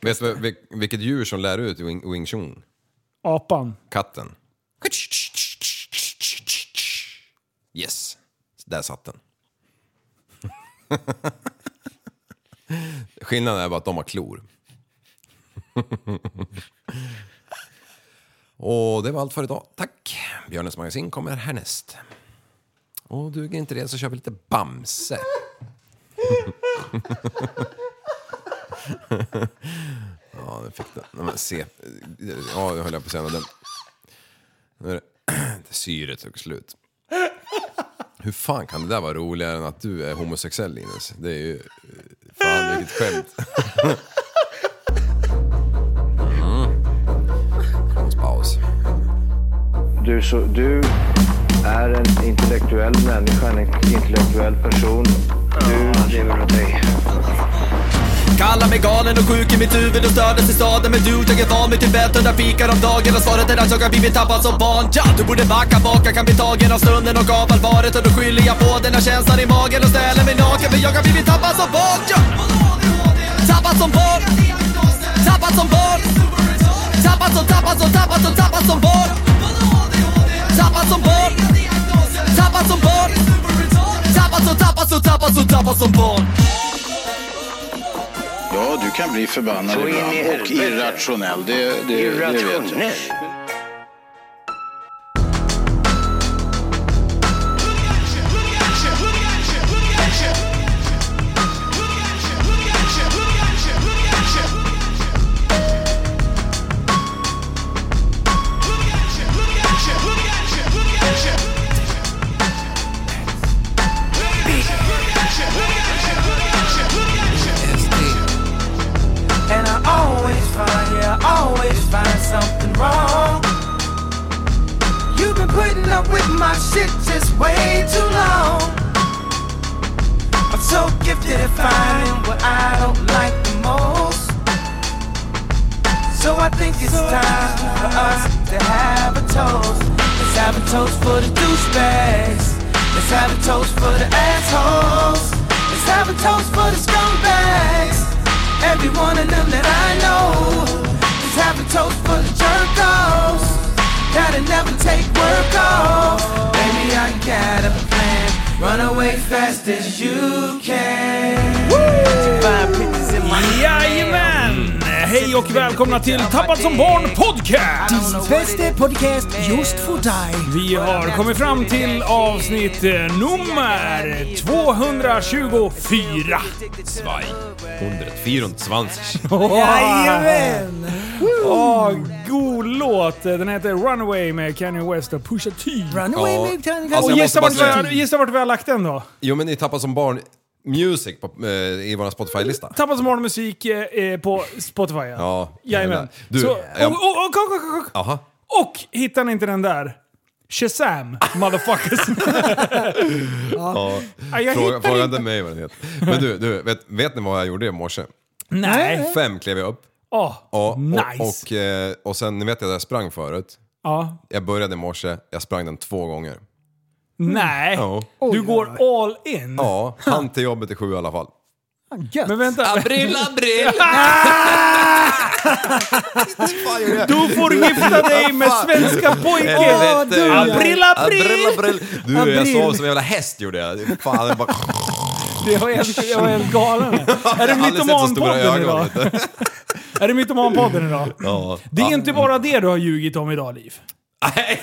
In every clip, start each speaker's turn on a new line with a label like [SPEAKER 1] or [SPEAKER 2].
[SPEAKER 1] Vet du vil- vilket djur som lär ut wing, wing chun?
[SPEAKER 2] Apan.
[SPEAKER 1] Katten. Yes, där satt den. Skillnaden är bara att de har klor. Och det var allt för idag. Tack! Björnes magasin kommer härnäst. Och duger inte det så kör vi lite Bamse. ja, nu fick den. Nej, men se. Ja, nu höll jag på att säga något dumt. Nu är det syret tog slut. Hur fan kan det där vara roligare än att du är homosexuell Linus? Det är ju... eh, Fan vilket skämt. Mm. Konstpaus.
[SPEAKER 3] Du, så, du är en intellektuell människa, en intellektuell person. Du lever av dig.
[SPEAKER 4] Kallar mig galen och sjuk i mitt huvud och stördes i staden Men du, jag är van vid Tibet och där fikar om dagen Och svaret är att jag har blivit tappad som barn ja, Du borde backa bak, jag kan bli tagen av stunden och av allvaret Och då skyller jag på den här känslan i magen och ställer mig naken För jag har blivit tappad som barn ja. Tappad som barn Tappad som barn Tappad som, tappad som, tappad som, tappad som barn Tappad som barn Tappad som barn Tappad som, tappad som, tappad som, tappad som barn
[SPEAKER 5] Ja, du kan bli förbannad
[SPEAKER 3] Så in i
[SPEAKER 5] ibland och
[SPEAKER 3] helvete.
[SPEAKER 5] irrationell. Det, det, det vet jag.
[SPEAKER 3] Irrationell.
[SPEAKER 6] And I always find, yeah, I always find something wrong. You've been putting up with my shit just way too long. I'm so gifted at finding what I don't like the most. So I think it's time for us to have a toast. Let's have a toast for the douchebags. Let's have a toast for the assholes. Let's have a toast for the scumbags. Every one of them that I know. Let's have a toast for the jerkos. Gotta never take work off. Baby, I got a plan. Run away fast as you can. Five pictures in my
[SPEAKER 2] Jajamän! Hej och välkomna till Tappad som barn podcast!
[SPEAKER 7] Bästa podcast just för dig.
[SPEAKER 2] Vi har kommit fram till avsnitt eh, nummer 224.
[SPEAKER 1] Svaj. 124.
[SPEAKER 2] Jajamän! Åh, god låt! Den heter Runaway med Kanye West och Pusha T.
[SPEAKER 7] Run away,
[SPEAKER 1] Ja.
[SPEAKER 7] big time.
[SPEAKER 1] Alltså,
[SPEAKER 2] Och
[SPEAKER 1] jag
[SPEAKER 2] gissa vart,
[SPEAKER 1] måste
[SPEAKER 2] vi
[SPEAKER 1] bara
[SPEAKER 2] har-
[SPEAKER 1] säga-
[SPEAKER 2] gissa vart vi har lagt den då?
[SPEAKER 1] Jo men ni tappar som barn music på, eh, i vår Spotify-lista.
[SPEAKER 2] Tappad som morgonmusik eh, eh, på Spotify.
[SPEAKER 1] Ja,
[SPEAKER 2] Jajamän.
[SPEAKER 1] Du, eh,
[SPEAKER 2] Så, oh, och,
[SPEAKER 1] jag-
[SPEAKER 2] och, och, och, och, och,
[SPEAKER 1] Aha.
[SPEAKER 2] och hittar ni inte den där? Shazam, motherfuckers. ja. Jag
[SPEAKER 1] Fråga,
[SPEAKER 2] hittar
[SPEAKER 1] fråga
[SPEAKER 2] inte.
[SPEAKER 1] inte mig vad den heter. Men du, du vet, vet ni vad jag gjorde i morse?
[SPEAKER 2] Nej.
[SPEAKER 1] Fem klev jag upp.
[SPEAKER 2] Oh.
[SPEAKER 1] Ja,
[SPEAKER 2] Nice.
[SPEAKER 1] och, och, eh, och sen, ni vet att jag sprang förut.
[SPEAKER 2] Ja.
[SPEAKER 1] Jag började i morse, jag sprang den två gånger.
[SPEAKER 2] Nej.
[SPEAKER 1] Ja.
[SPEAKER 2] Du går all in.
[SPEAKER 1] Ja, han till jobbet i sju i alla fall.
[SPEAKER 7] Gött.
[SPEAKER 2] Men vänta.
[SPEAKER 1] Abril, abril!
[SPEAKER 2] Du får gifta dig med svenska pojken!
[SPEAKER 7] Åh, du,
[SPEAKER 1] eh,
[SPEAKER 7] ja.
[SPEAKER 2] Abril, abril.
[SPEAKER 1] abril, abril! Du, jag
[SPEAKER 7] Abril.
[SPEAKER 1] sov som en jävla häst gjorde jag. Fan, jag bara...
[SPEAKER 2] Det var helt, jag var helt galen. Är det
[SPEAKER 1] Jag har aldrig sett så stora
[SPEAKER 2] Mytomanpodden
[SPEAKER 1] ögon,
[SPEAKER 2] idag?
[SPEAKER 1] vet du.
[SPEAKER 2] Är det Mytomanpodden idag?
[SPEAKER 1] Ja.
[SPEAKER 2] Det är inte bara det du har ljugit om idag, Liv.
[SPEAKER 1] Nej,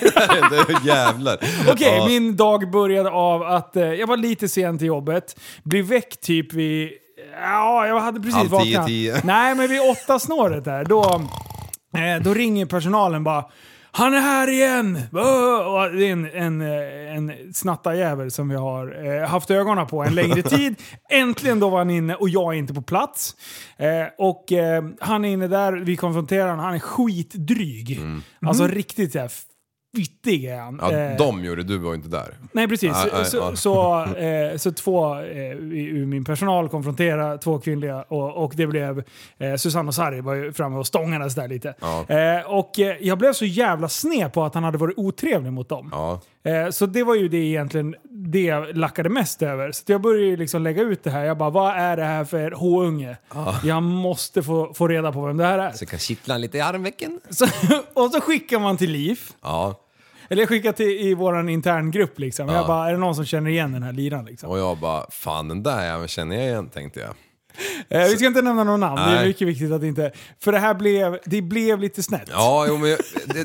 [SPEAKER 1] det är jävlar.
[SPEAKER 2] Okej,
[SPEAKER 1] Ja.
[SPEAKER 2] min dag började av att eh, jag var lite sen till jobbet. Blev väckt typ vid... Ja, jag hade precis
[SPEAKER 1] Halv tio,
[SPEAKER 2] vaknat.
[SPEAKER 1] tio.
[SPEAKER 2] Nej, men vid åtta snåret där, då, eh, då ringer personalen bara han är här igen! Öh, Och det är en, en, eh, en snattarjävel som vi har eh, haft ögonen på en längre tid. Äntligen då var han inne och jag är inte på plats. Eh, och eh, han är inne där, vi konfronterar honom, han är skitdryg. Alltså riktigt såhär fittig är han.
[SPEAKER 1] Mm. Ja,
[SPEAKER 2] Eh,
[SPEAKER 1] de gjorde det, du var ju inte där.
[SPEAKER 2] Nej precis.
[SPEAKER 1] Ah, ah,
[SPEAKER 2] så,
[SPEAKER 1] ah.
[SPEAKER 2] Så, eh, så två eh, i- ur min personal konfronterade två kvinnliga och, och det blev eh, Susanne och Sarri var ju framme och stångades där lite.
[SPEAKER 1] Ja.
[SPEAKER 2] Eh, och eh, jag blev så jävla sned på att han hade varit otrevlig mot dem.
[SPEAKER 1] Ja.
[SPEAKER 2] Eh, så det var ju det egentligen det jag lackade mest över. Så att jag började ju liksom lägga ut det här. Jag bara, vad är det här för H-unge? Jag måste få, få reda på vem det här är.
[SPEAKER 1] Så kan kittla lite i armvecken.
[SPEAKER 2] Så, och så skickar man till Liv.
[SPEAKER 1] Ja.
[SPEAKER 2] Eller jag skickar till i vår interngrupp liksom. Jag
[SPEAKER 1] Ja.
[SPEAKER 2] bara, är det någon som känner igen den här liran liksom?
[SPEAKER 1] Och jag bara, fan den där jäveln känner jag igen tänkte jag.
[SPEAKER 2] Eh, vi ska inte nämna någon namn, det är
[SPEAKER 1] Nej.
[SPEAKER 2] mycket viktigt att inte... För det här blev, det blev lite snett.
[SPEAKER 1] Ja, jo, men jag, det,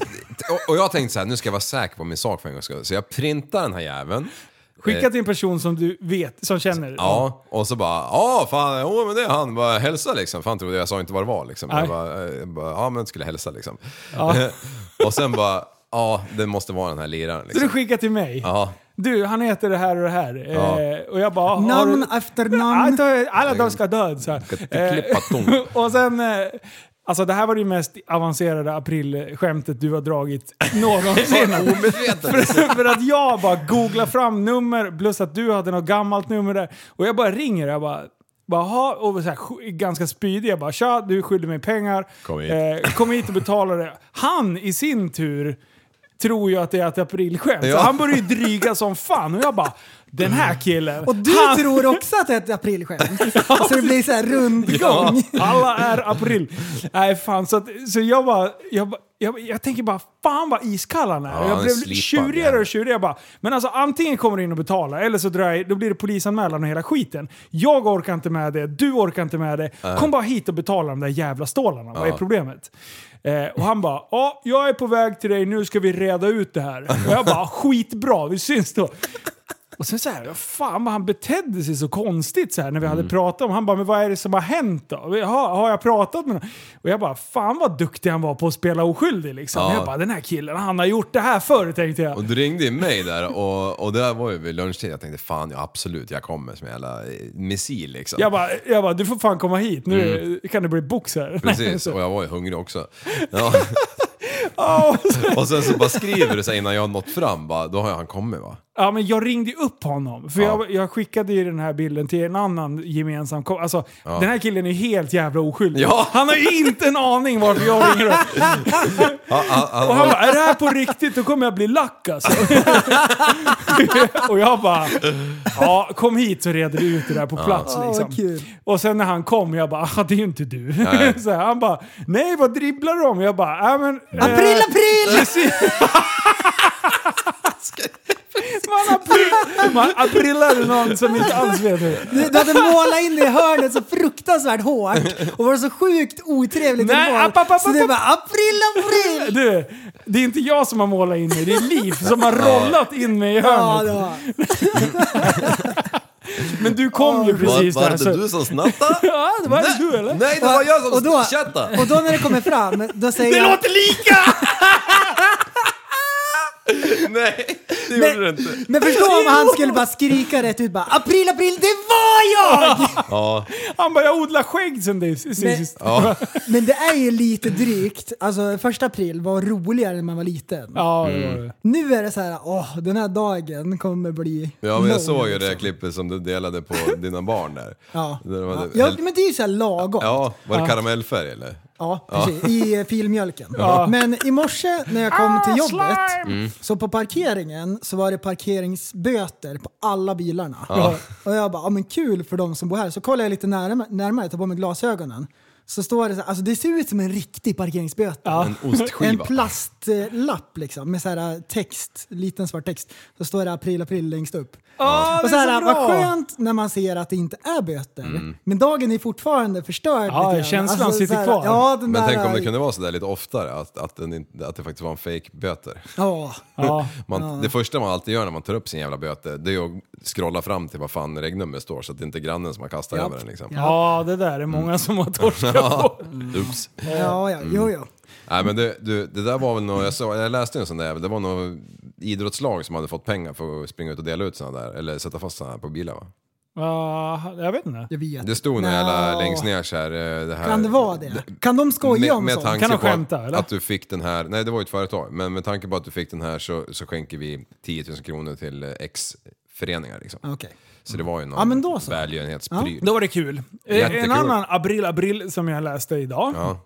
[SPEAKER 1] och- och jag tänkte så här, nu ska jag vara säker på min sak för en gångs skull. Så jag printar den här jäveln. Eh,
[SPEAKER 2] Skicka till en person som du vet, som känner.
[SPEAKER 1] Ja, och så bara, ja fan, åh men det är han, bara hälsa liksom. Fan trodde jag, jag sa inte vad det var liksom.
[SPEAKER 2] Nej.
[SPEAKER 1] Jag bara, eh, jag bara, ja men skulle hälsa liksom. och sen bara, ja det måste vara den här liraren
[SPEAKER 2] Så du
[SPEAKER 1] liksom.
[SPEAKER 2] skickar till mig.
[SPEAKER 1] Ja,
[SPEAKER 2] Du, han heter det här och det här. Eh, och jag bara... har
[SPEAKER 7] Namn
[SPEAKER 2] du-
[SPEAKER 7] efter
[SPEAKER 2] Ja, jag
[SPEAKER 7] namn.
[SPEAKER 2] tar- Alla de ska dö. Så här.
[SPEAKER 1] inte klippa tång.
[SPEAKER 2] och sen... Eh, Alltså det här var det ju mest avancerade aprilskämtet du har dragit någonsin. för, för att jag bara googlar fram nummer, plus att du hade något gammalt nummer där. Och jag bara ringer jag bara... bara "Ha", och så här, sk- ganska spydig. Jag bara tja, du skyller mig pengar.
[SPEAKER 1] Kom hit.
[SPEAKER 2] Eh, kom hit och betala det. Han i sin tur tror ju att det är ett aprilskämt.
[SPEAKER 1] Ja.
[SPEAKER 2] Så han börjar ju dryga som fan. Och jag bara, den här killen.
[SPEAKER 7] Och du
[SPEAKER 2] han,
[SPEAKER 7] tror också att det är ett aprilskämt. så det blir så här rundgång.
[SPEAKER 2] Alla är april. Nej fan, så, att, så jag bara... Jag, bara- jag, jag tänker bara, fan vad iskall han är.
[SPEAKER 1] Ja,
[SPEAKER 2] jag
[SPEAKER 1] han
[SPEAKER 2] blev
[SPEAKER 1] är slipad,
[SPEAKER 2] tjurigare
[SPEAKER 1] jävel.
[SPEAKER 2] och tjurigare. Jag bara, men alltså antingen kommer du in och betalar, eller så drar jag, då blir det polisanmälan och hela skiten. Jag orkar inte med det, du orkar inte med det. Kom bara hit och betala de där jävla stålarna. Vad är problemet? Eh, och han bara, ja, jag är på väg till dig, nu ska vi reda ut det här. Och jag bara, skitbra, vi syns då. Och sen så här, fan vad han betedde sig så konstigt så här när vi
[SPEAKER 1] Mm.
[SPEAKER 2] hade pratat om Han bara, men vad är det som har hänt då? Har, har jag pratat med någon? Och jag bara, fan vad duktig han var på att spela oskyldig liksom.
[SPEAKER 1] Ja.
[SPEAKER 2] Jag bara, den här killen, han har gjort det här förr tänkte jag.
[SPEAKER 1] och du ringde ju mig där och, och det var ju vid lunchtid. Jag tänkte fan ja absolut, jag kommer som en jävla eh, missil liksom.
[SPEAKER 2] Jag bara, jag bara, du får fan komma hit, nu kan det bli box här.
[SPEAKER 1] Mm. Precis, och jag var ju hungrig också. Ja.
[SPEAKER 2] Ja, och så-
[SPEAKER 1] Och sen så bara skriver du så här innan jag har nått fram, bara, då har han kommit va?
[SPEAKER 2] ja, men jag ringde ju upp honom, för
[SPEAKER 1] Ja.
[SPEAKER 2] jag, jag skickade ju den här bilden till en annan gemensam kom- Alltså, den här killen är ju helt jävla oskyldig.
[SPEAKER 1] Ja.
[SPEAKER 2] Han har ju inte en aning varför jag ringer upp.
[SPEAKER 1] Ja, han- han-
[SPEAKER 2] Och han bara, är det här på riktigt då kommer jag bli lack alltså. och jag bara, ja kom hit så reder du ut det där på plats
[SPEAKER 7] Ja, vad
[SPEAKER 2] liksom.
[SPEAKER 7] kul.
[SPEAKER 2] Och sen när han kom, jag bara, ah, det är ju inte du. Så här, han bara, nej vad dribblar du om? Jag bara, äh, men... eh,
[SPEAKER 7] April, april!
[SPEAKER 2] Precis. Man, april, man aprillar någon som inte alls vet hur.
[SPEAKER 7] Du, du hade målat in det i hörnet så fruktansvärt hårt och var så sjukt otrevligt
[SPEAKER 2] Nej,
[SPEAKER 7] humör.
[SPEAKER 2] app, app, app,
[SPEAKER 7] Så det
[SPEAKER 2] app.
[SPEAKER 7] var april, april!
[SPEAKER 2] Du, det är inte jag som har målat in mig, det är Liv som har rollat in mig i
[SPEAKER 7] Ja,
[SPEAKER 2] hörnet.
[SPEAKER 7] det var.
[SPEAKER 2] Men du kom ju precis
[SPEAKER 1] var, var
[SPEAKER 2] där.
[SPEAKER 1] det
[SPEAKER 2] så-
[SPEAKER 1] du som snattade?
[SPEAKER 2] Ja, det var det du eller?
[SPEAKER 1] Nej, det var jag
[SPEAKER 7] Och
[SPEAKER 1] som
[SPEAKER 7] då-
[SPEAKER 1] chattade!
[SPEAKER 7] Och då när det kommer fram, då säger jag...
[SPEAKER 2] lika!
[SPEAKER 1] Nej, det gjorde du
[SPEAKER 7] men,
[SPEAKER 1] inte.
[SPEAKER 7] men förstå om han skulle bara skrika rätt ut bara april, april, det var jag!
[SPEAKER 1] Ja,
[SPEAKER 2] Han bara, jag odlar skägg sen det
[SPEAKER 7] Men,
[SPEAKER 2] sist.
[SPEAKER 1] ja.
[SPEAKER 7] men det är ju lite drygt. Alltså första april var roligare när man var liten.
[SPEAKER 2] Ja, det
[SPEAKER 1] Mm.
[SPEAKER 2] var det.
[SPEAKER 7] Nu är det så här, åh, den här dagen kommer bli
[SPEAKER 1] ja men jag
[SPEAKER 7] lång.
[SPEAKER 1] såg ju det där klippet som du delade på dina barn där.
[SPEAKER 7] Ja.
[SPEAKER 1] Där de
[SPEAKER 7] Ja,
[SPEAKER 1] hade-
[SPEAKER 7] ja, men det är ju så här lagom.
[SPEAKER 1] ja, var det karamellfärg eller?
[SPEAKER 7] Ja, precis. I eh, filmjölken. Men i morse när jag kom
[SPEAKER 2] Ah,
[SPEAKER 7] till jobbet,
[SPEAKER 1] Mm.
[SPEAKER 7] så på parkeringen så var det parkeringsböter på alla bilarna. Och jag bara, ja men kul för de som bor här. Så kollar jag lite närmare, närmare tar på mig glasögonen. Så står det så här, alltså det ser ut som en riktig parkeringsböter.
[SPEAKER 1] En
[SPEAKER 7] En
[SPEAKER 1] ostskiva.
[SPEAKER 7] plastlapp liksom med så här text, liten svart text. Så står det april, april längst upp.
[SPEAKER 2] Ja, det
[SPEAKER 7] Och så
[SPEAKER 2] är
[SPEAKER 7] här,
[SPEAKER 2] så
[SPEAKER 7] vad
[SPEAKER 2] bra!
[SPEAKER 7] skönt när man ser att det inte är böter.
[SPEAKER 1] Mm.
[SPEAKER 7] Men dagen är fortfarande förstörd.
[SPEAKER 2] Ja,
[SPEAKER 7] lite grann. Alltså,
[SPEAKER 2] känslan sitter
[SPEAKER 7] så här,
[SPEAKER 2] kvar.
[SPEAKER 7] Ja, den
[SPEAKER 1] Men
[SPEAKER 7] där,
[SPEAKER 1] tänk om det kunde vara sådär lite oftare, att, att, den, inte- att det faktiskt var en fake böter.
[SPEAKER 7] Ja.
[SPEAKER 2] Ja.
[SPEAKER 1] Man, Det första man alltid gör när man tar upp sin jävla böter, det är att scrolla fram till vad fan regnumret står så att det inte är grannen som har kastat över den liksom.
[SPEAKER 2] ja, det där är många som har torskat på.
[SPEAKER 1] Ups.
[SPEAKER 7] Ja, ja,
[SPEAKER 2] Mm.
[SPEAKER 7] jo, jo.
[SPEAKER 1] Nej men det, du, det där var väl något, jag, såg, jag läste en sån där, det var något idrottslag som hade fått pengar för att springa ut och dela ut såna där, eller sätta fast såna här på bilar va?
[SPEAKER 2] Ja, jag vet inte.
[SPEAKER 7] Jag vet.
[SPEAKER 1] Det stod någon jävla
[SPEAKER 7] Nå.
[SPEAKER 1] längst ner så här, eh, det här
[SPEAKER 7] Kan det vara det? Kan de skoja
[SPEAKER 1] Med,
[SPEAKER 7] om
[SPEAKER 1] med
[SPEAKER 7] sånt?
[SPEAKER 1] tanke
[SPEAKER 2] Kan de
[SPEAKER 1] på
[SPEAKER 2] skämta,
[SPEAKER 1] att,
[SPEAKER 2] eller?
[SPEAKER 1] att du fick den här, nej det var ju ett företag, men med tanke på att du fick den här så, så skänker vi 10 000 kronor till eh, X föreningar liksom.
[SPEAKER 7] Okej.
[SPEAKER 1] Så det var ju någon
[SPEAKER 7] Ja, men då så.
[SPEAKER 1] välgörenhetspryl.
[SPEAKER 2] Då var det kul. Eh,
[SPEAKER 1] Jättekul.
[SPEAKER 2] En annan april april som jag läste idag.
[SPEAKER 1] Ja.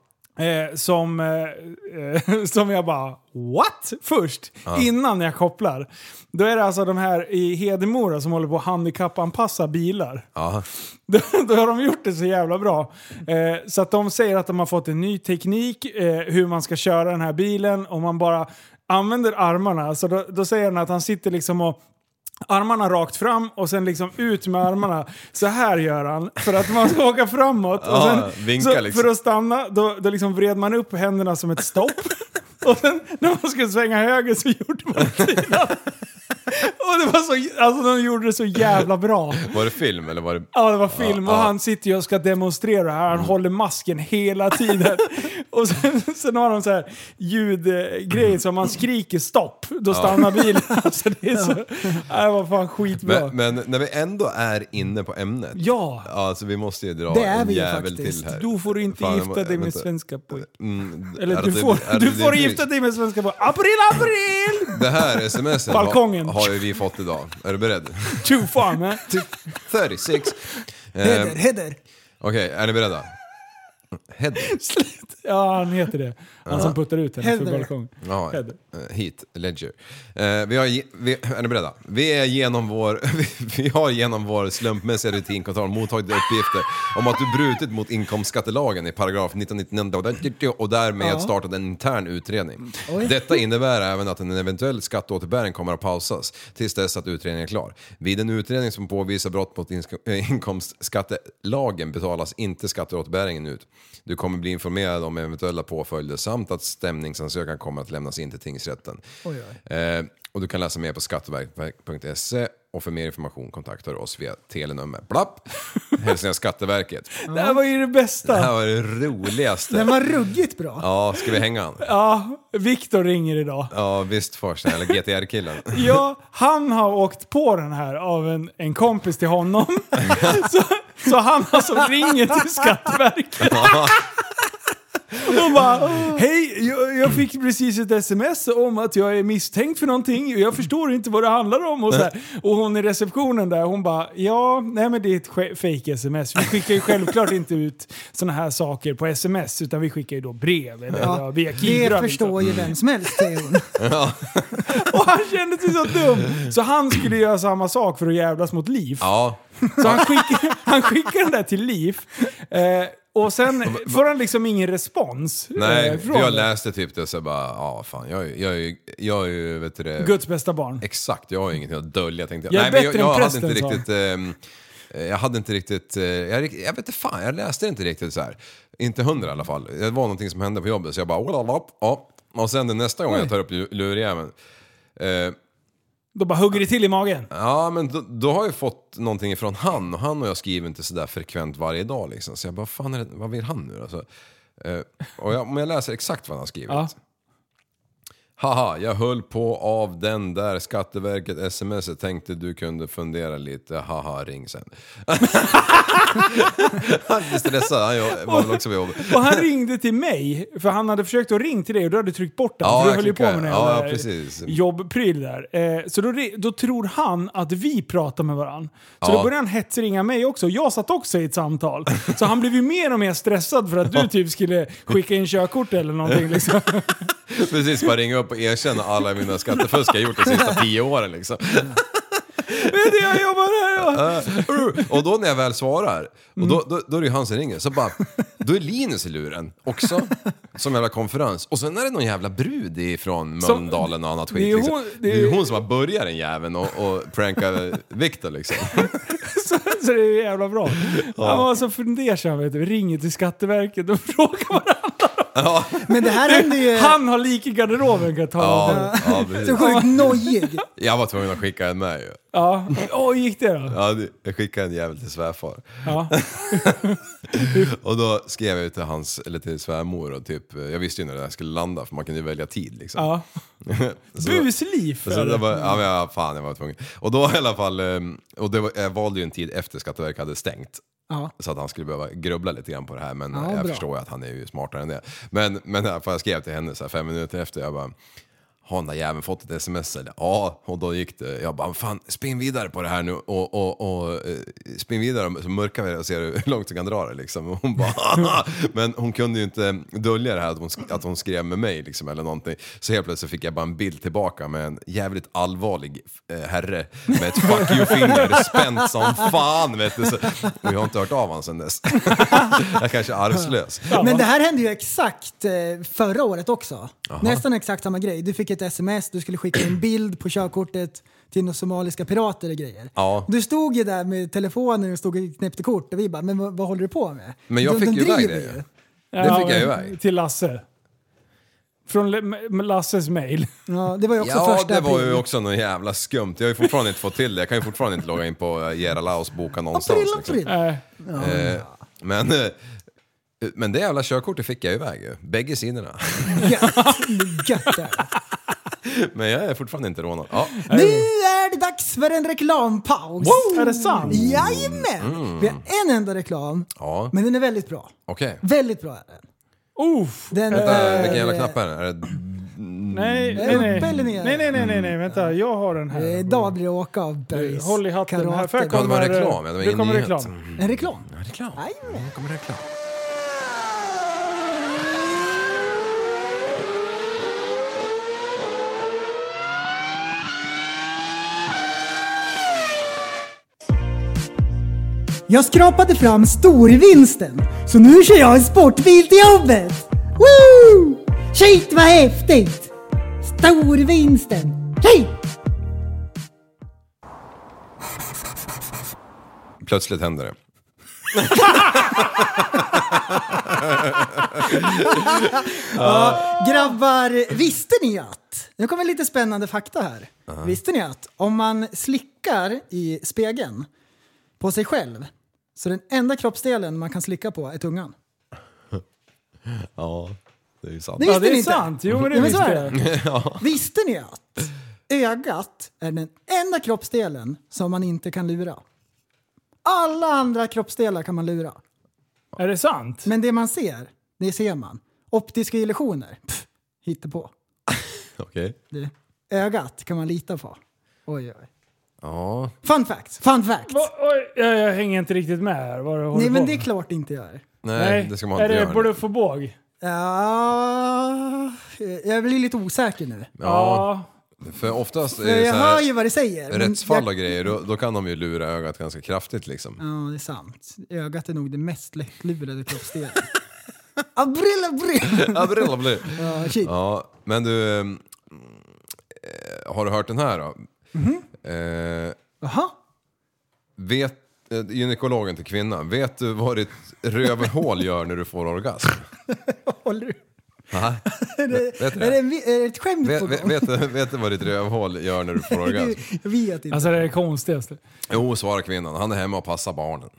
[SPEAKER 2] Eh, som, eh, eh, som jag bara what? Först, innan jag kopplar. Då är det alltså de här i Hedemora som håller på att handikappanpassa bilar.
[SPEAKER 1] Ja.
[SPEAKER 2] Då, då har de gjort det så jävla bra. Eh, så att de säger att de har fått en ny teknik eh, hur man ska köra den här bilen om man bara använder armarna. Så då, då säger han att han sitter liksom och Armarna rakt fram och sen liksom ut med armarna. Så här gör han för att man ska åka framåt. Och sen,
[SPEAKER 1] Ja, vinka
[SPEAKER 2] så
[SPEAKER 1] liksom.
[SPEAKER 2] För att stanna, då, då liksom vred man upp händerna som ett stopp. Och sen när man skulle svänga höger så gjorde man sidan. Och det var så, alltså de gjorde det så jävla bra.
[SPEAKER 1] Var det film eller var det...
[SPEAKER 2] Ja, det var film och han sitter ju och ska demonstrera här. Han
[SPEAKER 1] Mm.
[SPEAKER 2] håller masken hela tiden. och sen, sen har de så här ljudgrejer som man skriker stopp, då stannar bilen. Alltså det är så... Nej, det var fan skitbra.
[SPEAKER 1] Men, men när vi ändå är inne på ämnet.
[SPEAKER 2] ja,
[SPEAKER 1] Ja, så vi måste ju dra
[SPEAKER 7] Det är
[SPEAKER 1] en
[SPEAKER 7] vi ju
[SPEAKER 1] jävel
[SPEAKER 7] faktiskt.
[SPEAKER 1] till här.
[SPEAKER 2] då får du inte
[SPEAKER 1] Fan, jag må-
[SPEAKER 2] gifta dig med
[SPEAKER 1] vänta.
[SPEAKER 2] svenska pojkar.
[SPEAKER 1] Mm,
[SPEAKER 2] Eller
[SPEAKER 1] är
[SPEAKER 2] du
[SPEAKER 1] det-
[SPEAKER 2] får,
[SPEAKER 1] är
[SPEAKER 2] du
[SPEAKER 1] det-
[SPEAKER 2] får gifta dig med svenska pojkar. April, april!
[SPEAKER 1] Det här smset
[SPEAKER 2] Balkongen.
[SPEAKER 1] har, har ju vi fått idag. Är du beredd?
[SPEAKER 2] Too far man.
[SPEAKER 1] Typ. 36. Eh,
[SPEAKER 7] Heder, heder.
[SPEAKER 1] Okej, är ni beredda? Header.
[SPEAKER 2] Ja, han heter det. Han som puttar ut henne för
[SPEAKER 7] Heather.
[SPEAKER 2] balkongen.
[SPEAKER 1] Ja,
[SPEAKER 2] Header.
[SPEAKER 1] eh, hit, Ledger. Eh, vi har, ge- vi, är ni beredda? Vi, är genom vår, vi, vi har genom vår slumpmässiga rutinkontroll mottagit uppgifter om att du brutit mot inkomstskattelagen i paragraf 1999 och därmed startat en intern utredning. Detta innebär även att en eventuell skatteåterbäring kommer att pausas tills dess att utredningen är klar. Vid en utredning som påvisar brott mot insk- eh, inkomstskattelagen betalas inte skatteåterbäringen ut. Du kommer bli informerad om eventuella påföljder samt att stämningsansökan kommer att lämnas in till tingsrätten. Eh, och du kan läsa mer på skatteverket.se E och för mer information kontaktar du oss via telenummer. Blapp! Hälsningar Skatteverket.
[SPEAKER 2] Det här var ju
[SPEAKER 1] Det
[SPEAKER 2] det
[SPEAKER 1] här
[SPEAKER 2] bästa.
[SPEAKER 1] var det roligaste.
[SPEAKER 7] Den var ruggigt bra.
[SPEAKER 1] Ja, ska vi hänga han?
[SPEAKER 2] Ja, Viktor ringer idag.
[SPEAKER 1] Ja, visst farsan, eller GTR-killen.
[SPEAKER 2] Ja, han har åkt på den här av en, en kompis till honom. så, så han alltså ringer till Skatteverket. Och bara, hej, jag, jag fick precis ett sms om att jag är misstänkt för någonting och jag förstår inte vad det handlar om. Och, så här. och hon i receptionen där, hon bara, ja, nej men det är ett ske- fake sms. Vi skickar ju självklart inte ut sådana här saker på sms, utan vi skickar ju då brev eller ja,
[SPEAKER 7] Ja,
[SPEAKER 2] via Kira.
[SPEAKER 7] det
[SPEAKER 2] liksom."
[SPEAKER 7] förstår ju
[SPEAKER 1] Mm.
[SPEAKER 7] vem som helst, säger hon.
[SPEAKER 2] Och han kände sig så dum! Så han skulle göra samma sak för att jävlas mot Liv.
[SPEAKER 1] Ja,
[SPEAKER 2] Så han skickar, han skickar den där till Liv. Eh, och sen får han liksom ingen respons.
[SPEAKER 1] nej,
[SPEAKER 2] eh,
[SPEAKER 1] för jag
[SPEAKER 2] det.
[SPEAKER 1] läste typ det och så bara, ja fan, jag är ju, jag är ju, jag är ju, vet du det...
[SPEAKER 2] Guds bästa barn.
[SPEAKER 1] Exakt, jag har ju ingenting att dölja tänkte jag.
[SPEAKER 2] Jag
[SPEAKER 1] Nej,
[SPEAKER 2] är
[SPEAKER 1] men jag,
[SPEAKER 2] bättre än
[SPEAKER 1] jag hade
[SPEAKER 2] prästen,
[SPEAKER 1] inte
[SPEAKER 2] sa han.
[SPEAKER 1] riktigt... ehm, eh, jag hade inte riktigt... eh, jag, rikt- jag vet inte fan, jag läste inte riktigt så här. Inte hundra i alla fall. Det var någonting som hände på jobbet så jag bara... "Olalap", Ja. Och sen den nästa gång jag tar upp lu- lurjäveln. Eh,
[SPEAKER 2] Då bara hugger det till i magen.
[SPEAKER 1] ja, men då, då har jag fått någonting ifrån han och han och jag skriver inte sådär frekvent varje dag liksom. Så jag bara, fan är det, vad vill han nu då? Så, eh, och jag, men jag läser exakt vad han har skrivit.
[SPEAKER 2] Ja.
[SPEAKER 1] Haha, jag höll på av den där Skatteverket sms tänkte du kunde fundera lite, haha ring sen. han är stressad, han jo- var väl också på jobbet.
[SPEAKER 2] Och han ringde till mig, för han hade försökt att ringa till dig och du hade tryckt bort den.
[SPEAKER 1] Ja,
[SPEAKER 2] för du
[SPEAKER 1] jag
[SPEAKER 2] höll ju på
[SPEAKER 1] klickar.
[SPEAKER 2] med den
[SPEAKER 1] Ja,
[SPEAKER 2] jävla
[SPEAKER 1] ja, precis.
[SPEAKER 2] jobbpryl där. Eh, så då, ri- då tror han att vi pratar med varandra.
[SPEAKER 1] Ja.
[SPEAKER 2] Så då började han hetsringa mig också. Jag satt också i ett samtal. Så han blev ju mer och mer stressad för att du typ skulle skicka in körkort eller någonting. Liksom.
[SPEAKER 1] Precis, bara ringa upp och erkänna alla mina skattefusk jag gjort de sista tio åren liksom.
[SPEAKER 2] Men det jag jobbar här. och-
[SPEAKER 1] Och då när jag väl svarar, och då, då, då är det ju han som ringer, så bara, då är Linus i luren också, som jävla konferens. Och sen är det någon jävla brud ifrån
[SPEAKER 2] Som-
[SPEAKER 1] Mölndalen och annat skit.
[SPEAKER 2] det är ju
[SPEAKER 1] liksom.
[SPEAKER 2] hon-
[SPEAKER 1] det
[SPEAKER 2] det är-
[SPEAKER 1] är ju hon som har börjat den jäveln och, och prankar Viktor liksom.
[SPEAKER 2] Så, så det är jävla bra. Han var så fundersam. Vet du. Ringer till Skatteverket och frågar vad det
[SPEAKER 7] Men det här hände ju...
[SPEAKER 2] Han har lik i garderoben kan jag tala om.
[SPEAKER 1] Ja, ja, precis.
[SPEAKER 7] Så sjukt nojig.
[SPEAKER 1] jag var tvungen att skicka en med ju.
[SPEAKER 2] Ja. Åh, hur gick det då?
[SPEAKER 1] Ja, det- jag skickade en jävel till svärfar.
[SPEAKER 2] Ja.
[SPEAKER 1] Och då skrev jag ju till hans, eller till svärmor och typ, jag visste ju när det här skulle landa för man kunde ju välja tid liksom.
[SPEAKER 2] ja.
[SPEAKER 1] Så-
[SPEAKER 2] Busliv.
[SPEAKER 1] Så Alltså, det var, ja, men jag, fan, jag var tvungen. Och då i alla fall, ehm, och det var, jag valde ju en tid efter Skatteverket hade stängt.
[SPEAKER 7] Ja.
[SPEAKER 1] Så att han skulle behöva grubbla lite grann på det här, men
[SPEAKER 7] Ja,
[SPEAKER 1] jag
[SPEAKER 7] bra.
[SPEAKER 1] förstår ju att han är ju smartare än det. Men, men i alla fall, jag skrev till henne så här fem minuter efter, jag bara har den där jäveln fått ett sms eller? Ja, och då gick det. Jag bara, fan spinn vidare på det här nu och, och, och eh, spinn vidare så mörkar vi det och ser hur långt du kan dra det liksom. Och Hon bara, men hon kunde ju inte dölja det här att hon, sk- att hon skrev med mig liksom eller någonting. Så helt plötsligt fick jag bara en bild tillbaka med en jävligt allvarlig eh, herre med ett fuck you-finger spänt som fan vet du. Så, och jag har inte hört av honom sedan dess. jag kanske är arvslös.
[SPEAKER 7] Men det här hände ju exakt eh, förra året också. Nästan exakt samma grej. Du fick ett sms, du skulle skicka en bild på körkortet till några somaliska pirater och grejer.
[SPEAKER 1] Ja.
[SPEAKER 7] Du stod ju där med telefonen och stod och knäppte kort och vi bara, men vad, vad håller du på med?
[SPEAKER 1] Men jag
[SPEAKER 7] de,
[SPEAKER 1] fick
[SPEAKER 7] de
[SPEAKER 1] ju iväg
[SPEAKER 7] driver
[SPEAKER 1] det ju. Det fick jag iväg.
[SPEAKER 2] Till Lasse. Från Le- M- Lasses mail.
[SPEAKER 7] Ja, det var ju också
[SPEAKER 1] Ja,
[SPEAKER 7] första
[SPEAKER 1] det var ju
[SPEAKER 7] april.
[SPEAKER 1] också något jävla skumt. Jag har ju fortfarande inte fått till det. Jag kan ju fortfarande inte logga in på eh, Gerhard Laos boka någonstans.
[SPEAKER 7] April,
[SPEAKER 1] liksom.
[SPEAKER 7] april.
[SPEAKER 2] Eh,
[SPEAKER 1] Eh, men, eh, men det jävla körkortet fick jag iväg ju. Bägge sidorna.
[SPEAKER 7] Gött. Gött det här.
[SPEAKER 1] Men jag är fortfarande inte rånad. Ja.
[SPEAKER 7] Nu är det dags för en reklampaus!
[SPEAKER 2] Är det sant?
[SPEAKER 7] Jajamän!
[SPEAKER 1] Mm.
[SPEAKER 7] Vi har en enda reklam,
[SPEAKER 1] ja.
[SPEAKER 7] men den är väldigt bra.
[SPEAKER 1] Okej.
[SPEAKER 7] Väldigt bra är den.
[SPEAKER 2] Oof.
[SPEAKER 7] den
[SPEAKER 1] Vänta,
[SPEAKER 7] är-
[SPEAKER 1] Vilken jävla knapp är det? Är det
[SPEAKER 2] Nej,
[SPEAKER 1] Mm.
[SPEAKER 7] är
[SPEAKER 2] nej, nej.
[SPEAKER 7] uppe eller
[SPEAKER 2] nej,
[SPEAKER 7] ner?
[SPEAKER 2] nej, nej, nej, nej, vänta. Jag har den här.
[SPEAKER 7] Eh, Idag blir det åka av
[SPEAKER 2] Eh,
[SPEAKER 7] bergs.
[SPEAKER 2] Håll i hatten här, för jag
[SPEAKER 7] karate.
[SPEAKER 1] Ja, det var
[SPEAKER 2] kommer...
[SPEAKER 1] reklam, ja, det var
[SPEAKER 2] det
[SPEAKER 1] ingen
[SPEAKER 2] kommer
[SPEAKER 1] nyhet.
[SPEAKER 2] reklam.
[SPEAKER 7] En reklam?
[SPEAKER 1] Mm. reklam?
[SPEAKER 7] Jajamän.
[SPEAKER 1] Nu kommer reklam.
[SPEAKER 7] Jag skrapade fram storvinsten, så nu kör jag en sportbil till jobbet! Woo! Shit vad häftigt! Storvinsten! Shit!
[SPEAKER 1] Plötsligt händer det.
[SPEAKER 7] Grabbar, visste ni att... Nu kommer lite spännande fakta här.
[SPEAKER 2] Uh-huh.
[SPEAKER 7] Visste ni att om man slickar i spegeln på sig själv så den enda kroppsdelen man kan slicka på är tungan?
[SPEAKER 1] Ja, det är ju sant.
[SPEAKER 7] Det
[SPEAKER 2] Ja,
[SPEAKER 7] visste
[SPEAKER 2] det
[SPEAKER 7] ni
[SPEAKER 2] är
[SPEAKER 7] inte?
[SPEAKER 2] sant. Jo, men det
[SPEAKER 7] Ja, men så
[SPEAKER 2] visste
[SPEAKER 7] är
[SPEAKER 2] jag.
[SPEAKER 7] Visste ni att ögat är den enda kroppsdelen som man inte kan lura? Alla andra kroppsdelar kan man lura.
[SPEAKER 2] Är det sant?
[SPEAKER 7] Men det man ser, det ser man. Optiska illusioner, pff, hittepå.
[SPEAKER 1] Okej.
[SPEAKER 7] Det- Ögat kan man lita på. Oj, oj.
[SPEAKER 1] Ja.
[SPEAKER 7] Fun fact, fun fact.
[SPEAKER 2] Va, oj, jag, jag hänger inte riktigt med här. Vad du håller
[SPEAKER 7] Nej, men
[SPEAKER 2] på
[SPEAKER 7] det är
[SPEAKER 2] med.
[SPEAKER 7] klart det inte gör.
[SPEAKER 1] Nej, det ska man
[SPEAKER 2] är
[SPEAKER 1] inte
[SPEAKER 2] det
[SPEAKER 1] göra.
[SPEAKER 2] bluff och båg?
[SPEAKER 7] Ja, jag blir lite osäker nu.
[SPEAKER 1] Ja, för oftast är det
[SPEAKER 7] Jag
[SPEAKER 1] så
[SPEAKER 7] hör
[SPEAKER 1] här
[SPEAKER 7] ju vad det säger. men
[SPEAKER 1] rättsfall och
[SPEAKER 7] jag-
[SPEAKER 1] grejer, då, då kan de ju lura ögat ganska kraftigt liksom.
[SPEAKER 7] Ja, det är sant. Ögat är nog det mest lättlurade kroppsdelen. Abril, abril!
[SPEAKER 1] Ja, brilla, brilla.
[SPEAKER 7] Ja, shit.
[SPEAKER 1] Ja, men du... ehm, Eh, har du hört den här då? Eh,
[SPEAKER 7] Jaha.
[SPEAKER 1] vet, eh, gynekologen till kvinnan, vet du vad ditt rövhål gör när du får orgasm?
[SPEAKER 7] Håller du?
[SPEAKER 1] Va? Vet, vet, du
[SPEAKER 7] Är det,
[SPEAKER 1] det?
[SPEAKER 7] en vi- är det ett skämt
[SPEAKER 1] vet,
[SPEAKER 7] på
[SPEAKER 1] vet,
[SPEAKER 7] gång?
[SPEAKER 1] vet, du- vet du vad ditt rövhål gör när du får orgasm?
[SPEAKER 7] Jag vet inte.
[SPEAKER 2] Alltså det är det konstigaste.
[SPEAKER 1] Jo, svarar kvinnan, han är hemma och passar barnen.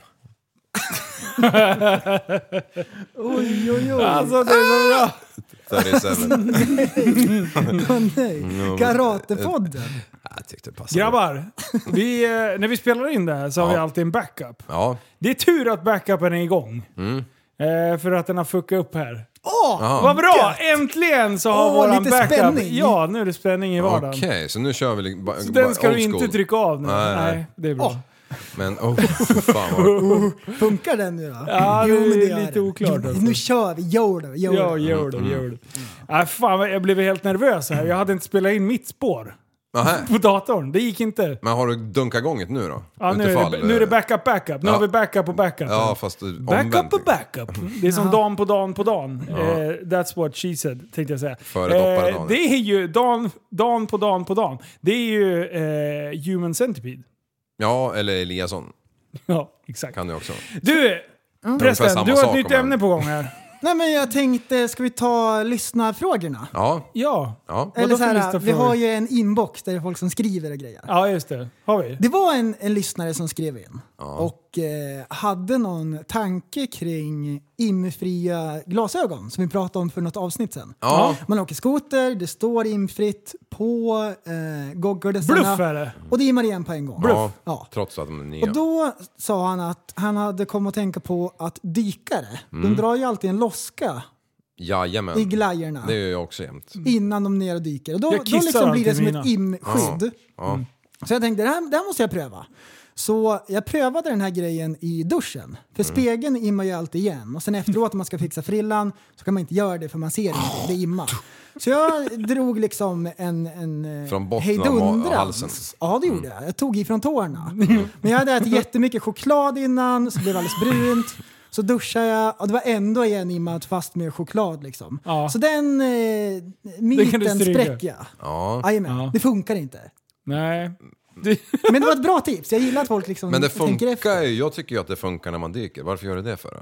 [SPEAKER 7] Oj, oj, oj.
[SPEAKER 2] Alltså det är så bra!
[SPEAKER 1] 37.
[SPEAKER 2] Mm.
[SPEAKER 7] Åh, nej. Karatepodden.
[SPEAKER 1] Jag tyckte det passade.
[SPEAKER 2] Grabbar, vi, eh, när vi spelar in det här så har
[SPEAKER 1] Ja.
[SPEAKER 2] vi alltid en backup.
[SPEAKER 1] Ja,
[SPEAKER 2] Det är tur att backupen är igång.
[SPEAKER 1] Mm.
[SPEAKER 2] Eh, för att den har fuckat upp här.
[SPEAKER 1] Jaha.
[SPEAKER 2] Vad bra! Äntligen så har
[SPEAKER 7] Åh,
[SPEAKER 2] våran
[SPEAKER 7] lite
[SPEAKER 2] backup...
[SPEAKER 7] spänning.
[SPEAKER 2] Ja, nu är det spänning i vardagen.
[SPEAKER 1] okej, så nu kör vi li- ba,
[SPEAKER 2] Så
[SPEAKER 1] ba-
[SPEAKER 2] Den ska
[SPEAKER 1] old
[SPEAKER 2] du
[SPEAKER 1] school.
[SPEAKER 2] inte trycka av nu.
[SPEAKER 1] Nej,
[SPEAKER 2] Nej,
[SPEAKER 1] nej.
[SPEAKER 2] det är bra.
[SPEAKER 1] Men oh, fy fan vad...
[SPEAKER 7] Funkar den nu då?
[SPEAKER 2] Ja, det är
[SPEAKER 7] gör
[SPEAKER 2] lite
[SPEAKER 7] den.
[SPEAKER 2] oklart,
[SPEAKER 7] Jo,
[SPEAKER 2] alltså.
[SPEAKER 7] Nu kör vi. Gör det. Gör
[SPEAKER 2] Ja,
[SPEAKER 7] det.
[SPEAKER 2] gör
[SPEAKER 1] Mm.
[SPEAKER 2] det, gör det. Nej, fan, vad- jag blev helt nervös här. Jag hade inte spelat in mitt spår
[SPEAKER 1] Nähä.
[SPEAKER 2] på datorn. Det gick inte.
[SPEAKER 1] Men har du dunkat gånget nu då?
[SPEAKER 2] Ja, nu, är
[SPEAKER 1] Utifall,
[SPEAKER 2] det, nu är det
[SPEAKER 1] eh,
[SPEAKER 2] backup, backup. Nu
[SPEAKER 1] Ja.
[SPEAKER 2] har vi backup och backup.
[SPEAKER 1] Ja, fast eh, du- omvänt.
[SPEAKER 2] Backup och backup.
[SPEAKER 1] Mm.
[SPEAKER 2] Det är som dan på dan på dan. Eh, that's what she said, tänkte jag säga.
[SPEAKER 1] Före doppare
[SPEAKER 2] eh,
[SPEAKER 1] Dan.
[SPEAKER 2] det är ju dan, dan på dan på dan. Det är ju eh, Human Centipede.
[SPEAKER 1] Ja, eller Eliasson
[SPEAKER 2] Ja, exakt.
[SPEAKER 1] kan du också.
[SPEAKER 2] Du,
[SPEAKER 1] Ungefär
[SPEAKER 2] prästen, du
[SPEAKER 1] samma
[SPEAKER 2] har ett
[SPEAKER 1] sak
[SPEAKER 2] nytt
[SPEAKER 1] om jag-
[SPEAKER 2] ämne på gång här.
[SPEAKER 7] Nej, men jag tänkte, ska vi ta lyssnarfrågorna?
[SPEAKER 1] Ja,
[SPEAKER 2] Ja.
[SPEAKER 1] ja.
[SPEAKER 7] Eller så
[SPEAKER 2] för
[SPEAKER 7] här, vi
[SPEAKER 2] lyssnarfrågor?
[SPEAKER 7] har ju en inbox där det är folk som skriver och grejer.
[SPEAKER 2] Ja, just det. Har vi?
[SPEAKER 7] Det var en, en lyssnare som skrev in och eh, hade någon tanke kring imfria glasögon som vi pratade om för något avsnitt sen.
[SPEAKER 1] Ja.
[SPEAKER 7] Man åker skoter, det står imfritt på eh, goggledessarna.
[SPEAKER 2] Bluff är det.
[SPEAKER 7] Och det immar igen på en gång.
[SPEAKER 1] ja.
[SPEAKER 7] Ja.
[SPEAKER 1] Trots att de är nya.
[SPEAKER 7] Och då sa
[SPEAKER 1] Mm.
[SPEAKER 7] han att han hade kommit att tänka på att dykare, de drar ju alltid en loska
[SPEAKER 1] Jajamän.
[SPEAKER 7] i Mm. glajjorna.
[SPEAKER 1] Mm. Det gör jag också jämt.
[SPEAKER 7] Innan de ner och dyker. Och då,
[SPEAKER 2] Jag
[SPEAKER 7] då
[SPEAKER 2] kissar
[SPEAKER 7] liksom blir det
[SPEAKER 2] alltid
[SPEAKER 7] som
[SPEAKER 2] mina.
[SPEAKER 7] ett inskydd.
[SPEAKER 1] Ja.
[SPEAKER 7] Så jag tänkte, det här, det här måste jag pröva. Så jag prövade den här grejen i duschen. För
[SPEAKER 1] Mm.
[SPEAKER 7] spegeln immar ju alltid igen. Och sen efteråt om man ska fixa frillan så kan man inte göra det för man ser inte, det immar. Så jag drog liksom en, en eh,
[SPEAKER 1] Från botten av ma- halsen. Mm.
[SPEAKER 7] hejdundrans. Ja, det gjorde jag. Jag tog ifrån tårna. Men jag hade ätit jättemycket choklad innan så det blev alldeles brunt. Så duschade jag och det var ändå igen immat fast med choklad liksom.
[SPEAKER 2] Ja.
[SPEAKER 7] Så den eh,
[SPEAKER 2] kan du
[SPEAKER 7] myten
[SPEAKER 2] stryka.
[SPEAKER 7] spräcker jag.
[SPEAKER 1] Ja.
[SPEAKER 7] Jajamän,
[SPEAKER 2] Ja.
[SPEAKER 7] det funkar inte.
[SPEAKER 1] Mm.
[SPEAKER 2] Nej. Det,
[SPEAKER 7] Men det var ett bra tips. Jag gillar att folk liksom
[SPEAKER 1] Men det
[SPEAKER 7] tänker efter.
[SPEAKER 1] funkar ju. Jag tycker ju att det funkar när man dyker. Varför gör det det för? då?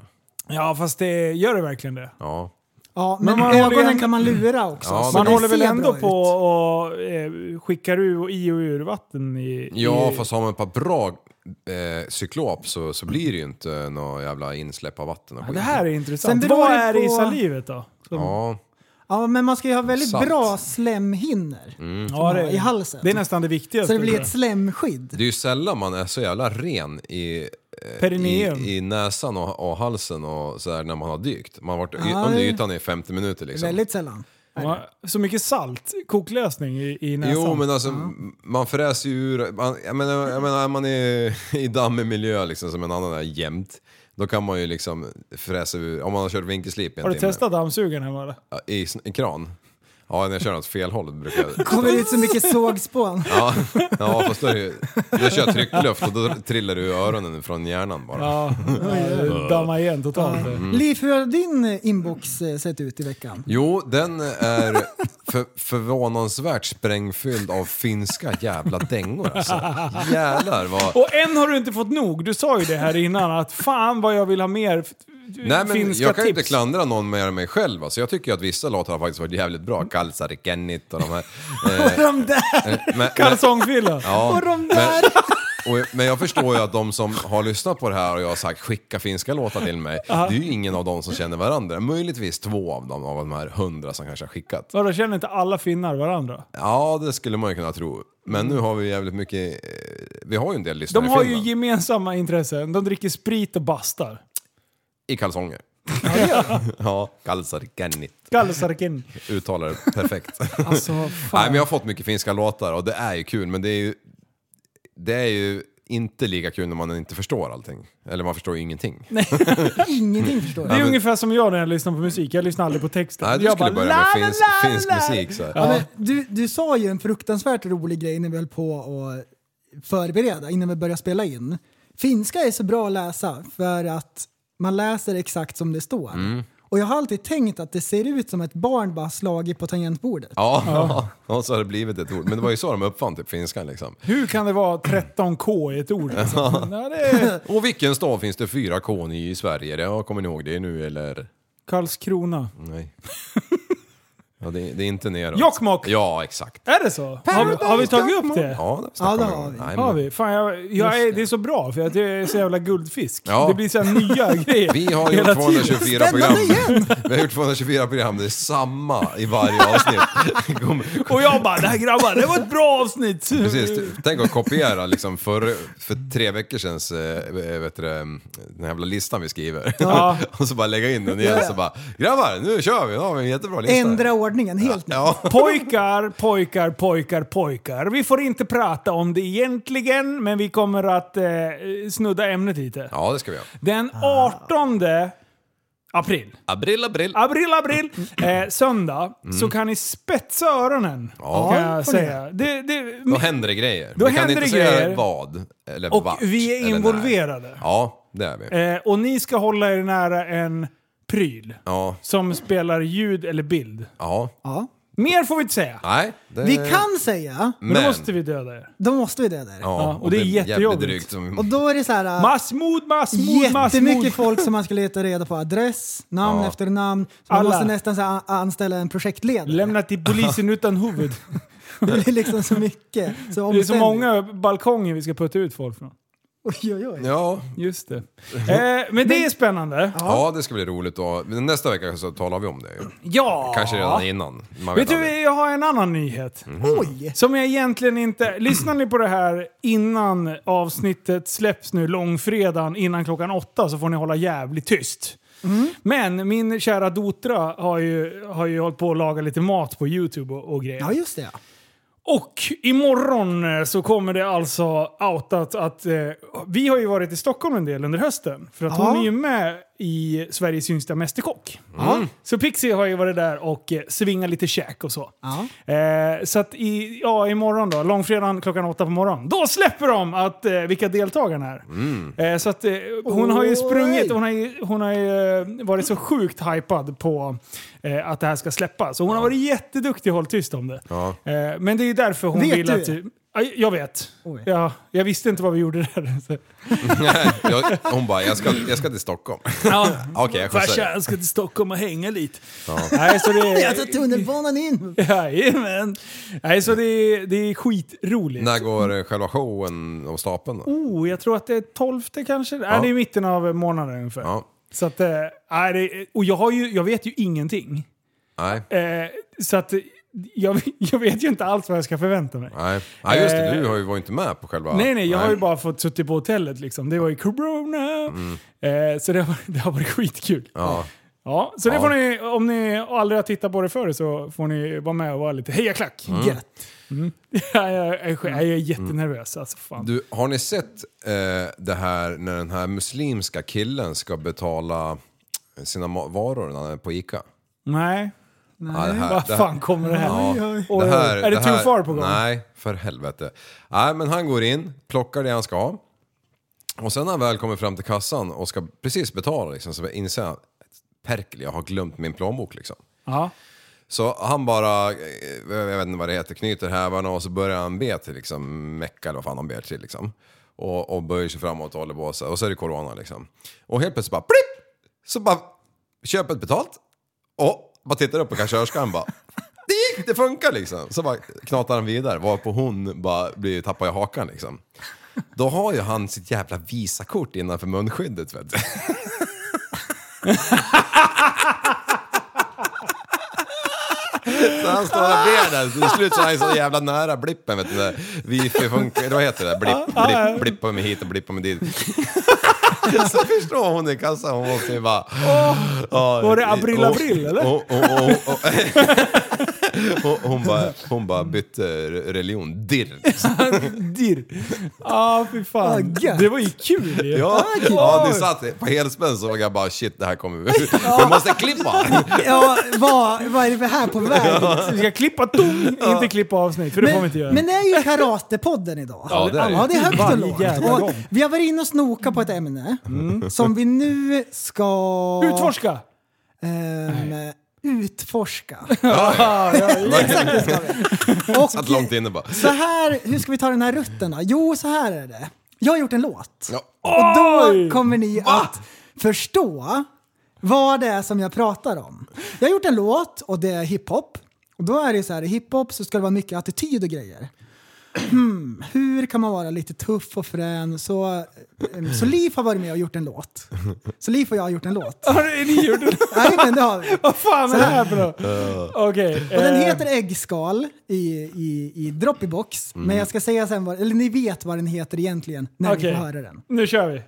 [SPEAKER 2] ja, fast det gör det verkligen det.
[SPEAKER 1] Ja.
[SPEAKER 7] Ja,
[SPEAKER 2] Men
[SPEAKER 7] men
[SPEAKER 2] man håller
[SPEAKER 7] ögonen
[SPEAKER 2] ju-
[SPEAKER 7] kan man lura också.
[SPEAKER 1] Ja,
[SPEAKER 7] så
[SPEAKER 2] Man
[SPEAKER 1] det
[SPEAKER 7] den
[SPEAKER 2] håller väl
[SPEAKER 7] ser
[SPEAKER 2] ändå
[SPEAKER 7] bra
[SPEAKER 2] på
[SPEAKER 7] ut.
[SPEAKER 2] och eh, skickar ur, i och ur vatten i...
[SPEAKER 1] Ja,
[SPEAKER 2] i,
[SPEAKER 1] fast har man ett par bra eh, cyklop så, så blir det ju inte något jävla insläpp av vatten. och
[SPEAKER 2] Ja,
[SPEAKER 1] skit.
[SPEAKER 2] Det här är
[SPEAKER 7] Sen
[SPEAKER 2] intressant.
[SPEAKER 7] beror
[SPEAKER 2] Vad
[SPEAKER 7] det
[SPEAKER 2] är det i
[SPEAKER 7] på-
[SPEAKER 2] salivet då? Som,
[SPEAKER 1] Ja,
[SPEAKER 7] Ja, men man ska ju ha väldigt
[SPEAKER 1] Salt.
[SPEAKER 7] bra slemhinnor
[SPEAKER 2] ja, det,
[SPEAKER 7] i halsen.
[SPEAKER 2] det är nästan det
[SPEAKER 7] så
[SPEAKER 2] viktigaste.
[SPEAKER 7] det blir
[SPEAKER 2] tror
[SPEAKER 7] ett
[SPEAKER 2] jag.
[SPEAKER 7] slemskydd.
[SPEAKER 1] det är ju sällan man är så jävla ren i, i,
[SPEAKER 2] Perineum.
[SPEAKER 1] i näsan och, och halsen och så här när man har dykt. Man har varit
[SPEAKER 7] Ja,
[SPEAKER 1] under
[SPEAKER 7] det-
[SPEAKER 1] ytan i 50 minuter liksom.
[SPEAKER 7] Väldigt sällan.
[SPEAKER 2] Ja, så mycket salt, koklösning i, i näsan.
[SPEAKER 1] Jo men alltså man fräser ju ur, man, jag, menar, jag menar är man i, i dammig miljö liksom som en annan är jämt. Då kan man ju liksom fräsa ur, om man har kört vinkelslip i en
[SPEAKER 2] Har du
[SPEAKER 1] timme.
[SPEAKER 2] testat dammsugaren hemma eller?
[SPEAKER 1] Ja, I, sn- i kran? Ja när jag kör åt fel håll brukar jag...
[SPEAKER 7] Kommer ut så mycket sågspån.
[SPEAKER 1] Ja, ja fast då är det ju, då kör jag tryckluft och då trillar du i öronen från hjärnan bara.
[SPEAKER 2] Ja, ja damma igen totalt.
[SPEAKER 7] Liv, hur har din eh, inbox eh, sett ut i veckan?
[SPEAKER 1] Jo, den är för, förvånansvärt sprängfylld av finska jävla dängor alltså. Jävlar vad...
[SPEAKER 2] Och än har du inte fått nog. Du sa ju det här innan att fan vad jag vill ha mer f-
[SPEAKER 1] Nej men
[SPEAKER 2] finska
[SPEAKER 1] jag kan ju
[SPEAKER 2] tips.
[SPEAKER 1] inte klandra någon mer än mig själv. Alltså, jag tycker ju att vissa låtar har faktiskt varit jävligt bra. Kalsari Kennit och de här.
[SPEAKER 7] Och de där!
[SPEAKER 1] Men- men-
[SPEAKER 2] Kalsongfylla.
[SPEAKER 1] Ja,
[SPEAKER 7] Och de där!
[SPEAKER 1] och, men jag förstår ju att de som har lyssnat på det här och jag har sagt skicka finska låtar till mig. Det är ju ingen av dem som känner varandra. Möjligtvis två av dem av de här hundra som kanske har skickat.
[SPEAKER 2] Vadå, känner inte alla finnar varandra?
[SPEAKER 1] Ja, det skulle man ju kunna tro. Men nu har vi jävligt mycket... eh, Vi har ju en del lyssnare
[SPEAKER 2] De har
[SPEAKER 1] i
[SPEAKER 2] ju
[SPEAKER 1] Finland.
[SPEAKER 2] gemensamma intressen. De dricker sprit och bastar.
[SPEAKER 1] I kalsonger. Ja, kalsari Kennit.
[SPEAKER 2] Kalsarkin.
[SPEAKER 1] Uttalar det perfekt.
[SPEAKER 2] Alltså, fan.
[SPEAKER 1] Nej, men jag har fått mycket finska låtar och det är ju kul, men det är ju, det är ju inte lika kul när man inte förstår allting. Eller man förstår ju ingenting. Nej,
[SPEAKER 7] Ingenting förstår
[SPEAKER 2] Det är
[SPEAKER 7] jag.
[SPEAKER 2] ungefär som jag när jag lyssnar på musik. Jag lyssnar aldrig på texten.
[SPEAKER 1] du
[SPEAKER 2] jag
[SPEAKER 1] skulle börja med finsk, finsk musik. Så här.
[SPEAKER 7] Ja, men du, du sa ju en fruktansvärt rolig grej när vi höll på att förbereda innan vi började spela in. Finska är så bra att läsa för att man läser exakt som det står. Och jag har alltid tänkt att det ser ut som ett barn bara slagit på tangentbordet.
[SPEAKER 1] Ja, och så har det blivit ett ord. Men det var ju så de uppfann typ finskan liksom.
[SPEAKER 2] Hur kan det vara 13K i ett ord? Alltså? Nej, det är
[SPEAKER 1] Och vilken stad finns det fyra K i i Sverige? Jag kommer ni ihåg det nu eller?
[SPEAKER 2] Karlskrona.
[SPEAKER 1] Nej. Ja, det, det är inte neråt.
[SPEAKER 2] Jokkmokk!
[SPEAKER 1] Ja, exakt.
[SPEAKER 2] Är det så? Har, har vi tagit upp det?
[SPEAKER 1] Ja, det,
[SPEAKER 7] Ja,
[SPEAKER 1] snackar
[SPEAKER 7] det
[SPEAKER 1] man
[SPEAKER 7] har
[SPEAKER 1] om.
[SPEAKER 7] vi.
[SPEAKER 1] Nej,
[SPEAKER 2] Har
[SPEAKER 1] men-
[SPEAKER 2] vi? Fan, jag, jag är, det är så bra för att jag är så jävla guldfisk.
[SPEAKER 1] Ja.
[SPEAKER 2] Det blir så här nya grejer
[SPEAKER 1] Vi har gjort
[SPEAKER 2] hela tiden.
[SPEAKER 1] 224 program.
[SPEAKER 7] Spännande
[SPEAKER 1] Vi har gjort 224 program, det är samma i varje avsnitt. Kom-
[SPEAKER 2] Och jag bara, det här grabbar, det var ett bra avsnitt!
[SPEAKER 1] Precis, tänk att kopiera liksom för, för tre veckor sedan äh, vet du, det, den här jävla listan vi skriver.
[SPEAKER 2] Ja.
[SPEAKER 1] och så bara lägga in den igen så bara “grabbar, nu kör vi, nu har vi en jättebra lista”.
[SPEAKER 7] Ändra ordningen helt.
[SPEAKER 1] Ja.
[SPEAKER 2] Pojkar, pojkar, pojkar, pojkar. Vi får inte prata om det egentligen, men vi kommer att eh, snudda ämnet lite.
[SPEAKER 1] ja, det ska vi göra.
[SPEAKER 2] Den 18 april.
[SPEAKER 1] April, april.
[SPEAKER 2] April, april. Eh, söndag. Så kan ni spetsa öronen.
[SPEAKER 1] Ja.
[SPEAKER 2] Kan jag
[SPEAKER 7] får ni
[SPEAKER 2] säga. Det, det,
[SPEAKER 1] Då händer det grejer.
[SPEAKER 2] Då
[SPEAKER 1] vi kan
[SPEAKER 2] händer
[SPEAKER 1] inte
[SPEAKER 2] det
[SPEAKER 1] säga
[SPEAKER 2] grejer.
[SPEAKER 1] vad eller
[SPEAKER 2] och
[SPEAKER 1] vart.
[SPEAKER 2] vi är
[SPEAKER 1] eller när.
[SPEAKER 2] involverade.
[SPEAKER 1] Ja, det är vi.
[SPEAKER 2] Eh, och ni ska hålla er nära en pryl.
[SPEAKER 1] Ja,
[SPEAKER 2] Som spelar ljud eller bild.
[SPEAKER 1] ja. Eh.
[SPEAKER 7] Ja.
[SPEAKER 2] Mer får vi inte säga.
[SPEAKER 1] Nej, det...
[SPEAKER 7] Vi kan säga,
[SPEAKER 2] Men, då måste vi döda er.
[SPEAKER 7] då måste vi det där.
[SPEAKER 1] Ja,
[SPEAKER 2] och det är
[SPEAKER 1] jävligt
[SPEAKER 2] jättejobbigt.
[SPEAKER 1] drygt Mm. om-
[SPEAKER 7] Och då är det så här...
[SPEAKER 2] Massmord, massmord, massmord.
[SPEAKER 7] Jättemycket folk som man ska leta reda på adress, namn
[SPEAKER 1] Ja.
[SPEAKER 7] efter namn. Så man
[SPEAKER 2] Alla.
[SPEAKER 7] måste nästan så här, anställa en projektledare.
[SPEAKER 2] Lämna till polisen utan huvud.
[SPEAKER 7] Det blir liksom så mycket. Så
[SPEAKER 2] Det är så många balkonger vi ska putta ut folk från.
[SPEAKER 7] Oj, oj, oj.
[SPEAKER 1] Ja,
[SPEAKER 2] Just det. Eh, men det är spännande.
[SPEAKER 1] Ja, det ska bli roligt. Och nästa vecka så talar vi om det. ju.
[SPEAKER 2] Ja!
[SPEAKER 1] Kanske redan innan. Man vet
[SPEAKER 2] Vet
[SPEAKER 1] aldrig.
[SPEAKER 2] du, jag har en annan nyhet.
[SPEAKER 7] Oj!
[SPEAKER 2] Som jag egentligen inte... Lyssnar ni på det här innan avsnittet släpps nu långfredagen innan klockan åtta så får ni hålla jävligt tyst. Men min kära Dotra har ju, har ju hållit på att laga lite mat på YouTube och, och grejer.
[SPEAKER 7] Ja, just det. ja.
[SPEAKER 2] Och imorgon eh, så kommer det alltså outat att eh, vi har ju varit i Stockholm en del under hösten. För att
[SPEAKER 7] Ja.
[SPEAKER 2] hon är ju med i Sveriges yngsta mästerkock. Mm.
[SPEAKER 7] Mm.
[SPEAKER 2] Så Pixie har ju varit där och eh, svingat lite käk och så.
[SPEAKER 7] Ja.
[SPEAKER 2] Eh, så att i, ja, imorgon då, långfredagen klockan åtta på morgonen, då släpper de att, eh, vilka deltagarna är. Eh, så att, eh, hon har ju
[SPEAKER 7] Mm. Oj.
[SPEAKER 2] sprungit, hon har ju, hon har ju eh, varit så sjukt hypad på eh, att det här ska släppas. Och hon har varit jätteduktig och hållit tyst om det.
[SPEAKER 1] Ja.
[SPEAKER 2] Eh, men det är ju därför hon
[SPEAKER 7] Vet
[SPEAKER 2] vill
[SPEAKER 7] du
[SPEAKER 2] att...
[SPEAKER 7] det?
[SPEAKER 2] Ja, jag vet.
[SPEAKER 7] Oj.
[SPEAKER 2] Ja, jag visste inte vad vi gjorde där. Så.
[SPEAKER 1] Jag, hon bara, jag ska, jag ska till Stockholm.
[SPEAKER 2] Ja.
[SPEAKER 1] Okej, jag skjutsar
[SPEAKER 2] Farsan
[SPEAKER 1] dig.
[SPEAKER 2] jag ska till Stockholm och hänga lite. Nej, så det
[SPEAKER 7] Jag tar alltså, tunnelbanan in.
[SPEAKER 2] eh, Jajamän. Nej, så det är, det är skitroligt.
[SPEAKER 1] När går eh, själva showen av stapeln då?
[SPEAKER 2] Oh, jag tror att det är 12 kanske. Nej,
[SPEAKER 1] Ja.
[SPEAKER 2] det är i mitten av månaden ungefär.
[SPEAKER 1] Ja.
[SPEAKER 2] Så att, eh, nej, det, och jag, har ju, jag vet ju ingenting.
[SPEAKER 1] Nej.
[SPEAKER 2] Eh, så att eh, jag, jag vet ju inte alls vad jag ska förvänta mig.
[SPEAKER 1] Nej. Nej, just det. Du har ju var ju inte med på själva...
[SPEAKER 2] eh. Nej, nej, jag har ju bara fått sitta på hotellet liksom. Det var ju corona. Eh, så det har, det har varit skitkul.
[SPEAKER 1] Mm. Ja.
[SPEAKER 2] Ja, så det
[SPEAKER 1] Ja.
[SPEAKER 2] får ni, om ni aldrig har tittat på det förr så får ni vara med och vara lite hejaklack.
[SPEAKER 1] Mm.
[SPEAKER 7] Gött.
[SPEAKER 2] jag, är, jag är jättenervös alltså. Fan.
[SPEAKER 1] Du, har ni sett eh, det här när den här muslimska killen ska betala sina ma- varor när han är på Ica?
[SPEAKER 2] Nej.
[SPEAKER 1] Ja, det här-
[SPEAKER 2] Vad
[SPEAKER 1] det här-
[SPEAKER 2] fan kommer det här?
[SPEAKER 1] Ja,
[SPEAKER 2] Oj, oj, oj. är det, too
[SPEAKER 1] här-
[SPEAKER 2] far på gång?
[SPEAKER 1] Nej, för helvete. Nej, men han går in, plockar det han ska ha. Och sen när han väl kommer fram till kassan och ska precis betala liksom, så inser han perkel, jag har glömt min plånbok liksom.
[SPEAKER 2] Ja.
[SPEAKER 1] Så han bara, eh, jag vet inte vad det heter, knyter hävarna och så börjar han be till liksom Mecka eller vad fan han ber till liksom. Och, och böjer sig framåt och håller på så här. Och så är det corona liksom. Och helt plötsligt bara plipp! Så bara, köpet betalt. Och bara tittar upp på kassörskan bara. Det gick, det funkar liksom. Så bara knatar han vidare, varpå hon bara blir, tappar i hakan liksom. Då har ju han sitt jävla visakort innanför munskyddet vet du. Så han står och ber där, så till slut så är han så jävla nära blippen vet du. där. Wifi funkar, vad heter det? där? Blipp, blipp, blippa mig hit och blippa mig dit. Så förstår hon i kassan, hon måste ju bara... Ja,
[SPEAKER 2] var det Abril
[SPEAKER 1] och-
[SPEAKER 2] Abril, eller?
[SPEAKER 1] och- och- och- och- och- Hon bara, hon bara bytte religion direkt.
[SPEAKER 2] Dirr. Ah, Ja, fy fan.
[SPEAKER 7] Vad gött.
[SPEAKER 2] det var ju kul ju.
[SPEAKER 1] Ja, ja ni satt på helspänn så var jag bara shit det här kommer vi... Vi måste klippa!
[SPEAKER 7] Ja, vad, vad är det för här på väg?
[SPEAKER 2] Vi ska klippa tung, inte klippa avsnitt. För det får vi inte göra.
[SPEAKER 7] men det är ju Karatepodden idag.
[SPEAKER 1] Ja, det är det.
[SPEAKER 7] ja, det är högt och
[SPEAKER 2] Varje
[SPEAKER 7] lågt.
[SPEAKER 2] jävla
[SPEAKER 7] Och
[SPEAKER 2] gång.
[SPEAKER 7] vi har varit inne och snokat på ett ämne som vi nu ska
[SPEAKER 2] Utforska!
[SPEAKER 7] ehm, utforska.
[SPEAKER 1] Exakt
[SPEAKER 7] det ska vi. Och
[SPEAKER 1] Satt långt inne bara.
[SPEAKER 7] så här, hur ska vi ta den här rutten då? Jo, så här är det. Jag har gjort en låt.
[SPEAKER 1] Ja.
[SPEAKER 7] Och
[SPEAKER 2] Oj!
[SPEAKER 7] då kommer ni att förstå vad det är som jag pratar om. Jag har gjort en låt och det är hiphop. Och då är det så här, i hiphop så ska det vara mycket attityd och grejer. Hmm, hur kan man vara lite tuff och frän? Så, eh, så Liv har varit med och gjort en låt. Så Liv och jag har gjort en låt.
[SPEAKER 2] Har ni- ni gjort det?
[SPEAKER 7] Nej, men det har vi.
[SPEAKER 2] Vad fan är det här för något? Okej.
[SPEAKER 7] Och den
[SPEAKER 2] eh,
[SPEAKER 7] heter äggskal i, i, i Dropbox. Men jag ska säga sen, vad, eller ni vet vad den heter egentligen när
[SPEAKER 2] Mm. okej.
[SPEAKER 7] ni får höra den.
[SPEAKER 2] Nu kör vi.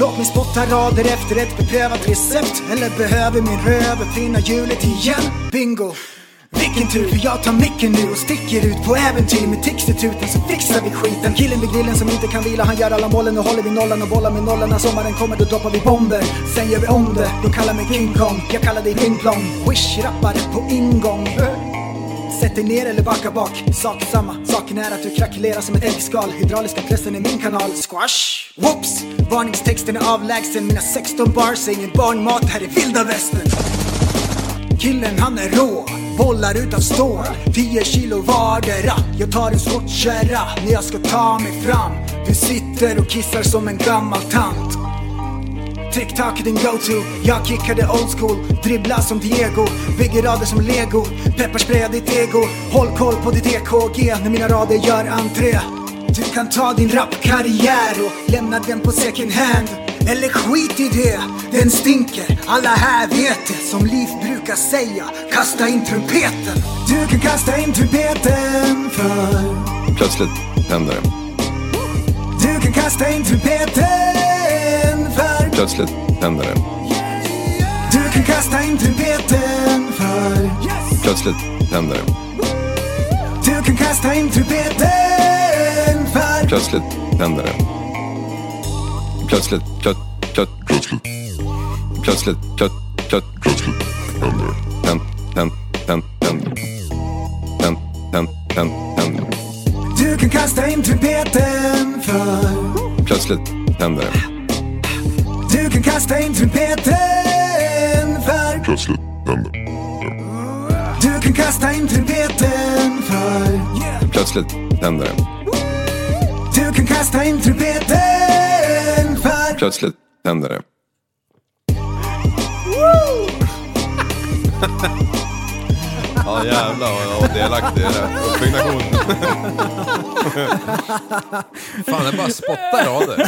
[SPEAKER 8] Låt mig spotta rader efter ett beprövat recept Eller behöver min röv uppfinna hjulet igen? Bingo! Vilken tur för jag tar micken nu och sticker ut på äventyr med Tixtituten så fixar vi skiten Killen vid grillen som inte kan vila han gör alla målen och håller vi nollan och bollar med nollan när sommaren kommer då droppar vi bomber Sen gör vi om det, du kallar mig King Kong, jag kallar dig Ping Plong Wish-rappare på ingång Sätt dig ner eller backa bak, sak samma. Saken är att du krackelerar som ett äggskal. Hydrauliska pressen är min kanal. Squash! Whoops! Varningstexten är avlägsen. Mina 16 bars är ingen barnmat här i vilda västern. Killen han är rå, bollar utav stål 10 kilo vardera Jag tar en skottkärra när jag ska ta mig fram Du sitter och kissar som en gammal tant TikTok är din go-to Jag kickade old school Dribbla som Diego Bygger rader som E lego Pepparspraya ditt ego Håll koll på ditt EKG När mina rader gör entré Du kan ta din rapkarriär och lämna den på second hand. Eller skit i det, den stinker. Alla här vet det, som Liv brukar säga. Kasta in trumpeten. Du kan kasta in trumpeten för
[SPEAKER 1] Plötsligt händer det.
[SPEAKER 8] du kan kasta in trumpeten för
[SPEAKER 1] Plötsligt händer det.
[SPEAKER 8] Du kan kasta in trumpeten för
[SPEAKER 1] Plötsligt händer det.
[SPEAKER 8] Du kan kasta in trumpeten för
[SPEAKER 1] Plötsligt händer det. Plötsligt, plöt, plöt, plötsligt. Plötsligt, plöt, plöt, plötsligt. Händer det. Händ, händ, händ, händer det. Händ, händ, händ, händer det.
[SPEAKER 8] Du kan kasta in trumpeten för
[SPEAKER 1] Plötsligt händer det.
[SPEAKER 8] Du kan kasta in trumpeten för
[SPEAKER 1] Plötsligt händer det.
[SPEAKER 8] Du kan kasta in trumpeten för
[SPEAKER 1] Plötsligt händer det.
[SPEAKER 8] Du kan kasta in trumpeten för
[SPEAKER 1] Plötsligt händer det. Ja jävlar vad jag var delaktig i det. Uppbyggnation. Fan, jag bara spottar rader.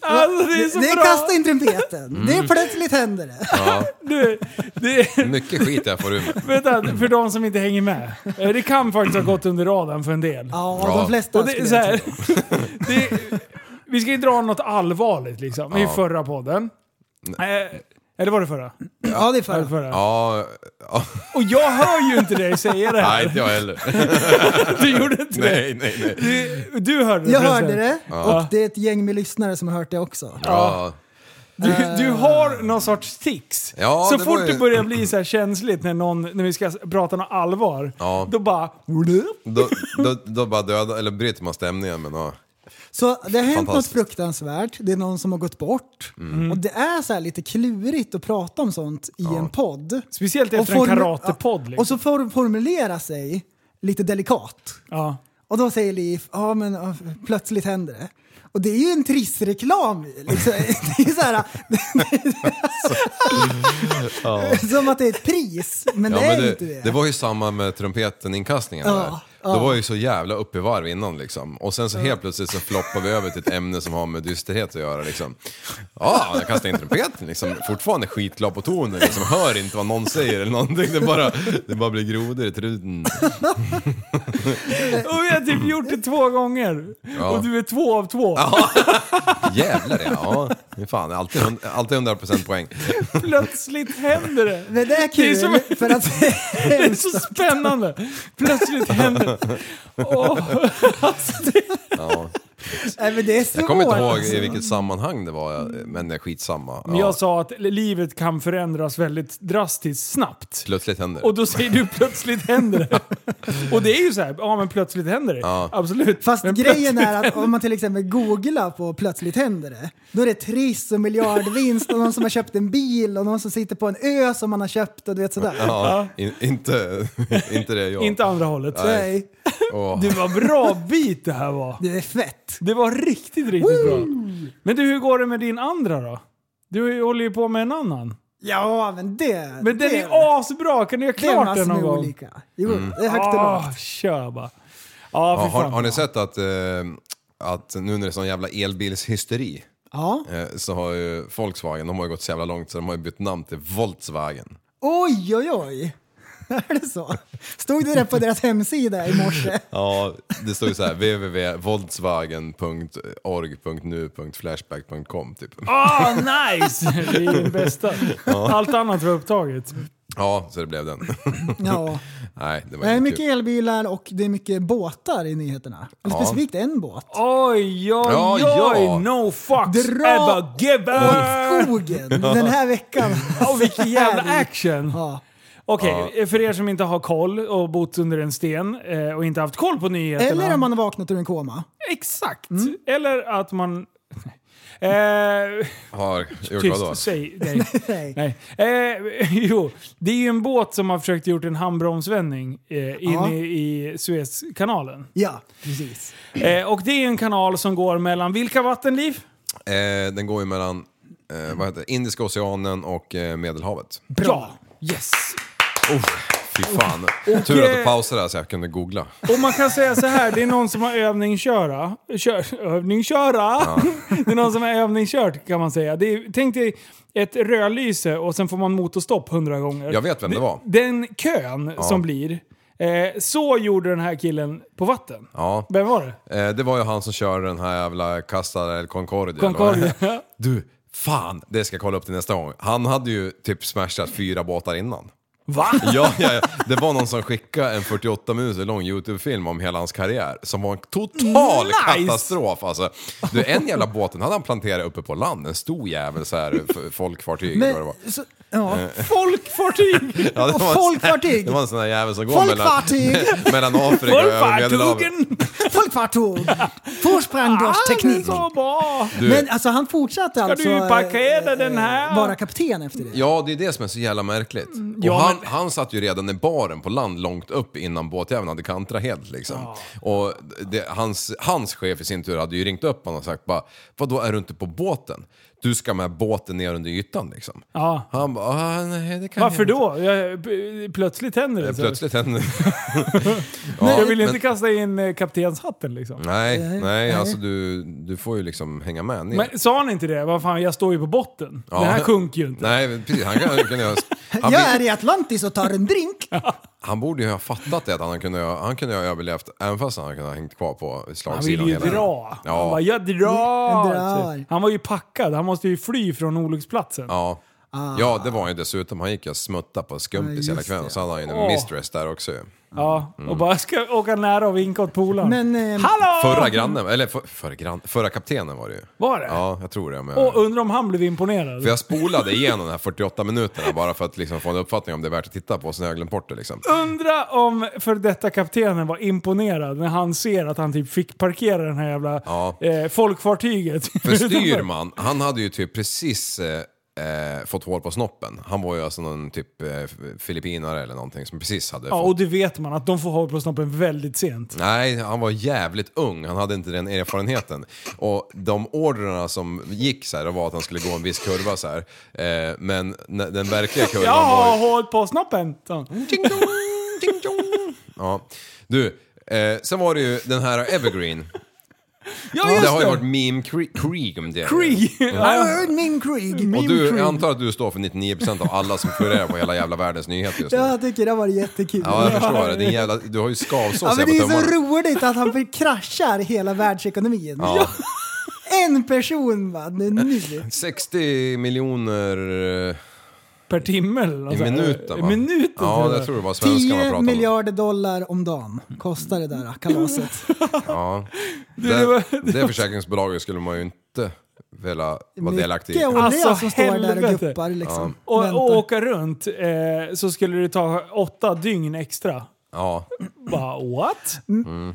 [SPEAKER 2] Alltså det är så
[SPEAKER 7] Det är
[SPEAKER 2] bra! Mm.
[SPEAKER 7] kasta in trumpeten. Det är plötsligt händer det.
[SPEAKER 2] Du, det,
[SPEAKER 1] Mycket skit jag får ur mig.
[SPEAKER 2] vänta, för de som inte hänger med. Eh, Det kan faktiskt ha gått under radarn för en del.
[SPEAKER 7] Ja,
[SPEAKER 1] Ja.
[SPEAKER 7] de flesta
[SPEAKER 2] Och det, är
[SPEAKER 7] skulle
[SPEAKER 2] så
[SPEAKER 7] jag
[SPEAKER 2] här,
[SPEAKER 7] tro.
[SPEAKER 2] det, vi ska ju dra något allvarligt liksom, i
[SPEAKER 1] Ja.
[SPEAKER 2] förra podden. Eh, eller var det förra?
[SPEAKER 7] Ja, det är
[SPEAKER 2] Ja, det
[SPEAKER 7] för.
[SPEAKER 2] förra.
[SPEAKER 1] Ja, ja,
[SPEAKER 2] Och jag hör ju inte dig säga det
[SPEAKER 1] nej
[SPEAKER 2] här.
[SPEAKER 1] inte jag heller.
[SPEAKER 2] Du gjorde inte det.
[SPEAKER 1] Nej, nej, nej.
[SPEAKER 2] Du, du hörde det
[SPEAKER 7] Jag
[SPEAKER 2] förresten.
[SPEAKER 7] hörde det och det är ett gäng med lyssnare som har hört det också.
[SPEAKER 1] Ja,
[SPEAKER 2] Du, du har någon sorts tics.
[SPEAKER 1] Ah. Ja,
[SPEAKER 2] så
[SPEAKER 1] det
[SPEAKER 2] fort
[SPEAKER 1] var ju-
[SPEAKER 2] det börjar bli så här känsligt när, någon, när vi ska prata något allvar,
[SPEAKER 1] Ja.
[SPEAKER 2] då bara...
[SPEAKER 1] då, då, då bara döda, eller bryter man stämningen men ja.
[SPEAKER 7] Så det har hänt något
[SPEAKER 1] Fantastiskt.
[SPEAKER 7] fruktansvärt, det är någon som har gått bort.
[SPEAKER 2] Mm.
[SPEAKER 7] Och det är så här lite klurigt att prata om sånt i en podd.
[SPEAKER 2] Speciellt efter en
[SPEAKER 7] formu-
[SPEAKER 2] karatepodd.
[SPEAKER 7] Och
[SPEAKER 2] Liksom.
[SPEAKER 7] så for- formulera sig lite delikat.
[SPEAKER 2] Ja.
[SPEAKER 7] Och då säger Liv, ja men ja, plötsligt händer det. Och det är ju en trissreklam. Liksom. Det är ju så här, som att det är ett pris, men
[SPEAKER 1] Ja,
[SPEAKER 7] det är
[SPEAKER 1] men
[SPEAKER 7] inte det.
[SPEAKER 1] det var ju samma med trumpeten-inkastningen.
[SPEAKER 7] Ja,
[SPEAKER 1] där.
[SPEAKER 7] ja.
[SPEAKER 1] Då var jag ju så jävla uppe i varv innan liksom. Och sen så helt plötsligt så floppar vi över till ett ämne som har med dysterhet att göra liksom. Ja, jag kastade in trumpeten liksom. Fortfarande skitglad på tonen liksom. Hör inte vad någon säger eller någonting. Det bara, det bara blir grodor i truten.
[SPEAKER 2] Och vi har typ gjort det två gånger.
[SPEAKER 1] Ja.
[SPEAKER 2] Och du är två av två.
[SPEAKER 1] Jävlar ja. ja. Fan, alltid, hund- alltid 100% poäng.
[SPEAKER 2] Plötsligt händer det.
[SPEAKER 7] Men det är kul,
[SPEAKER 2] Det är som-
[SPEAKER 7] för att
[SPEAKER 2] Det är så spännande. Plötsligt händer det. Åh, alltså, det.
[SPEAKER 1] Ja.
[SPEAKER 7] Nej, men det är svårt.
[SPEAKER 1] Jag kommer inte ihåg
[SPEAKER 7] alltså.
[SPEAKER 1] i vilket sammanhang det var, men det är skitsamma.
[SPEAKER 2] Men
[SPEAKER 1] Ja.
[SPEAKER 2] jag sa att livet kan förändras väldigt drastiskt snabbt.
[SPEAKER 1] Plötsligt händer det.
[SPEAKER 2] Och då säger du plötsligt händer det. Och det är ju så här, ja men plötsligt händer det. Absolut.
[SPEAKER 7] Fast
[SPEAKER 2] men
[SPEAKER 7] grejen
[SPEAKER 2] plötsligt-
[SPEAKER 7] är att om man till exempel googlar på plötsligt händer det, då är det triss och miljardvinst och någon som har köpt en bil och någon som sitter på en ö som man har köpt och du vet sådär.
[SPEAKER 1] Ja, in, inte, inte det jag.
[SPEAKER 2] Inte andra hållet.
[SPEAKER 1] Nej.
[SPEAKER 7] Nej,
[SPEAKER 1] Åh.
[SPEAKER 2] Det var bra bit det här var.
[SPEAKER 7] det är fett.
[SPEAKER 2] Det var riktigt, riktigt bra. Men du, hur går det med din andra då? Du håller ju på med en annan.
[SPEAKER 7] Ja, men det...
[SPEAKER 2] Men den
[SPEAKER 7] det,
[SPEAKER 2] är asbra, kan du göra
[SPEAKER 7] det är
[SPEAKER 2] klart
[SPEAKER 7] massor
[SPEAKER 2] den någon
[SPEAKER 7] med
[SPEAKER 2] gång?
[SPEAKER 7] olika. Jo,
[SPEAKER 1] Mm.
[SPEAKER 7] det är högt och
[SPEAKER 2] Ah,
[SPEAKER 7] lågt.
[SPEAKER 2] kör bara. Ja,
[SPEAKER 1] Ja,
[SPEAKER 2] fy
[SPEAKER 1] har,
[SPEAKER 2] fan.
[SPEAKER 1] har ni sett att, eh, att nu när det är sån jävla elbilshysteri
[SPEAKER 7] Ja.
[SPEAKER 1] eh, så har ju Volkswagen, de har ju gått så jävla långt så de har ju bytt namn till Volkswagen.
[SPEAKER 7] Oj, oj, oj. Är det så? Stod det där på deras hemsida i morse?
[SPEAKER 1] Ja, det står ju såhär www.volkswagen.org.nu.flashback.com typ.
[SPEAKER 2] Ah, nice! Det är det bästa. Allt annat var upptaget.
[SPEAKER 1] Ja, så det blev den.
[SPEAKER 7] Ja.
[SPEAKER 1] Nej, det var
[SPEAKER 7] Det är
[SPEAKER 1] inte
[SPEAKER 7] mycket
[SPEAKER 1] kul.
[SPEAKER 7] elbilar och det är mycket båtar i nyheterna. Eller
[SPEAKER 1] Ja.
[SPEAKER 7] specifikt en båt.
[SPEAKER 2] Oj, oj,
[SPEAKER 1] Ja,
[SPEAKER 2] oj!
[SPEAKER 1] ja.
[SPEAKER 2] No fucks
[SPEAKER 7] Dra
[SPEAKER 2] ever given!
[SPEAKER 7] åt skogen den här veckan.
[SPEAKER 2] Åh, vilken jävla
[SPEAKER 7] Härligt.
[SPEAKER 2] action!
[SPEAKER 7] Ja.
[SPEAKER 2] Okej, eh, för er som inte har koll och bott under en sten eh, och inte haft koll på nyheterna.
[SPEAKER 7] Eller om Mm. man har vaknat ur en koma.
[SPEAKER 2] Exakt! Eller att man... Eh,
[SPEAKER 1] Har gjort vadå?
[SPEAKER 2] tyst, säg nej.
[SPEAKER 7] Nej.
[SPEAKER 2] nej. Eh, jo, det är ju en båt som har försökt gjort en handbromsvändning eh, inne
[SPEAKER 7] Ja.
[SPEAKER 2] i Suezkanalen.
[SPEAKER 7] Ja, precis.
[SPEAKER 2] Eh, och det är ju en kanal som går mellan vilka vattenliv?
[SPEAKER 1] Eh, den går ju mellan eh, vad heter det? Indiska oceanen och eh, Medelhavet.
[SPEAKER 2] Bra! Yes!
[SPEAKER 1] Fy fan. Tur att du pausade där så jag kunde googla.
[SPEAKER 2] Och man kan säga så här, det är någon som har övningsköra. Kör, övningsköra? Det är någon som har övningskört kan man säga. Det är, tänk dig ett rödlyse och sen får man motorstopp hundra gånger.
[SPEAKER 1] Jag vet vem det var.
[SPEAKER 2] Den kön som blir, eh, så gjorde den här killen på vatten.
[SPEAKER 1] Ja.
[SPEAKER 2] Vem var det?
[SPEAKER 1] Eh, det var ju han som körde den här jävla Casta El Concordia.
[SPEAKER 2] Concordia.
[SPEAKER 1] eller vad- Du, fan! Det ska jag kolla upp till nästa gång. Han hade ju typ smashat fyra båtar innan.
[SPEAKER 2] Va?
[SPEAKER 1] Ja, ja, ja. Det var någon som skickade en 48 minuter lång YouTube-film om hela hans karriär som var en total
[SPEAKER 2] Nice!
[SPEAKER 1] katastrof alltså. Du, en jävla båten hade han planterat uppe på land, en stor jävel så här, f- folkfartyg eller vad det var. Eh.
[SPEAKER 7] Men, så, ja.
[SPEAKER 2] Folkfartyg!
[SPEAKER 1] Ja, det var en sån här-
[SPEAKER 7] Folkfartyg!
[SPEAKER 1] Det var en sån där jävel som går mellan,
[SPEAKER 7] Folkfartyg!
[SPEAKER 1] mellan Afrika och övre Medelhavet.
[SPEAKER 2] Folkfartygen!
[SPEAKER 7] Folkfartyg!
[SPEAKER 2] Ah,
[SPEAKER 7] Forsprangdörsteknik!
[SPEAKER 2] Så bra!
[SPEAKER 1] Du-
[SPEAKER 7] Men alltså han fortsatte alltså...
[SPEAKER 2] du parkera
[SPEAKER 7] eh,
[SPEAKER 2] den här?
[SPEAKER 7] Vara kapten efter det.
[SPEAKER 1] Ja, det är det som är så jävla märkligt.
[SPEAKER 2] Mm, ja,
[SPEAKER 1] och han,
[SPEAKER 2] men-
[SPEAKER 1] han satt ju redan i baren på land långt upp innan båtjäveln hade kantrat helt liksom. Och det, hans, hans chef i sin tur hade ju ringt upp honom och sagt bara, vadå är du inte på båten? Du ska med båten ner under ytan liksom.
[SPEAKER 2] Ja.
[SPEAKER 1] Han bara, "Ah, nej det kan
[SPEAKER 2] Varför
[SPEAKER 1] jag inte."
[SPEAKER 2] då? Jag, p- plötsligt händer det. så.
[SPEAKER 1] Eh, Plötsligt hände
[SPEAKER 2] jag
[SPEAKER 1] Ja,
[SPEAKER 2] vill
[SPEAKER 1] men-
[SPEAKER 2] inte kasta in eh, kaptenshatten liksom.
[SPEAKER 1] Nej, nej,
[SPEAKER 7] nej.
[SPEAKER 1] alltså du, du får ju liksom hänga med ner.
[SPEAKER 2] Men sa han inte det? Vad fan, jag står ju på botten.
[SPEAKER 1] Ja.
[SPEAKER 2] Den här sjunker ju inte.
[SPEAKER 1] Nej, men precis. Han, kan, kan, jag- han,
[SPEAKER 7] Jag är i Atlantis och tar en drink.
[SPEAKER 1] han borde ju ha fattat det att han kunde, ha- han kunde ha överlevt även fast han kunde ha hängt kvar på
[SPEAKER 2] Han
[SPEAKER 1] slagsidan
[SPEAKER 2] ville ju
[SPEAKER 1] tiden.
[SPEAKER 2] dra.
[SPEAKER 1] Ja.
[SPEAKER 2] Han bara, jag drar. Typ.
[SPEAKER 7] drar.
[SPEAKER 2] Han var ju packad. Han måste ju fly från olycksplatsen.
[SPEAKER 1] Ja.
[SPEAKER 2] Ah.
[SPEAKER 1] ja, det var han ju dessutom. Han gick ju och smuttade på skumpis hela kvällen. Så hade han ju en
[SPEAKER 2] Åh.
[SPEAKER 1] mistress där också ju.
[SPEAKER 2] Ja,
[SPEAKER 1] Mm.
[SPEAKER 2] och bara ska åka nära och vinka åt polaren.
[SPEAKER 7] Men, eh,
[SPEAKER 2] Hallå!
[SPEAKER 1] Förra grannen, eller för, förra, grann, förra kaptenen var det ju.
[SPEAKER 2] Var det?
[SPEAKER 1] Ja, jag tror det. Men
[SPEAKER 2] Och undrar om han blev imponerad.
[SPEAKER 1] för jag spolade igenom de här 48 minuterna bara för att liksom få en uppfattning om det är värt att titta på. Sen har jag glömt bort det liksom.
[SPEAKER 2] Äh, Undra om för detta kaptenen var imponerad när han ser att han typ fick parkera den här jävla
[SPEAKER 1] Ja.
[SPEAKER 2] eh, folkfartyget.
[SPEAKER 1] För Styrman, han hade ju typ precis eh, eh, fått hår på snoppen. Han var ju alltså någon typ eh, filippinare eller någonting som precis hade
[SPEAKER 2] Ja,
[SPEAKER 1] fått...
[SPEAKER 2] och det vet man att de får hål på snoppen väldigt sent.
[SPEAKER 1] Nej, han var jävligt ung. Han hade inte den erfarenheten. Och de ordrarna som gick så här, det var att han skulle gå en viss kurva så här. Eh, men n- den verkliga kurvan
[SPEAKER 2] Jag
[SPEAKER 1] var
[SPEAKER 2] har
[SPEAKER 1] ju...
[SPEAKER 2] hål på snoppen! sa han.
[SPEAKER 1] Ding dong, ding dong. Ja. Du, eh, sen var det ju den här Evergreen.
[SPEAKER 2] Ja,
[SPEAKER 1] det har
[SPEAKER 2] just
[SPEAKER 1] ju
[SPEAKER 2] det!
[SPEAKER 1] varit meme krig krig om det.
[SPEAKER 2] Krieg. Ja,
[SPEAKER 7] Heard min Krieg.
[SPEAKER 1] Och du, jag antar att du står för 99% av alla som florerar på hela jävla världens nyheter just nu.
[SPEAKER 7] Jag tycker det var jättekul.
[SPEAKER 1] Ja, jag förstår det. Din jävla, du har ju skavsås
[SPEAKER 7] Ja,
[SPEAKER 1] här
[SPEAKER 7] men
[SPEAKER 1] på
[SPEAKER 7] det är så
[SPEAKER 1] tummarna.
[SPEAKER 7] roligt att han förkraschar hela världsekonomin.
[SPEAKER 1] Ja.
[SPEAKER 7] En person va, nu. nu.
[SPEAKER 1] 60 miljoner... eh,
[SPEAKER 2] Per timme eller något
[SPEAKER 1] I
[SPEAKER 2] sånt.
[SPEAKER 1] minuten va?
[SPEAKER 2] Alltså, I minuten
[SPEAKER 1] Ja,
[SPEAKER 2] tror jag.
[SPEAKER 1] jag tror det var svenska man
[SPEAKER 7] 10
[SPEAKER 1] pratade om.
[SPEAKER 7] miljarder dollar om dagen kostar det där kalaset.
[SPEAKER 1] Ja. Det,
[SPEAKER 2] det var-
[SPEAKER 1] det, försäkringsbolaget skulle man ju inte vilja vara delaktig i.
[SPEAKER 7] Mycket olja
[SPEAKER 2] Alltså,
[SPEAKER 7] som står där och
[SPEAKER 2] helvete.
[SPEAKER 7] guppar liksom.
[SPEAKER 2] Och, och
[SPEAKER 7] Väntar.
[SPEAKER 2] åka runt eh, så skulle det ta åtta dygn extra.
[SPEAKER 1] Ja.
[SPEAKER 2] Bara what?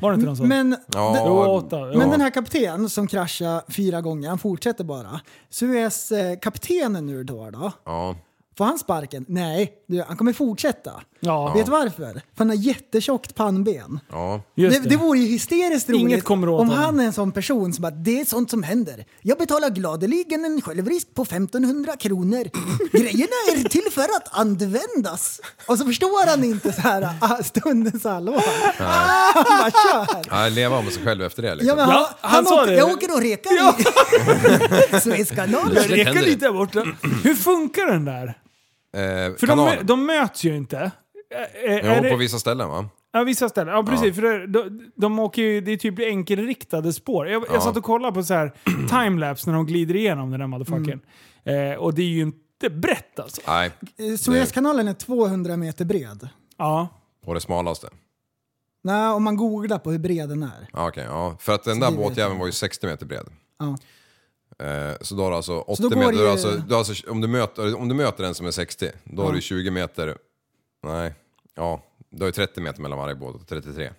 [SPEAKER 2] Var det inte någon sån?
[SPEAKER 7] Mm. Men,
[SPEAKER 1] Mm. Ja,
[SPEAKER 2] det var åtta. Ja.
[SPEAKER 7] men den här kaptenen som kraschar fyra gånger, han fortsätter bara. Suez-kaptenen eh, nu då, då,
[SPEAKER 1] ja.
[SPEAKER 7] får han sparken? Nej, du, han kommer fortsätta.
[SPEAKER 2] ja,
[SPEAKER 7] Vet du varför? För han har jättetjockt pannben.
[SPEAKER 1] Ja.
[SPEAKER 7] Det,
[SPEAKER 2] just
[SPEAKER 7] det.
[SPEAKER 2] det.
[SPEAKER 7] vore ju hysteriskt roligt
[SPEAKER 2] Inget kommer åt
[SPEAKER 7] om
[SPEAKER 2] honom.
[SPEAKER 7] han är en sån person som bara “det är sånt som händer. Jag betalar gladeligen en självrisk på 1500 kronor. Grejerna är till för att användas”. Och så förstår han inte så här ah, stundens allvar. Ah, han bara kör.
[SPEAKER 1] ja. Leva med sig själv efter det liksom.
[SPEAKER 7] Ja, men han,
[SPEAKER 2] Ja, han
[SPEAKER 7] han,
[SPEAKER 2] sa
[SPEAKER 7] åker,
[SPEAKER 2] det.
[SPEAKER 7] Jag åker och rekar i Suezkanalen.
[SPEAKER 2] Jag rekar
[SPEAKER 1] händer.
[SPEAKER 2] lite där borta. Hur funkar den där?
[SPEAKER 1] eh,
[SPEAKER 2] För de,
[SPEAKER 1] kanal.
[SPEAKER 2] mö- de möts ju inte. Eh, eh, är
[SPEAKER 1] jo, på
[SPEAKER 2] det-
[SPEAKER 1] vissa ställen va?
[SPEAKER 2] Ja, vissa ställen. Ja, precis. För det, de, de åker ju, det är typ enkelriktade spår. Jag, jag satt och kollade på så här timelapse när de glider igenom den där motherfuckern.
[SPEAKER 1] Mm.
[SPEAKER 2] Eh, och det är ju inte brett alltså.
[SPEAKER 1] Nej,
[SPEAKER 7] Eh, Suezkanalen är 200 meter bred.
[SPEAKER 2] Ja.
[SPEAKER 1] på det smalaste.
[SPEAKER 7] Nej, om man googlar på hur bred den är.
[SPEAKER 1] Ja, okej, ja. För att den där
[SPEAKER 7] det vet
[SPEAKER 1] båtjäveln var ju 60 meter bred.
[SPEAKER 7] Ja.
[SPEAKER 1] Eh, Så då har du alltså 80
[SPEAKER 7] då går
[SPEAKER 1] meter, du
[SPEAKER 7] det
[SPEAKER 1] har
[SPEAKER 7] ju-
[SPEAKER 1] alltså, du har alltså, om, du möter, om du möter en som är 60, då har du 20 meter, nej, ja, du har ju 30 meter mellan varje båt och 33.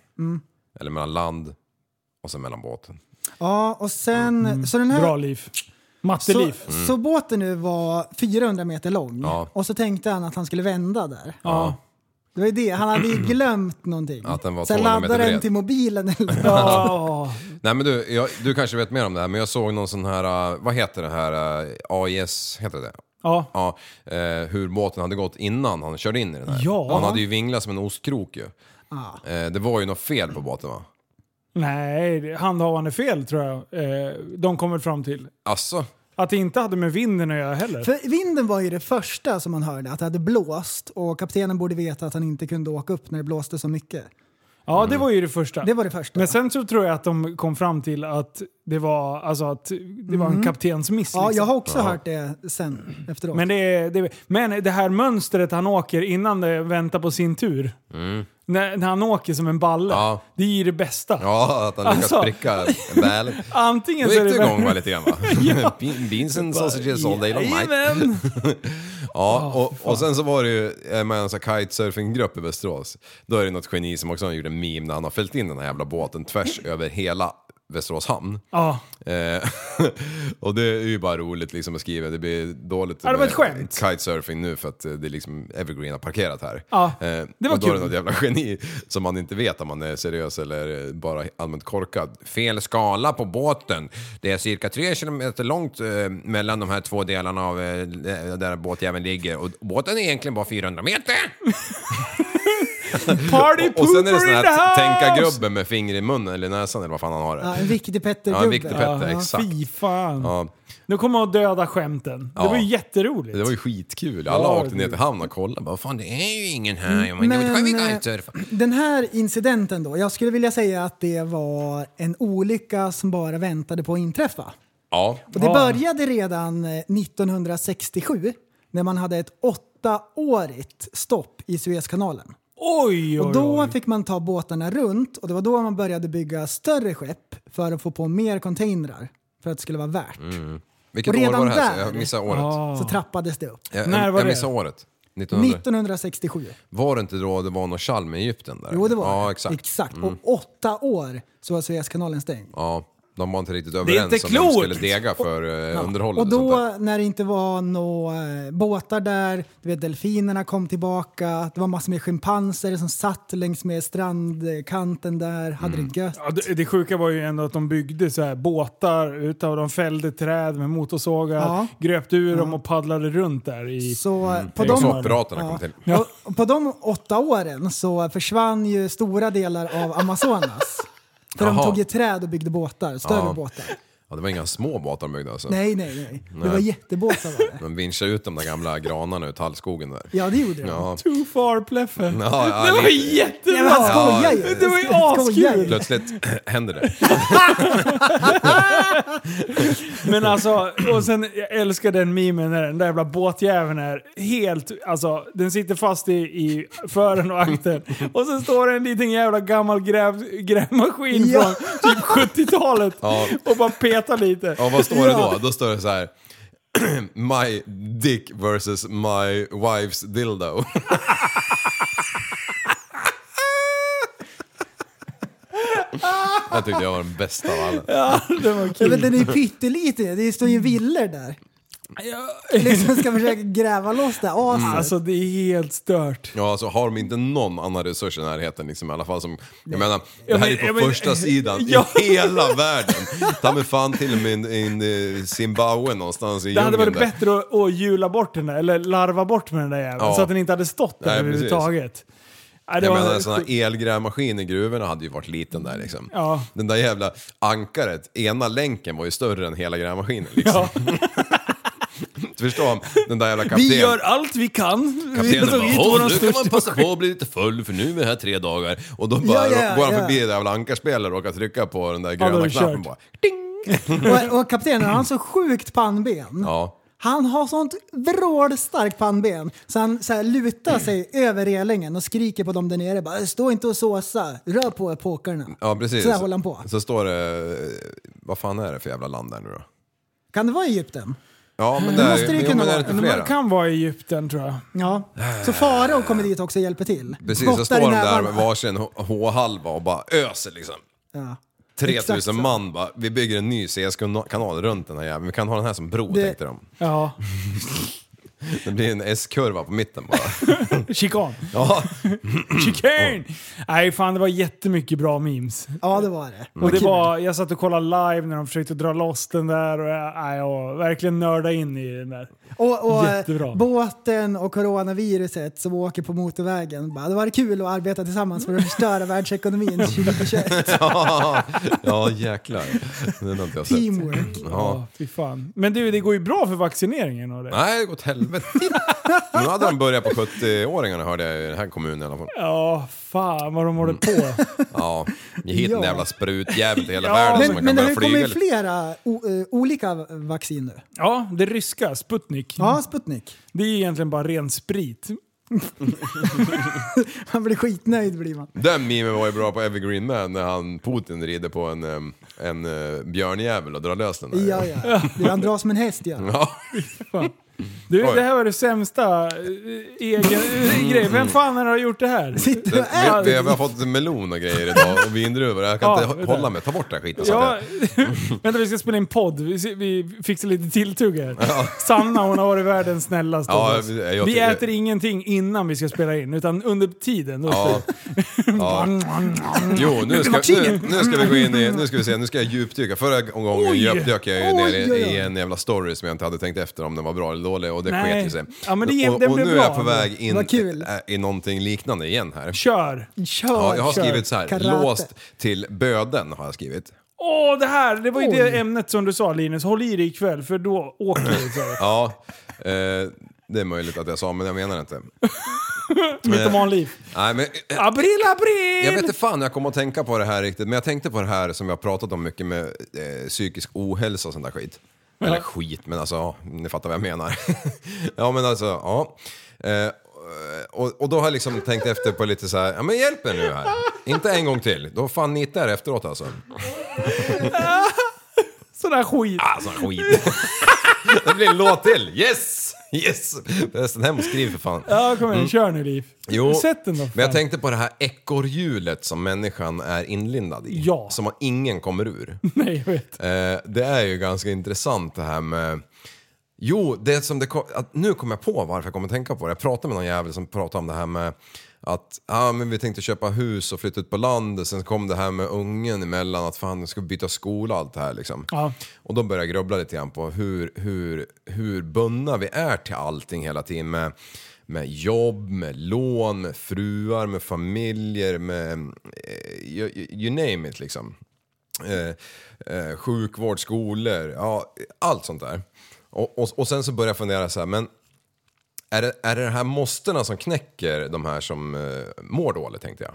[SPEAKER 1] Eller mellan land och sen mellan båten.
[SPEAKER 7] Ja, och sen... Så den här...
[SPEAKER 2] Bra liv.
[SPEAKER 7] Så,
[SPEAKER 2] Matteliv.
[SPEAKER 7] så båten nu var 400 meter lång
[SPEAKER 1] Ja.
[SPEAKER 7] och så tänkte han att han skulle vända där.
[SPEAKER 2] Ja.
[SPEAKER 7] Det var ju det, han hade ju glömt någonting.
[SPEAKER 1] Att den var
[SPEAKER 7] Sen
[SPEAKER 1] 200 meter
[SPEAKER 7] laddade den
[SPEAKER 1] bred.
[SPEAKER 7] till mobilen eller
[SPEAKER 2] Ja.
[SPEAKER 1] Nej men äh, du, jag, du kanske vet mer om det här, men jag såg någon sån här, eh, vad heter det här, eh, AIS, heter det
[SPEAKER 2] Ja.
[SPEAKER 1] Ja, eh, hur båten hade gått innan han körde in i den här.
[SPEAKER 2] Ja.
[SPEAKER 1] Han hade ju vinglat som en ostkrok ju. Eh, det var ju något fel på båten va?
[SPEAKER 2] Nej, det- handhavande fel tror jag eh, de kommer fram till.
[SPEAKER 1] Alltså,
[SPEAKER 2] Att det inte hade med vinden att göra heller.
[SPEAKER 7] För vinden var ju det första som man hörde, att det hade blåst och kaptenen borde veta att han inte kunde åka upp när det blåste så mycket.
[SPEAKER 2] Ja, det var ju det första.
[SPEAKER 7] Det var det första.
[SPEAKER 2] Men sen så tror jag att de kom fram till att det var, alltså, att det var en kaptensmiss.
[SPEAKER 7] Mm. ja,
[SPEAKER 2] liksom.
[SPEAKER 7] jag har också hört det sen efteråt.
[SPEAKER 2] men, det, det, men det här mönstret han åker innan det väntar på sin tur. När, när han åker som en balle.
[SPEAKER 1] Mm. Ja.
[SPEAKER 2] Det är ju det bästa.
[SPEAKER 1] ja att han lyckas
[SPEAKER 2] Alltså.
[SPEAKER 1] pricka väl.
[SPEAKER 2] Antingen
[SPEAKER 1] Då
[SPEAKER 2] så
[SPEAKER 1] gick du
[SPEAKER 2] är det
[SPEAKER 1] igång va, lite grann va? Be- Beans and sausages all day long night.
[SPEAKER 2] Jajamän!
[SPEAKER 1] Ja, och, och sen så var det ju eh, med en sån här kitesurfinggrupp i Västerås. Då är det något geni som också gjorde en meme när han har fällt in den här jävla båten tvärs över hela Västerås hamn.
[SPEAKER 2] Ja.
[SPEAKER 1] Eh, och det är ju bara roligt liksom att skriva, det blir dåligt
[SPEAKER 2] Ja, det var
[SPEAKER 1] med
[SPEAKER 2] ett skämt.
[SPEAKER 1] kitesurfing nu för att eh, det är liksom Evergreen har parkerat här.
[SPEAKER 2] Ja,
[SPEAKER 1] Eh,
[SPEAKER 2] det var
[SPEAKER 1] och då är
[SPEAKER 2] kul.
[SPEAKER 1] det något jävla geni som man inte vet om man är seriös eller eh, bara allmänt korkad. Fel skala på båten. Det är cirka tre kilometer långt eh, mellan de här två delarna av eh, där båtjäveln ligger och båten är egentligen bara 400 meter.
[SPEAKER 2] Party
[SPEAKER 1] Och sen är det
[SPEAKER 2] pooper
[SPEAKER 1] sån
[SPEAKER 2] in the
[SPEAKER 1] här
[SPEAKER 2] house!
[SPEAKER 1] tänka grubben med finger i munnen eller näsan eller vad fan han har.
[SPEAKER 7] ja, en viktig Petter-gubbe.
[SPEAKER 1] Ja, en viktig
[SPEAKER 7] Ja.
[SPEAKER 1] Petter, exakt.
[SPEAKER 2] Fy fan.
[SPEAKER 1] Ja.
[SPEAKER 2] Nu kommer jag att döda skämten. Det
[SPEAKER 1] Ja.
[SPEAKER 2] var ju jätteroligt.
[SPEAKER 1] Det var ju skitkul. Alla
[SPEAKER 2] Ja,
[SPEAKER 1] åkte ner
[SPEAKER 2] det-
[SPEAKER 1] till hamn och kollade. Bara, fan det är ju ingen här. Men,
[SPEAKER 7] Men,
[SPEAKER 1] jag vet inte,
[SPEAKER 7] eh,
[SPEAKER 1] jag kan surfa.
[SPEAKER 7] Den här incidenten då, jag skulle vilja säga att det var en olycka som bara väntade på att inträffa.
[SPEAKER 1] Ja,
[SPEAKER 7] Och det
[SPEAKER 2] Ja.
[SPEAKER 7] började redan eh, 1967 när man hade ett åttaårigt stopp i Suezkanalen.
[SPEAKER 2] Oj, oj,
[SPEAKER 7] Och då
[SPEAKER 2] oj.
[SPEAKER 7] fick man ta båtarna runt och det var då man började bygga större skepp för att få på mer containrar för att det skulle vara värt.
[SPEAKER 1] vilket
[SPEAKER 7] och
[SPEAKER 1] år
[SPEAKER 7] redan
[SPEAKER 1] var det här?
[SPEAKER 7] där-
[SPEAKER 1] Jag missade året.
[SPEAKER 2] Ah.
[SPEAKER 7] Så trappades det upp.
[SPEAKER 1] Jag,
[SPEAKER 2] När var
[SPEAKER 1] jag
[SPEAKER 2] det?
[SPEAKER 1] missade året. 1900.
[SPEAKER 7] 1967.
[SPEAKER 1] Var det inte då det var något tjall med Egypten där?
[SPEAKER 7] Jo, det var
[SPEAKER 1] Ja,
[SPEAKER 7] det.
[SPEAKER 1] exakt. Mm.
[SPEAKER 7] Och åtta år så var Suezkanalen stängd.
[SPEAKER 1] Ja, de var inte riktigt
[SPEAKER 2] Det är
[SPEAKER 1] överens
[SPEAKER 2] inte
[SPEAKER 1] om vem som
[SPEAKER 2] klokt!
[SPEAKER 1] skulle dega för eh, underhållet.
[SPEAKER 7] Och
[SPEAKER 1] sånt där.
[SPEAKER 7] då när det inte var några eh, båtar där, du vet delfinerna kom tillbaka, det var massor med schimpanser som satt längs med strandkanten där, hade
[SPEAKER 1] Mm.
[SPEAKER 7] det gött.
[SPEAKER 2] Ja, det, det sjuka var ju ändå att de byggde så här båtar utav de fällde träd med motorsågar,
[SPEAKER 7] Ja.
[SPEAKER 2] gröpte ur dem och paddlade runt där i...
[SPEAKER 7] Så eh, på
[SPEAKER 2] Det
[SPEAKER 7] de,
[SPEAKER 2] var
[SPEAKER 1] så piraterna Mm. kom till.
[SPEAKER 2] Ja.
[SPEAKER 7] Och- och på de åtta åren så försvann ju stora delar av Amazonas. För de
[SPEAKER 1] Jaha.
[SPEAKER 7] tog ju träd och byggde båtar, större
[SPEAKER 1] Ja.
[SPEAKER 7] båtar.
[SPEAKER 1] Ja, det var inga små båtar de byggde alltså.
[SPEAKER 7] Nej, nej, nej. Det var jättebåtar var det.
[SPEAKER 1] De vinschade ut de där gamla granarna ur tallskogen där.
[SPEAKER 7] Ja, det gjorde de.
[SPEAKER 1] Ja.
[SPEAKER 2] Too far Pleffe.
[SPEAKER 1] Ja, ja,
[SPEAKER 2] det var
[SPEAKER 1] lite.
[SPEAKER 2] ju jättebra!
[SPEAKER 7] Nej, men han skojar
[SPEAKER 1] Ja,
[SPEAKER 7] ju.
[SPEAKER 2] det var ju
[SPEAKER 7] Han skojar ju.
[SPEAKER 2] askul.
[SPEAKER 1] Plötsligt händer det.
[SPEAKER 2] Men alltså, och sen, jag älskar den memen när den där jävla båtjäveln är helt, alltså den sitter fast i, i fören och akten. Och sen står det en liten jävla gammal gräv, grävmaskin
[SPEAKER 7] Ja.
[SPEAKER 2] från typ 70-talet
[SPEAKER 1] Ja.
[SPEAKER 2] och bara petar lite.
[SPEAKER 1] Ja, vad står det då? Då står det så här. My dick versus my wife's dildo. jag tyckte jag var den bästa av alla.
[SPEAKER 7] Ja, men den är ju pytteliten. Det står ju villor där. Liksom ska försöka gräva loss det
[SPEAKER 1] Mm.
[SPEAKER 7] här aset.
[SPEAKER 2] Alltså det är helt stört.
[SPEAKER 1] Ja, alltså har de inte någon annan resurs i närheten liksom, i alla fall som... Jag menar, det här
[SPEAKER 2] men-
[SPEAKER 1] är på
[SPEAKER 2] jag men-
[SPEAKER 1] första sidan
[SPEAKER 2] Ja.
[SPEAKER 1] i hela världen. Ta mig fan till och med in, in eh, Zimbabwe någonstans i
[SPEAKER 2] Det hade
[SPEAKER 1] djungeln
[SPEAKER 2] varit
[SPEAKER 1] där.
[SPEAKER 2] bättre att, att jula bort den där, eller larva bort med den där jäveln,
[SPEAKER 1] Ja.
[SPEAKER 2] så att den inte hade stått där
[SPEAKER 1] Nej, precis.
[SPEAKER 2] överhuvudtaget. Nej, det
[SPEAKER 1] Jag
[SPEAKER 2] var-
[SPEAKER 1] menar en sån här elgrävmaskin i gruvorna hade ju varit liten där liksom.
[SPEAKER 2] Ja.
[SPEAKER 1] Den där jävla ankaret, ena länken var ju större än hela grävmaskinen liksom.
[SPEAKER 2] ja.
[SPEAKER 1] Förstå den där jävla kaptenen.
[SPEAKER 2] Vi gör allt vi kan. Vi
[SPEAKER 1] Kaptenen
[SPEAKER 2] har tagit
[SPEAKER 1] bara,
[SPEAKER 2] våran
[SPEAKER 1] "Åh, nu kan man
[SPEAKER 2] största
[SPEAKER 1] passa på att bli lite full för nu är vi här tre dagar. Och då bara
[SPEAKER 7] Ja, ja,
[SPEAKER 1] går han
[SPEAKER 7] ja.
[SPEAKER 1] förbi det jävla ankarspelare och råkar trycka på den där
[SPEAKER 2] då är
[SPEAKER 1] gröna
[SPEAKER 2] det
[SPEAKER 1] knappen
[SPEAKER 2] kört.
[SPEAKER 1] bara.
[SPEAKER 7] Och, och kaptenen, han har så sjukt pannben.
[SPEAKER 1] Ja.
[SPEAKER 7] Han har sånt vrålstarkt pannben så han så här lutar sig över relingen och skriker på dem där nere. Bara, Stå inte och såsa, rör på er påkarna.
[SPEAKER 1] Ja precis.
[SPEAKER 7] Så där håller han på.
[SPEAKER 1] Så står det, eh, vad fan är det för jävla land där nu då?
[SPEAKER 7] Kan det vara Egypten?
[SPEAKER 1] Ja men där,
[SPEAKER 7] måste det ju
[SPEAKER 1] jo,
[SPEAKER 7] kunna
[SPEAKER 1] men är det
[SPEAKER 7] vara.
[SPEAKER 1] inte
[SPEAKER 2] Men man
[SPEAKER 1] flera?
[SPEAKER 2] kan vara i Egypten tror jag.
[SPEAKER 7] Ja. Så farao kommer dit också och hjälper till.
[SPEAKER 1] Precis, så
[SPEAKER 7] Spottar
[SPEAKER 1] står
[SPEAKER 7] i
[SPEAKER 1] de där
[SPEAKER 7] nävarna.
[SPEAKER 1] med varsin H- H-halva och bara öser liksom.
[SPEAKER 7] Ja.
[SPEAKER 1] 3000
[SPEAKER 7] Exakt så.
[SPEAKER 1] man bara, vi bygger en ny CS-kanal runt den här jäveln. Vi kan ha den här som bro,
[SPEAKER 7] Det-
[SPEAKER 1] tänkte de.
[SPEAKER 2] Ja.
[SPEAKER 1] Det blir en S-kurva på mitten bara.
[SPEAKER 2] Chikan!
[SPEAKER 1] Ja, Mm.
[SPEAKER 2] Chicane! Nej fan, det var jättemycket bra memes.
[SPEAKER 1] Mm.
[SPEAKER 7] Ja, det var det.
[SPEAKER 2] Och det var, jag satt och kollade live när de försökte dra loss den där och jag, nej, jag verkligen nörda in i den där.
[SPEAKER 7] Och, och eh,
[SPEAKER 2] Jättebra.
[SPEAKER 7] båten och coronaviruset som åker på motorvägen. Bara, det var kul att arbeta tillsammans för att förstöra världsekonomin 2021.
[SPEAKER 1] ja, ja jäklar. Den har inte jag sett.
[SPEAKER 7] Teamwork.
[SPEAKER 1] Ja.
[SPEAKER 2] Ja, fy fan. Men du, det går ju bra för vaccineringen och det.
[SPEAKER 1] Nej, det går åt helvete. Nu hade de börjat på 70-åringarna hörde jag i den här kommunen i alla fall.
[SPEAKER 2] Ja, fan vad de håller
[SPEAKER 1] Mm.
[SPEAKER 2] på.
[SPEAKER 1] Ja, ge hit en
[SPEAKER 7] Ja.
[SPEAKER 1] jävla sprutjävel till hela
[SPEAKER 2] Ja.
[SPEAKER 1] världen så man
[SPEAKER 7] Men, men
[SPEAKER 1] kan
[SPEAKER 7] det har ju
[SPEAKER 1] börja flyga.
[SPEAKER 7] kommit
[SPEAKER 1] lite.
[SPEAKER 7] flera o, eh, olika vaccin nu.
[SPEAKER 2] Ja, det ryska, Sputnik.
[SPEAKER 7] Ja, Sputnik.
[SPEAKER 2] Det är egentligen bara ren sprit.
[SPEAKER 7] Man blir skitnöjd blir man.
[SPEAKER 1] Den memen var ju bra på Evergreen Man när han Putin rider på en, em, en eh, björnjävel och drar lös den där.
[SPEAKER 7] Ja, ja. Du, Han drar som en häst ja.
[SPEAKER 1] Ja.
[SPEAKER 2] Du,
[SPEAKER 1] Oj. Mm.
[SPEAKER 2] det här var det sämsta eh, egen eh, grej. Vem fan har gjort det här?
[SPEAKER 7] Sitter du och
[SPEAKER 1] Vi, vi,
[SPEAKER 7] äter?
[SPEAKER 1] vi har fått en melon och grejer idag och vindruvor. Jag kan
[SPEAKER 2] Ja,
[SPEAKER 1] inte
[SPEAKER 2] vet
[SPEAKER 1] hå-
[SPEAKER 2] du.
[SPEAKER 1] hålla mig. Ta bort den här skiten. så
[SPEAKER 2] Ja,
[SPEAKER 1] att Mm.
[SPEAKER 2] vänta vi ska spela in podd. Vi, se- vi fixar lite tilltugg här. Sanna hon har varit världens snällaste
[SPEAKER 1] Ja,
[SPEAKER 2] av oss.
[SPEAKER 1] jag- jag
[SPEAKER 2] Vi
[SPEAKER 1] tycker-
[SPEAKER 2] äter ingenting innan vi ska spela in, utan under tiden. Då
[SPEAKER 1] jag- ja. ja. Jo, nu ska, nu, nu ska vi gå in i... Nu ska vi se, nu ska jag djupdyka. Förra gången
[SPEAKER 2] Oj.
[SPEAKER 1] djupdök jag ju
[SPEAKER 7] Oj,
[SPEAKER 1] ner i,
[SPEAKER 7] oj, oj.
[SPEAKER 1] i en jävla story som jag inte hade tänkt efter om den var bra eller dålig och det
[SPEAKER 2] Nej.
[SPEAKER 1] sket ju sig.
[SPEAKER 2] Ja, men det-
[SPEAKER 1] och,
[SPEAKER 2] den
[SPEAKER 1] och
[SPEAKER 2] blev
[SPEAKER 1] nu är jag
[SPEAKER 2] bra
[SPEAKER 1] på
[SPEAKER 2] ändå.
[SPEAKER 1] väg in
[SPEAKER 7] Vad kul.
[SPEAKER 1] eh, i någonting liknande igen här.
[SPEAKER 2] Kör!
[SPEAKER 7] Kör,
[SPEAKER 1] Ja, jag har
[SPEAKER 7] kör.
[SPEAKER 1] skrivit så här,
[SPEAKER 7] Karate.
[SPEAKER 1] låst till böden har jag skrivit.
[SPEAKER 2] Åh, det här! Det var ju det
[SPEAKER 7] Oj.
[SPEAKER 2] ämnet som du sa Linus. Håll i dig ikväll, för då åker det. så här.
[SPEAKER 1] Ja, eh, det är möjligt att jag sa, men jag menar inte.
[SPEAKER 2] Mitt om liv.
[SPEAKER 1] Nej, men, eh,
[SPEAKER 2] April,
[SPEAKER 1] jag vet
[SPEAKER 2] april!
[SPEAKER 1] inte fan när jag kommer att tänka på det här riktigt, men jag tänkte på det här som vi har pratat om mycket med eh, psykisk ohälsa och sånt där skit. Eller skit, men alltså, ja, ni fattar vad jag menar. ja, men alltså, ja. Eh, och, och då har jag liksom tänkt efter på lite så här, ja men hjälp mig nu här. Inte en gång till, då fan nitar jag efteråt alltså.
[SPEAKER 2] Sån där skit.
[SPEAKER 1] Ah, sån skit. det blir en låt till, yes! Yes! Förresten, hem och skriv för fan.
[SPEAKER 2] Ja, kom igen. Kör nu Liv.
[SPEAKER 1] Mm. Jo,
[SPEAKER 2] Sätt den då. för
[SPEAKER 1] men jag
[SPEAKER 2] fan.
[SPEAKER 1] tänkte på det här ekorrhjulet som människan är inlindad i.
[SPEAKER 2] Ja.
[SPEAKER 1] Som man- ingen kommer ur.
[SPEAKER 2] Nej, jag vet.
[SPEAKER 1] Eh, det är ju ganska intressant det här med... Jo, det som det kom, att nu kom jag på varför jag kommer att tänka på det. Jag pratade med någon jävel som pratade om det här med att ah, men vi tänkte köpa hus och flytta ut på landet. Sen kom det här med ungen emellan, att fan, ska vi byta skola och allt det här liksom.
[SPEAKER 2] Ja.
[SPEAKER 1] Och då började jag grubbla lite grann på hur, hur, hur bundna vi är till allting hela tiden med, med jobb, med lån, med fruar, med familjer, med eh, you, you name it liksom. Eh, eh, sjukvård, skolor, ja, allt sånt där. Och, och, och sen så började jag fundera så här, men är det, är det de här måstena som knäcker de här som eh, mår dåligt tänkte jag?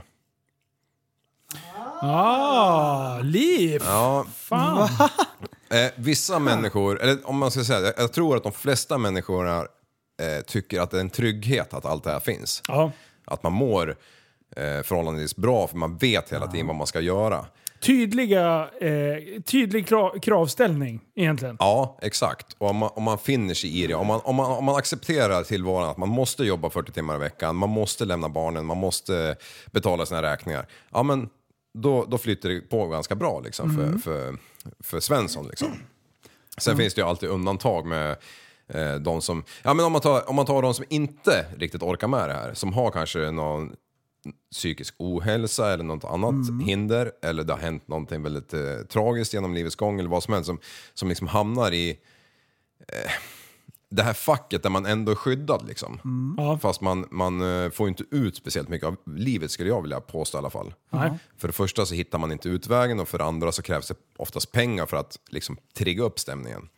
[SPEAKER 2] Ah, Liv!
[SPEAKER 1] Ja,
[SPEAKER 2] Fan.
[SPEAKER 1] Eh, vissa människor, eller om man ska säga jag, jag tror att de flesta människorna eh, tycker att det är en trygghet att allt det här finns.
[SPEAKER 2] Ja.
[SPEAKER 1] Att man mår eh, förhållandevis bra för man vet hela tiden vad man ska göra.
[SPEAKER 2] Tydliga, eh, tydlig kra- kravställning egentligen.
[SPEAKER 1] Ja, exakt. Och om man, om man finner sig i det, om man, om, man, om man accepterar tillvaron att man måste jobba 40 timmar i veckan, man måste lämna barnen, man måste betala sina räkningar. Ja, men då, då flyter det på ganska bra liksom, för, för, för Svensson. Liksom. Sen finns det ju alltid undantag med eh, de som, ja men om man, tar, om man tar de som inte riktigt orkar med det här, som har kanske någon psykisk ohälsa eller något annat hinder eller det har hänt någonting väldigt eh, tragiskt genom livets gång eller vad som helst som, som liksom hamnar i eh, det här facket där man ändå är skyddad liksom.
[SPEAKER 2] Ja.
[SPEAKER 1] Fast man, man eh, får ju inte ut speciellt mycket av livet skulle jag vilja påstå i alla fall.
[SPEAKER 2] Nej.
[SPEAKER 1] För det första så hittar man inte utvägen och för det andra så krävs det oftast pengar för att liksom trigga upp stämningen.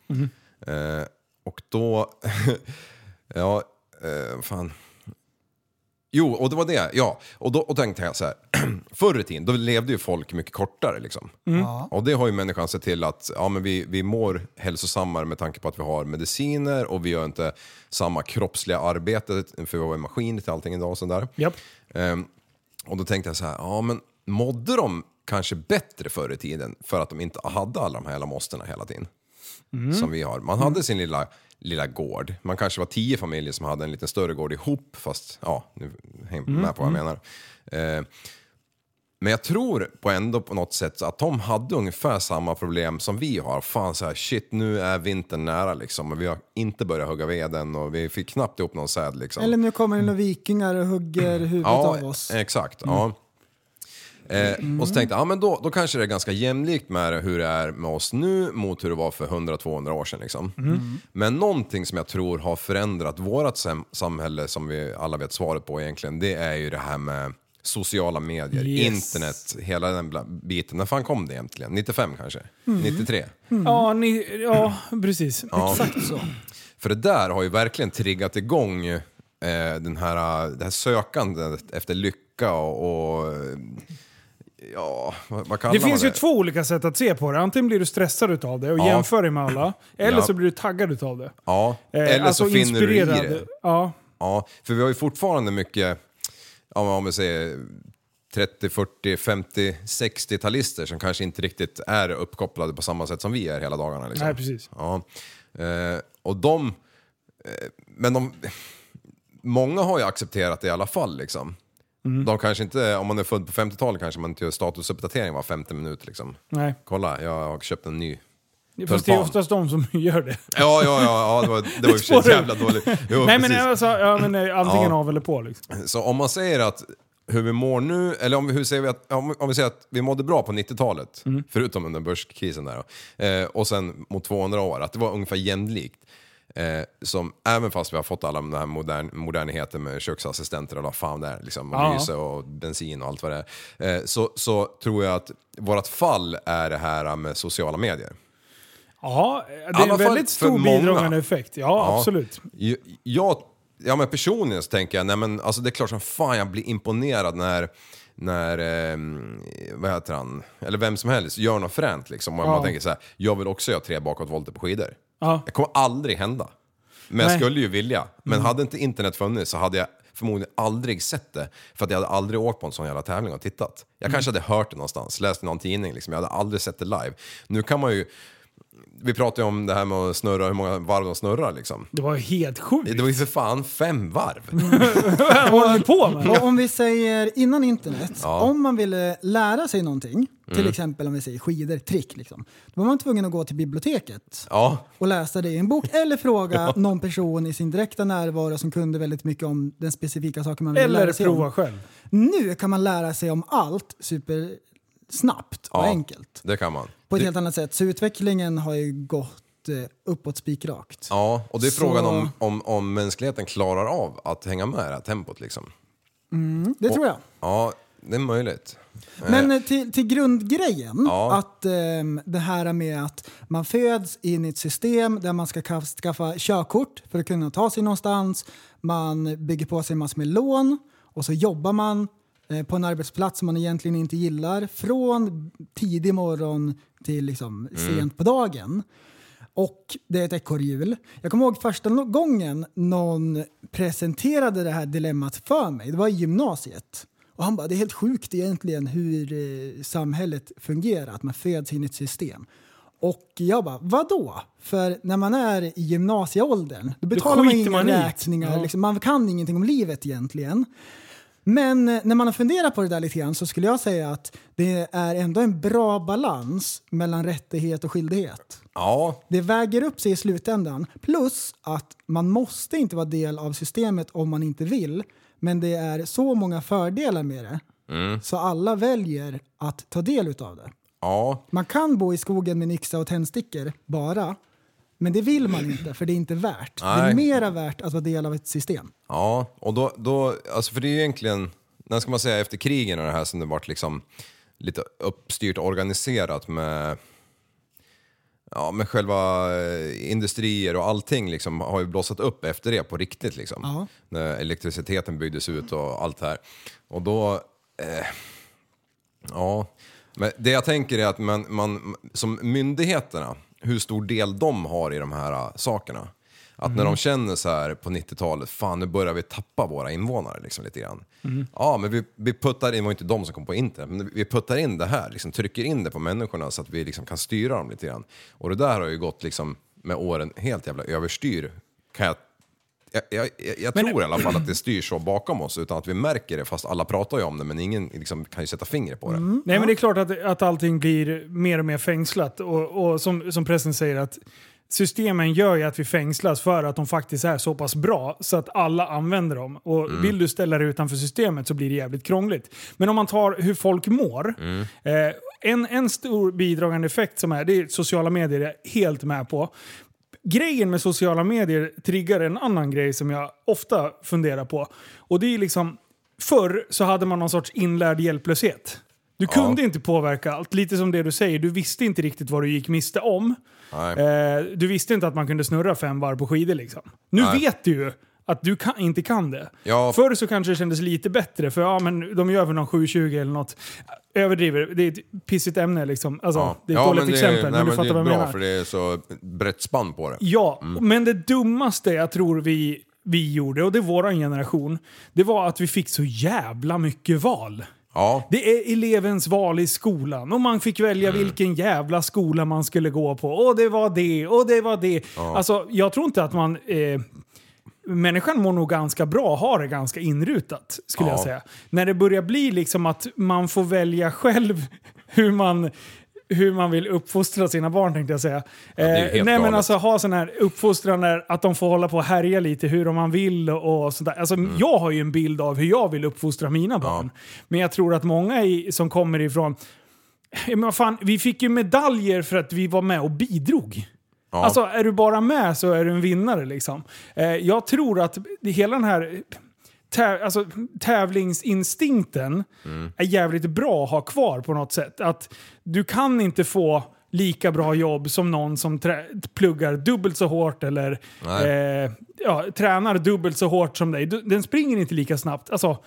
[SPEAKER 1] Eh, och då... ja, eh, fan. Jo, och det var det. Ja, och då och tänkte jag så här. Förr i tiden, då levde ju folk mycket kortare liksom. Och det har ju människan sett till att ja, men vi, vi mår hälsosammare med tanke på att vi har mediciner och vi gör inte samma kroppsliga arbete för vi har en maskin till allting idag och sådär.
[SPEAKER 2] Japp.
[SPEAKER 1] Ehm, och då tänkte jag så här, ja men mådde de kanske bättre förr i tiden för att de inte hade alla de här jävla måstena hela tiden? Som vi har. Man hade sin lilla, lilla gård. Man kanske var tio familjer som hade en lite större gård ihop, fast ja, nu häng med på vad jag menar. Ehm, Eh, Men jag tror på ändå på något sätt att de hade ungefär samma problem som vi har. Fan så här, shit nu är vintern nära liksom och vi har inte börjat hugga veden och vi fick knappt ihop någon säd liksom.
[SPEAKER 7] Eller nu kommer det några vikingar och hugger huvudet
[SPEAKER 1] ja,
[SPEAKER 7] av oss. Mm.
[SPEAKER 1] exakt. Ja. Eh, Och så tänkte jag, ja, men då, då kanske det är ganska jämlikt med hur det är med oss nu mot hur det var för 100-200 år sedan. Liksom.
[SPEAKER 7] Mm.
[SPEAKER 1] Men någonting som jag tror har förändrat vårt sam- samhälle, som vi alla vet svaret på egentligen, det är ju det här med sociala medier,
[SPEAKER 2] Yes.
[SPEAKER 1] internet, hela den bla- biten. När fan kom det egentligen? 95 kanske?
[SPEAKER 7] Mm.
[SPEAKER 1] 93?
[SPEAKER 2] Ja, ni, ja precis.
[SPEAKER 7] Exakt så.
[SPEAKER 1] För det där har ju verkligen triggat igång eh, den här, det här sökandet efter lycka och... och ja, vad, vad kallar
[SPEAKER 2] Det
[SPEAKER 1] man
[SPEAKER 2] finns ju två olika sätt att se på det. Antingen blir du stressad utav det och
[SPEAKER 1] Ja.
[SPEAKER 2] jämför dig med alla. Eller
[SPEAKER 1] Ja.
[SPEAKER 2] så blir du taggad utav det.
[SPEAKER 1] Ja,
[SPEAKER 2] Eh,
[SPEAKER 1] eller
[SPEAKER 2] alltså
[SPEAKER 1] så finner du i
[SPEAKER 2] inspirerad.
[SPEAKER 1] det.
[SPEAKER 2] Ja.
[SPEAKER 1] Ja, för vi har ju fortfarande mycket, ja, men om vi säger 30, 40, 50, 60-talister som kanske inte riktigt är uppkopplade på samma sätt som vi är hela dagarna. Liksom.
[SPEAKER 2] Nej, precis.
[SPEAKER 1] Ja. Eh, och de... Eh, men de... Många har ju accepterat det i alla fall liksom.
[SPEAKER 2] Mm.
[SPEAKER 1] De kanske inte, om man är född på 50-talet kanske man inte gör statusuppdatering var femte minut liksom.
[SPEAKER 2] Nej.
[SPEAKER 1] Kolla, jag har köpt en ny.
[SPEAKER 2] Fast det är
[SPEAKER 1] Tulpan.
[SPEAKER 2] oftast de som gör det.
[SPEAKER 1] Ja, ja, ja, ja det var, det var i och för
[SPEAKER 2] spårar
[SPEAKER 1] sig
[SPEAKER 2] ur.
[SPEAKER 1] jävla dåligt. Jo,
[SPEAKER 2] Nej men,
[SPEAKER 1] precis.
[SPEAKER 2] alltså, ja, men eh, antingen
[SPEAKER 1] Ja.
[SPEAKER 2] av eller på liksom.
[SPEAKER 1] Så om man säger att hur vi mår nu, eller om vi, hur säger vi att, om, om vi säger att vi mådde bra på 90-talet, förutom under börskrisen där då, eh, och sen mot 200 år, att det var ungefär jämlikt. Eh, som, även fast vi har fått alla de här modern, moderniteterna med köksassistenter och vad fan det är, liksom, och
[SPEAKER 2] Ja.
[SPEAKER 1] lyse och bensin och allt vad det är, eh, så, så tror jag att vårt fall är det här med sociala medier.
[SPEAKER 2] Ja, det är
[SPEAKER 1] alla
[SPEAKER 2] en
[SPEAKER 1] fall
[SPEAKER 2] väldigt
[SPEAKER 1] för
[SPEAKER 2] stor
[SPEAKER 1] många.
[SPEAKER 2] bidragande effekt. Ja, absolut.
[SPEAKER 1] Ju- Jag, ja men personligen så tänker jag, nej men alltså det är klart som fan jag blir imponerad när, när eh, vad heter han, eller vem som helst gör något fränt liksom. Och man tänker så här, jag vill också göra tre bakåtvolter på skidor.
[SPEAKER 2] Ja.
[SPEAKER 1] Det kommer aldrig hända. Men
[SPEAKER 2] Nej.
[SPEAKER 1] jag skulle ju vilja. Men
[SPEAKER 7] Mm.
[SPEAKER 1] hade inte internet funnits så hade jag förmodligen aldrig sett det. För att jag hade aldrig åkt på en sån jävla tävling och tittat. Jag
[SPEAKER 7] Mm.
[SPEAKER 1] kanske hade hört det någonstans, läst i någon tidning liksom. Jag hade aldrig sett det live. Nu kan man ju... Vi pratade ju om det här med att snurra, hur många varv de snurrar liksom.
[SPEAKER 2] Det var helt sjukt.
[SPEAKER 1] Det var ju för fan fem varv.
[SPEAKER 7] Mm.
[SPEAKER 2] Vad håller ni på med?
[SPEAKER 7] Och om vi säger innan internet, om man ville lära sig någonting,
[SPEAKER 1] Mm.
[SPEAKER 7] till exempel om vi säger skidor, trick, liksom, då var man tvungen att gå till biblioteket
[SPEAKER 1] Ja,
[SPEAKER 7] och läsa det i en bok eller fråga någon person i sin direkta närvaro som kunde väldigt mycket om den specifika saken man ville
[SPEAKER 2] Eller
[SPEAKER 7] lära sig
[SPEAKER 2] prova
[SPEAKER 7] om.
[SPEAKER 2] själv.
[SPEAKER 7] Nu kan man lära sig om allt supersnabbt och
[SPEAKER 1] Ja.
[SPEAKER 7] enkelt.
[SPEAKER 1] det kan man.
[SPEAKER 7] På ett
[SPEAKER 1] Det-
[SPEAKER 7] helt annat sätt. Så utvecklingen har ju gått eh, uppåt spikrakt.
[SPEAKER 1] Ja, och det är
[SPEAKER 7] Så-
[SPEAKER 1] frågan om, om, om mänskligheten klarar av att hänga med i det här tempot liksom.
[SPEAKER 7] Det tror jag.
[SPEAKER 1] Ja, det är möjligt.
[SPEAKER 7] Men eh, till, till grundgrejen,
[SPEAKER 1] Ja.
[SPEAKER 7] att ehm, det här med att man föds in i ett system där man ska kaf- skaffa körkort för att kunna ta sig någonstans, man bygger på sig massor med lån och så jobbar man eh, på en arbetsplats som man egentligen inte gillar från tidig morgon till liksom sent på dagen. Och det är ett ekorrhjul. Jag kommer ihåg första no- gången någon presenterade det här dilemmat för mig. Det var i gymnasiet. Och han bara, det är helt sjukt egentligen hur eh, samhället fungerar, att man föds in i ett system. Och jag bara, vadå? För när man är i gymnasieåldern, då betalar man
[SPEAKER 2] skiter
[SPEAKER 7] inga
[SPEAKER 2] man i.
[SPEAKER 7] räkningar.
[SPEAKER 2] Ja.
[SPEAKER 7] Liksom, man kan ingenting om livet egentligen. Men eh, när man har funderat på det där lite grann så skulle jag säga att det är ändå en bra balans mellan rättighet och skyldighet.
[SPEAKER 1] Ja,
[SPEAKER 7] Det väger upp sig i slutändan. Plus att man måste inte vara del av systemet om man inte vill. Men det är så många fördelar med det. Så alla väljer att ta del utav det.
[SPEAKER 1] ja,
[SPEAKER 7] Man kan bo i skogen med en yxa och tändstickor bara. Men det vill man inte för det är inte värt. Det
[SPEAKER 1] Nej.
[SPEAKER 7] är mera värt att vara del av ett system.
[SPEAKER 1] ja. Och då, då, alltså för det är ju egentligen, när ska man säga, efter krigen och det här som det vart liksom lite uppstyrt och organiserat med Ja, men själva eh, industrier och allting liksom har ju blossat upp efter det på riktigt. Liksom.
[SPEAKER 7] Ja.
[SPEAKER 1] När elektriciteten byggdes ut och allt det här. Och då... Eh, ja. Men det jag tänker är att man, man, som myndigheterna, hur stor del de har i de här eh, sakerna. Att när de känner så här på 90-talet, fan nu börjar vi tappa våra invånare liksom lite grann. Ja, men vi, vi puttar in, det var inte de som kom på internet, men vi puttar in det här, liksom, trycker in det på människorna så att vi liksom kan styra dem lite grann. Och det där har ju gått liksom med åren helt jävla överstyr, kan jag Jag, jag, jag, jag
[SPEAKER 2] Men-
[SPEAKER 1] tror i alla fall att det styrs så bakom oss utan att vi märker det, fast alla pratar ju om det men ingen liksom, kan ju sätta fingret på det.
[SPEAKER 2] Nej men det är klart att, att allting blir mer och mer fängslat och, och som, som pressen säger att systemen gör ju att vi fängslas för att de faktiskt är så pass bra så att alla använder dem. Och vill du ställa dig utanför systemet så blir det jävligt krångligt. Men om man tar hur folk mår. Eh, en, en stor bidragande effekt som är, det är sociala medier jag är helt med på. Grejen med sociala medier triggar en annan grej som jag ofta funderar på. Och det är liksom, förr så hade man någon sorts inlärd hjälplöshet. Du kunde inte påverka allt. Lite som det du säger, du visste inte riktigt vad du gick miste om.
[SPEAKER 1] Nej.
[SPEAKER 2] Eh, du visste inte att man kunde snurra fem varv på skidor liksom. Nu
[SPEAKER 1] Nej.
[SPEAKER 2] vet du ju att du kan, inte kan det.
[SPEAKER 1] Ja.
[SPEAKER 2] Förr så kanske det kändes lite bättre, för ja men de gör väl någon 720 eller något. Överdriver, det är ett pissigt ämne liksom. Alltså, det är ett dåligt exempel, men,
[SPEAKER 1] nej,
[SPEAKER 2] du
[SPEAKER 1] det
[SPEAKER 2] fattar
[SPEAKER 1] är
[SPEAKER 2] vad jag
[SPEAKER 1] bra
[SPEAKER 2] menar.
[SPEAKER 1] för det Mm. är så brett spann på det.
[SPEAKER 2] Ja, men det dummaste jag tror vi, vi gjorde, och det är våran generation, det var att vi fick så jävla mycket val.
[SPEAKER 1] Ja,
[SPEAKER 2] Det är elevens val i skolan och man fick välja vilken jävla skola man skulle gå på. Och det var det, och det var det. Alltså, jag tror inte att man... Eh, människan mår nog ganska bra, har det ganska inrutat, skulle jag
[SPEAKER 1] Ja.
[SPEAKER 2] säga. När det börjar bli liksom att man får välja själv hur man hur man vill uppfostra sina barn tänkte jag säga.
[SPEAKER 1] är ju
[SPEAKER 2] Eh,
[SPEAKER 1] helt
[SPEAKER 2] Nej men
[SPEAKER 1] galet.
[SPEAKER 2] alltså ha sån här uppfostran där att de får hålla på och härja lite hur de man vill och och sånt där. Alltså
[SPEAKER 1] Mm.
[SPEAKER 2] jag har ju en bild av hur jag vill uppfostra mina barn. Men jag tror att många i, som kommer ifrån, Ja, men vad fan, vi fick ju medaljer för att vi var med och bidrog.
[SPEAKER 1] ja.
[SPEAKER 2] Alltså är du bara med så är du en vinnare liksom. Eh, jag tror att hela den här tä- alltså, tävlingsinstinkten
[SPEAKER 1] Mm.
[SPEAKER 2] är jävligt bra att ha kvar på något sätt. Att du kan inte få lika bra jobb som någon som trä- pluggar dubbelt så hårt eller eh, ja, tränar dubbelt så hårt som dig. Du, den springer inte lika snabbt. Alltså,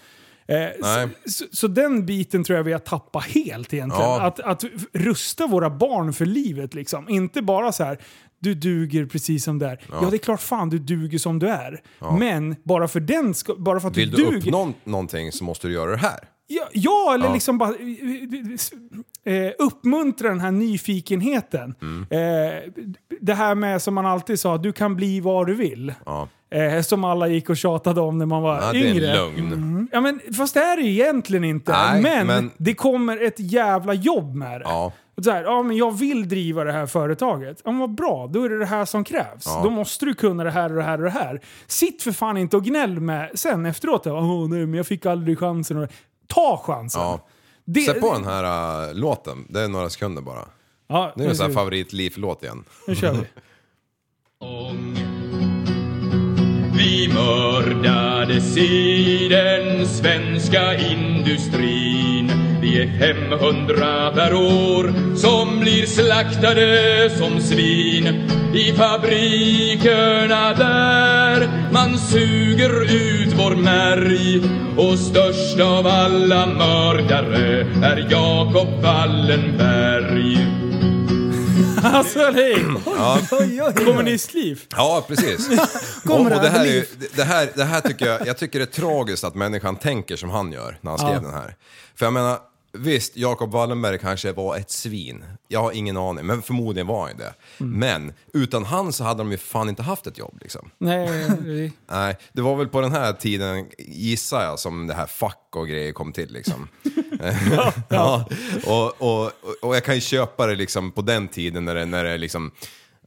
[SPEAKER 2] Eh,
[SPEAKER 1] Nej.
[SPEAKER 2] så, så, så den biten tror jag vi har tappat helt egentligen.
[SPEAKER 1] Ja.
[SPEAKER 2] Att, att rusta våra barn för livet liksom. Inte bara så här, du duger precis som du är. Ja, det är klart fan du duger som du är. Men bara för, den, sk- bara för att
[SPEAKER 1] Vill
[SPEAKER 2] du
[SPEAKER 1] du
[SPEAKER 2] duger...
[SPEAKER 1] uppnå någonting så måste du göra det här.
[SPEAKER 2] Ja, ja eller
[SPEAKER 1] Ja.
[SPEAKER 2] liksom bara eh, eh, uppmuntra den här nyfikenheten.
[SPEAKER 1] Mm.
[SPEAKER 2] Eh, det här med som man alltid sa, du kan bli vad du vill.
[SPEAKER 1] Ja.
[SPEAKER 2] Eh, som alla gick och tjatade om när man var
[SPEAKER 1] Ja, det
[SPEAKER 2] yngre. Mm.
[SPEAKER 1] är en lögn.
[SPEAKER 2] Ja, men, fast det är det ju egentligen inte.
[SPEAKER 1] Nej,
[SPEAKER 2] men,
[SPEAKER 1] men-
[SPEAKER 2] det kommer ett jävla jobb med det.
[SPEAKER 1] Ja.
[SPEAKER 2] Och Så här, ja, men jag vill driva det här företaget. Ja, men vad bra, då är det det här som krävs. Då måste du kunna det här och det här och det här. Sitt för fan inte och gnäll med sen efteråt. Åh nej, men jag fick aldrig chansen. Och- Ta chansen.
[SPEAKER 1] Ja.
[SPEAKER 2] Det-
[SPEAKER 1] Sätt på den här äh, låten, det är några sekunder bara.
[SPEAKER 2] Ja,
[SPEAKER 1] Nu är det så här
[SPEAKER 2] kör vi.
[SPEAKER 1] favoritliv-låt igen.
[SPEAKER 2] nu kör vi.
[SPEAKER 9] Vi mördade i den svenska industrin. Vi är 500 per år som blir slaktade som svin. I fabrikerna där man suger ut vår märg. Och störst av alla mördare är Jakob Wallenberg.
[SPEAKER 2] Alltså nej!
[SPEAKER 7] Oj, oj, oj.
[SPEAKER 2] Kommunistliv.
[SPEAKER 1] Ja, precis. och, och
[SPEAKER 7] Kommer det
[SPEAKER 1] det, här är ju,
[SPEAKER 7] liv?
[SPEAKER 1] det, här, det här tycker jag, jag tycker det är tragiskt att människan tänker som han gör när han skrev den här. För jag menar, visst, Jakob Wallenberg kanske var ett svin. Jag har ingen aning, men förmodligen var han det. Men utan han så hade de ju fan inte haft ett jobb liksom.
[SPEAKER 2] Nej,
[SPEAKER 1] Nej, det var väl på den här tiden, gissar jag, som det här fuck och grejer kom till liksom. ja, och, och, och jag kan ju köpa det liksom på den tiden när det, när det liksom,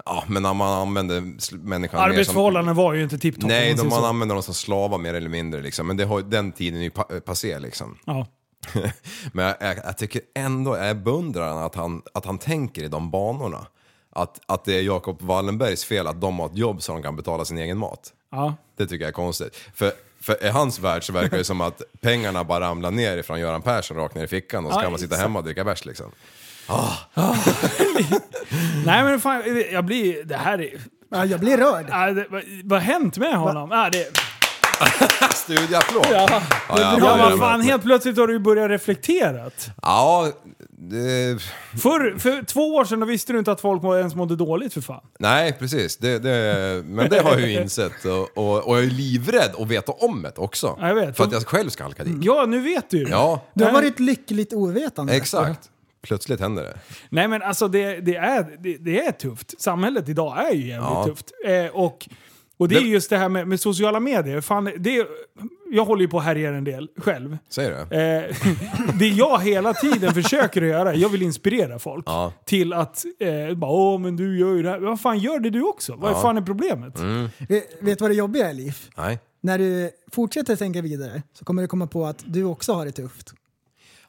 [SPEAKER 1] ja men när man använde sl- människan mer som...
[SPEAKER 2] arbetsförhållanden var ju inte tipptopp.
[SPEAKER 1] Nej,
[SPEAKER 2] om
[SPEAKER 1] de,
[SPEAKER 2] man
[SPEAKER 1] man
[SPEAKER 2] säger så.
[SPEAKER 1] använder dem som slavar mer eller mindre liksom. Men det har, den tiden är ju pa- passé liksom.
[SPEAKER 2] Ja.
[SPEAKER 1] Men jag, jag, jag tycker ändå, jag beundrar att han, att han tänker i de banorna. Att, att det är Jakob Wallenbergs fel att de har ett jobb så de kan betala sin egen mat.
[SPEAKER 2] Ja.
[SPEAKER 1] Det tycker jag är konstigt. För, för i hans värld så verkar det som att pengarna bara ramlar ner ifrån Göran Persson rakt ner i fickan och så
[SPEAKER 2] Ja,
[SPEAKER 1] kan man sitta
[SPEAKER 2] exakt.
[SPEAKER 1] hemma och dricka bärs liksom.
[SPEAKER 2] Nej men fan, jag blir... Det här är...
[SPEAKER 7] Ja, jag blir rörd.
[SPEAKER 2] Ah, det, vad, vad har hänt med honom? Ah, det,
[SPEAKER 1] Studieapplåd!
[SPEAKER 2] ja,
[SPEAKER 1] ja, jag
[SPEAKER 2] ja,
[SPEAKER 1] håller
[SPEAKER 2] vad
[SPEAKER 1] med.
[SPEAKER 2] fan, helt plötsligt har du ju börjat reflektera.
[SPEAKER 1] Ja, det,
[SPEAKER 2] För, för två år sedan då visste du inte att folk må- ens mådde dåligt för fan.
[SPEAKER 1] nej precis. Det, det, men det har jag ju insett och, och, och jag är livrädd att veta om det också.
[SPEAKER 2] Ja, jag vet. Mm.
[SPEAKER 1] För att jag själv ska halka dit.
[SPEAKER 2] Ja, nu vet du ju.
[SPEAKER 1] Ja,
[SPEAKER 7] Du har varit lyckligt ovetande.
[SPEAKER 1] exakt. Plötsligt händer det.
[SPEAKER 2] Nej men alltså det, det, är, det, det är tufft. Samhället idag är ju jävligt
[SPEAKER 1] Ja.
[SPEAKER 2] tufft. Eh, och Och det är
[SPEAKER 1] Det-
[SPEAKER 2] just det här med, med sociala medier. Fan, det är, jag håller ju på och härjar en del själv.
[SPEAKER 1] Säger du?
[SPEAKER 2] Eh, det jag hela tiden försöker att göra, jag vill inspirera folk
[SPEAKER 1] Ja.
[SPEAKER 2] till att eh, bara, åh men du gör ju det här. Vad fan gör det du också? Vad fan är problemet?
[SPEAKER 1] Mm.
[SPEAKER 7] Vet vet du vad det jobbiga är Liv?
[SPEAKER 1] Nej.
[SPEAKER 7] När du fortsätter tänka vidare så kommer du komma på att du också har det tufft.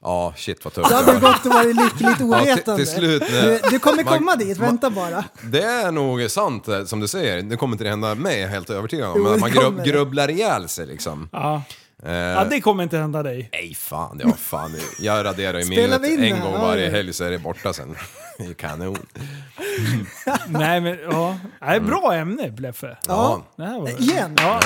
[SPEAKER 1] Ja, shit vad
[SPEAKER 7] Då
[SPEAKER 1] tufft
[SPEAKER 7] hade
[SPEAKER 1] det
[SPEAKER 7] du
[SPEAKER 1] var.
[SPEAKER 7] gått och varit lyckligt ovetande.
[SPEAKER 1] till slut när-
[SPEAKER 7] du, du kommer
[SPEAKER 1] man-
[SPEAKER 7] komma dit, vänta bara.
[SPEAKER 1] Det är nog sant eh, som du säger. Det kommer inte det hända mig, jag är helt övertygad om.
[SPEAKER 7] Jo,
[SPEAKER 1] Men att
[SPEAKER 7] det
[SPEAKER 1] man grub,
[SPEAKER 7] kommer det.
[SPEAKER 1] grubblar ihjäl sig liksom.
[SPEAKER 2] Ja.
[SPEAKER 1] Eh,
[SPEAKER 2] ja, det kommer inte hända dig.
[SPEAKER 1] Nej fan, ja fan. Jag raderar ju
[SPEAKER 7] Spelar
[SPEAKER 1] minnet
[SPEAKER 7] vi in det
[SPEAKER 1] en
[SPEAKER 7] här?
[SPEAKER 1] gång
[SPEAKER 7] Ja,
[SPEAKER 1] varje
[SPEAKER 7] ja.
[SPEAKER 1] helg så är det borta sen. Det är kanon.
[SPEAKER 2] Nej men ja. Nej, bra ämne Bleffe.
[SPEAKER 1] Ja.
[SPEAKER 2] Det här var...
[SPEAKER 7] Igen!
[SPEAKER 2] Ja.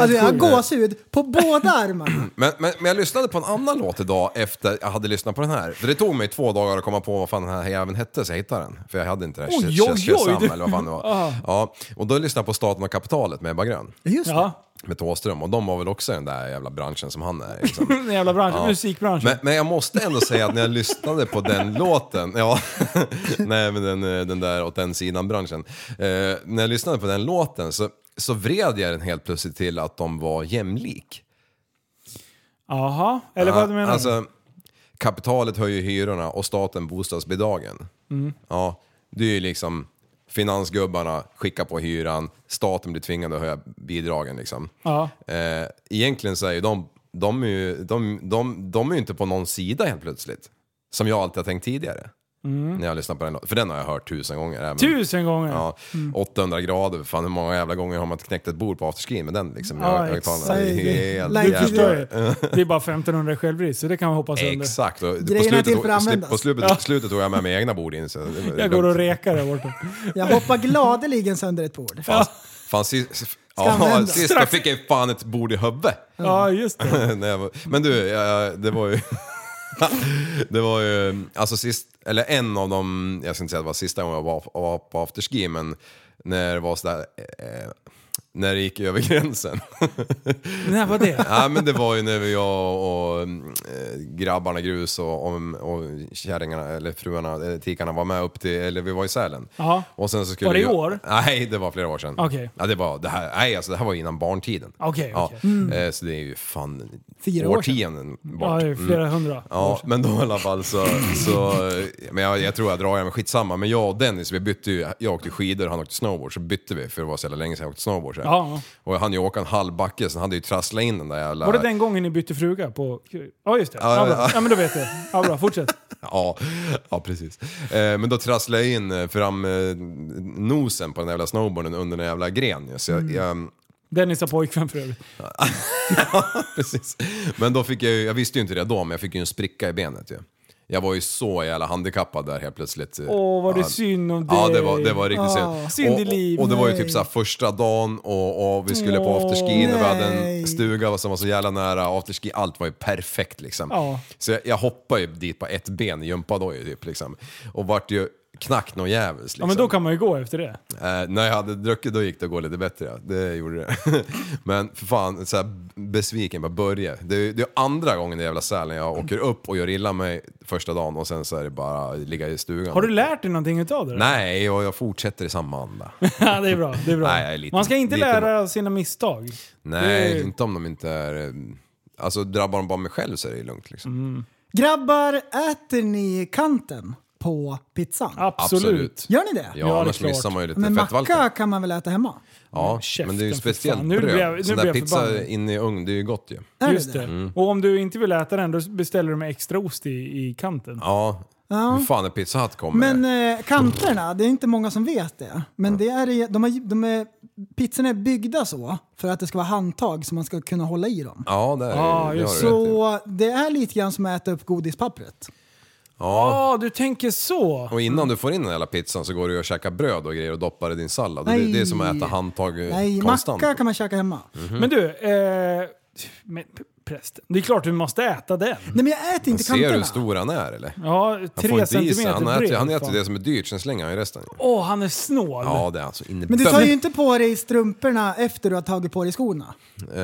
[SPEAKER 7] Alltså jag har gåshud på båda armarna.
[SPEAKER 1] Men, men, men jag lyssnade på en annan låt idag efter jag hade lyssnat på den här. För det tog mig två dagar att komma på vad fan den här jäveln hette så jag hittade den. För jag hade inte det här
[SPEAKER 2] Oj,
[SPEAKER 1] Shazam
[SPEAKER 2] oj, oj, du-
[SPEAKER 1] eller vad fan det
[SPEAKER 7] Ah.
[SPEAKER 1] var. Ja, och då lyssnade jag på Staten och Kapitalet med Ebba Grön.
[SPEAKER 7] Just det.
[SPEAKER 2] Ja,
[SPEAKER 1] Med Thåström och de var väl också i den där jävla branschen som han är. Liksom.
[SPEAKER 2] den jävla branschen,
[SPEAKER 1] Ja.
[SPEAKER 2] musikbranschen.
[SPEAKER 1] Men, men jag måste ändå säga att när jag lyssnade på den låten, ja, nej men den, eh, den där åt den sidan branschen. Eh, när jag lyssnade på den låten så, så vred jag den helt plötsligt till att de var jämlik.
[SPEAKER 2] Jaha, eller vad menar du?
[SPEAKER 1] Alltså, kapitalet höjer hyrorna och staten bostadsbidragen.
[SPEAKER 2] Mm.
[SPEAKER 1] Ja, det är ju liksom finansgubbarna skickar på hyran, staten blir tvingad att höja bidragen liksom.
[SPEAKER 2] ja.
[SPEAKER 1] Eh, egentligen så är ju de, de är ju de, de, de är ju inte på någon sida helt plötsligt. Som jag alltid har tänkt tidigare. När jag lyssnar på den låten. För den har jag hört tusen gånger. Även,
[SPEAKER 2] Mm. Tusen Mm. gånger!
[SPEAKER 1] Ja, 800 grader, fan hur många jävla gånger har man inte knäckt ett bord på afterskin med den liksom?
[SPEAKER 2] Ja,
[SPEAKER 1] Jag- jag
[SPEAKER 2] exakt.
[SPEAKER 1] talar- det är helt
[SPEAKER 7] Like
[SPEAKER 2] Du
[SPEAKER 1] jävla-
[SPEAKER 2] förstår ju. Det är bara 1500 i självrisk, så det kan man hoppa sönder.
[SPEAKER 1] Exakt, och på
[SPEAKER 7] Grejerna är
[SPEAKER 1] slutet,
[SPEAKER 7] till för att
[SPEAKER 1] tog, sli-
[SPEAKER 7] användas.
[SPEAKER 1] på slutet, slutet tog jag med mig egna bord in. Så det var
[SPEAKER 2] Jag går och
[SPEAKER 1] lugnt.
[SPEAKER 2] rekar där borta.
[SPEAKER 7] Jag hoppar gladeligen sönder ett bord.
[SPEAKER 1] Fan, fan sist, ja,
[SPEAKER 7] användas.
[SPEAKER 1] sist jag fick jag fan ett bord i huvudet.
[SPEAKER 2] Ja, just det.
[SPEAKER 1] När jag var- Men du, jag, det var ju... det var ju, alltså sist, eller en av de, jag ska inte säga att det var sista gången jag var, var på afterski, men när det var sådär, eh, när det gick över gränsen.
[SPEAKER 2] När var det?
[SPEAKER 1] Ja men det var ju när vi- jag och eh, grabbarna grus och, och, och kärringarna, eller fruarna, eh, tikarna var med upp till, eller vi var i Sälen.
[SPEAKER 2] Jaha.
[SPEAKER 1] Och sen så skulle
[SPEAKER 2] Var det i
[SPEAKER 1] vi-
[SPEAKER 2] år?
[SPEAKER 1] Nej, det var flera år sedan.
[SPEAKER 2] Okej.
[SPEAKER 1] Ja, det var, det här, nej alltså det här var innan barntiden.
[SPEAKER 2] Okej,
[SPEAKER 1] ja,
[SPEAKER 2] okej. Mm.
[SPEAKER 1] eh, Så det är ju fan
[SPEAKER 7] Fyra år sedan.
[SPEAKER 1] årtionden bort.
[SPEAKER 2] Ja, det är flera hundra.
[SPEAKER 1] Ja, men då i alla fall så... så eh, men jag, jag tror jag drar, men skitsamma. Men jag och Dennis, vi bytte ju, jag åkte skidor och han åkte snowboard, så bytte vi för det var så jävla länge sedan jag åkte snowboard. Så här.
[SPEAKER 2] Ja.
[SPEAKER 1] Och han ju åka en halv backe, sen hade jag ju trasslat in den där jävla...
[SPEAKER 2] Var det den gången ni bytte fruga på... Ja, just det. Ja,
[SPEAKER 1] Ja,
[SPEAKER 2] bra.
[SPEAKER 1] ja.
[SPEAKER 2] ja men då vet jag. Ja, bra. Fortsätt.
[SPEAKER 1] Ja, ja precis. Eh, men då trasslade jag in eh, fram eh, nosen på den jävla snowboarden under den jävla gren. ju. Så jag,
[SPEAKER 2] Mm.
[SPEAKER 1] jag,
[SPEAKER 2] Dennis har pojkvän för övrigt.
[SPEAKER 1] precis. Men då fick jag ju, jag visste ju inte det då, men jag fick ju en spricka i benet ju. Jag var ju så jävla handikappad där helt plötsligt.
[SPEAKER 2] Åh, vad det
[SPEAKER 1] Ja.
[SPEAKER 2] synd om dig.
[SPEAKER 1] Ja, det var, det var riktigt synd.
[SPEAKER 2] Synd i
[SPEAKER 1] Och,
[SPEAKER 2] liv,
[SPEAKER 1] och, och det var ju
[SPEAKER 7] nej.
[SPEAKER 1] typ såhär första dagen och, och vi skulle på afterski och vi hade en
[SPEAKER 7] nej.
[SPEAKER 1] stuga som var så jävla nära afterski. Allt var ju perfekt liksom.
[SPEAKER 2] Ja.
[SPEAKER 1] Så jag, jag hoppade ju dit på ett ben i gympadoja typ liksom. Och vart ju knack någon jävels liksom.
[SPEAKER 2] Ja, men då kan man ju gå efter det.
[SPEAKER 1] Eh, när jag hade druckit då gick det att gå lite bättre, ja. det gjorde det. Men för fan, så här besviken på Börje. Det är, det är andra gången i jävla Sälen jag åker upp och gör illa mig första dagen och sen så är det bara att ligga i stugan.
[SPEAKER 2] Har du lärt dig någonting utav det? då?
[SPEAKER 1] Nej, och jag fortsätter i samma anda.
[SPEAKER 2] Ja, det är bra. Det är bra.
[SPEAKER 1] Nej, jag är lite-
[SPEAKER 2] man ska inte
[SPEAKER 1] lite-
[SPEAKER 2] lära av sina misstag.
[SPEAKER 1] Nej,
[SPEAKER 2] Det är-
[SPEAKER 1] inte om de inte är... eh, Alltså drabbar de bara mig själv så är det ju lugnt liksom.
[SPEAKER 7] Grabbar, äter ni kanten på pizzan?
[SPEAKER 2] Absolut.
[SPEAKER 1] Absolut.
[SPEAKER 7] Gör ni det?
[SPEAKER 1] Ja,
[SPEAKER 2] det är
[SPEAKER 1] annars
[SPEAKER 2] klart.
[SPEAKER 1] missar man ju lite
[SPEAKER 7] Men
[SPEAKER 1] fettvalkar.
[SPEAKER 7] macka kan man väl äta hemma?
[SPEAKER 1] Ja, men det är ju
[SPEAKER 2] Käften,
[SPEAKER 1] speciellt
[SPEAKER 2] för fan. Nu
[SPEAKER 1] bröd.
[SPEAKER 2] blir jag- nu
[SPEAKER 1] Sån
[SPEAKER 2] blir
[SPEAKER 1] där
[SPEAKER 2] jag
[SPEAKER 1] pizza
[SPEAKER 2] förbannad.
[SPEAKER 1] in i ugn, det är ju gott ju.
[SPEAKER 7] Är
[SPEAKER 2] Just det.
[SPEAKER 1] Mm.
[SPEAKER 2] Och om du inte vill äta den, då beställer du med extra ost i, i kanten.
[SPEAKER 1] Ja, hur fan en pizzahatt kommer.
[SPEAKER 7] Men eh, kanterna, det är inte många som vet det. Men det är, i- de har, de är, pizzorna är byggda så för att det ska vara handtag så man ska kunna hålla i dem.
[SPEAKER 1] Ja, det är
[SPEAKER 2] Ja,
[SPEAKER 1] det.
[SPEAKER 2] just
[SPEAKER 1] har du rätt i.
[SPEAKER 7] Så det är lite grann som att äta upp godispappret.
[SPEAKER 1] Ja.
[SPEAKER 2] Ja, du tänker så.
[SPEAKER 1] Och innan du får in den hela pizzan så går du och käkar bröd och grejer och doppar i din sallad. Och Det,
[SPEAKER 7] Nej.
[SPEAKER 1] det är som att äta handtag eh,
[SPEAKER 7] Nej,
[SPEAKER 1] konstant.
[SPEAKER 7] macka kan man käka hemma.
[SPEAKER 1] Mhm.
[SPEAKER 2] Men du, eh, men, p- prästen. Det är klart du måste äta den.
[SPEAKER 7] Nej men jag äter inte
[SPEAKER 1] Ser du hur
[SPEAKER 7] kanterna.
[SPEAKER 1] stor han är eller?
[SPEAKER 2] Ja,
[SPEAKER 1] Mm. Han får
[SPEAKER 2] tre
[SPEAKER 1] en diesel,
[SPEAKER 2] centimeter
[SPEAKER 1] han äter,
[SPEAKER 2] bred,
[SPEAKER 1] han äter
[SPEAKER 2] fan.
[SPEAKER 1] det som är dyrt, sen slänger han ju resten.
[SPEAKER 2] Åh, han är snål.
[SPEAKER 1] Ja, det är alltså inne
[SPEAKER 7] Men du tar ju inte på dig strumporna efter du har tagit på dig skorna.
[SPEAKER 1] Eh,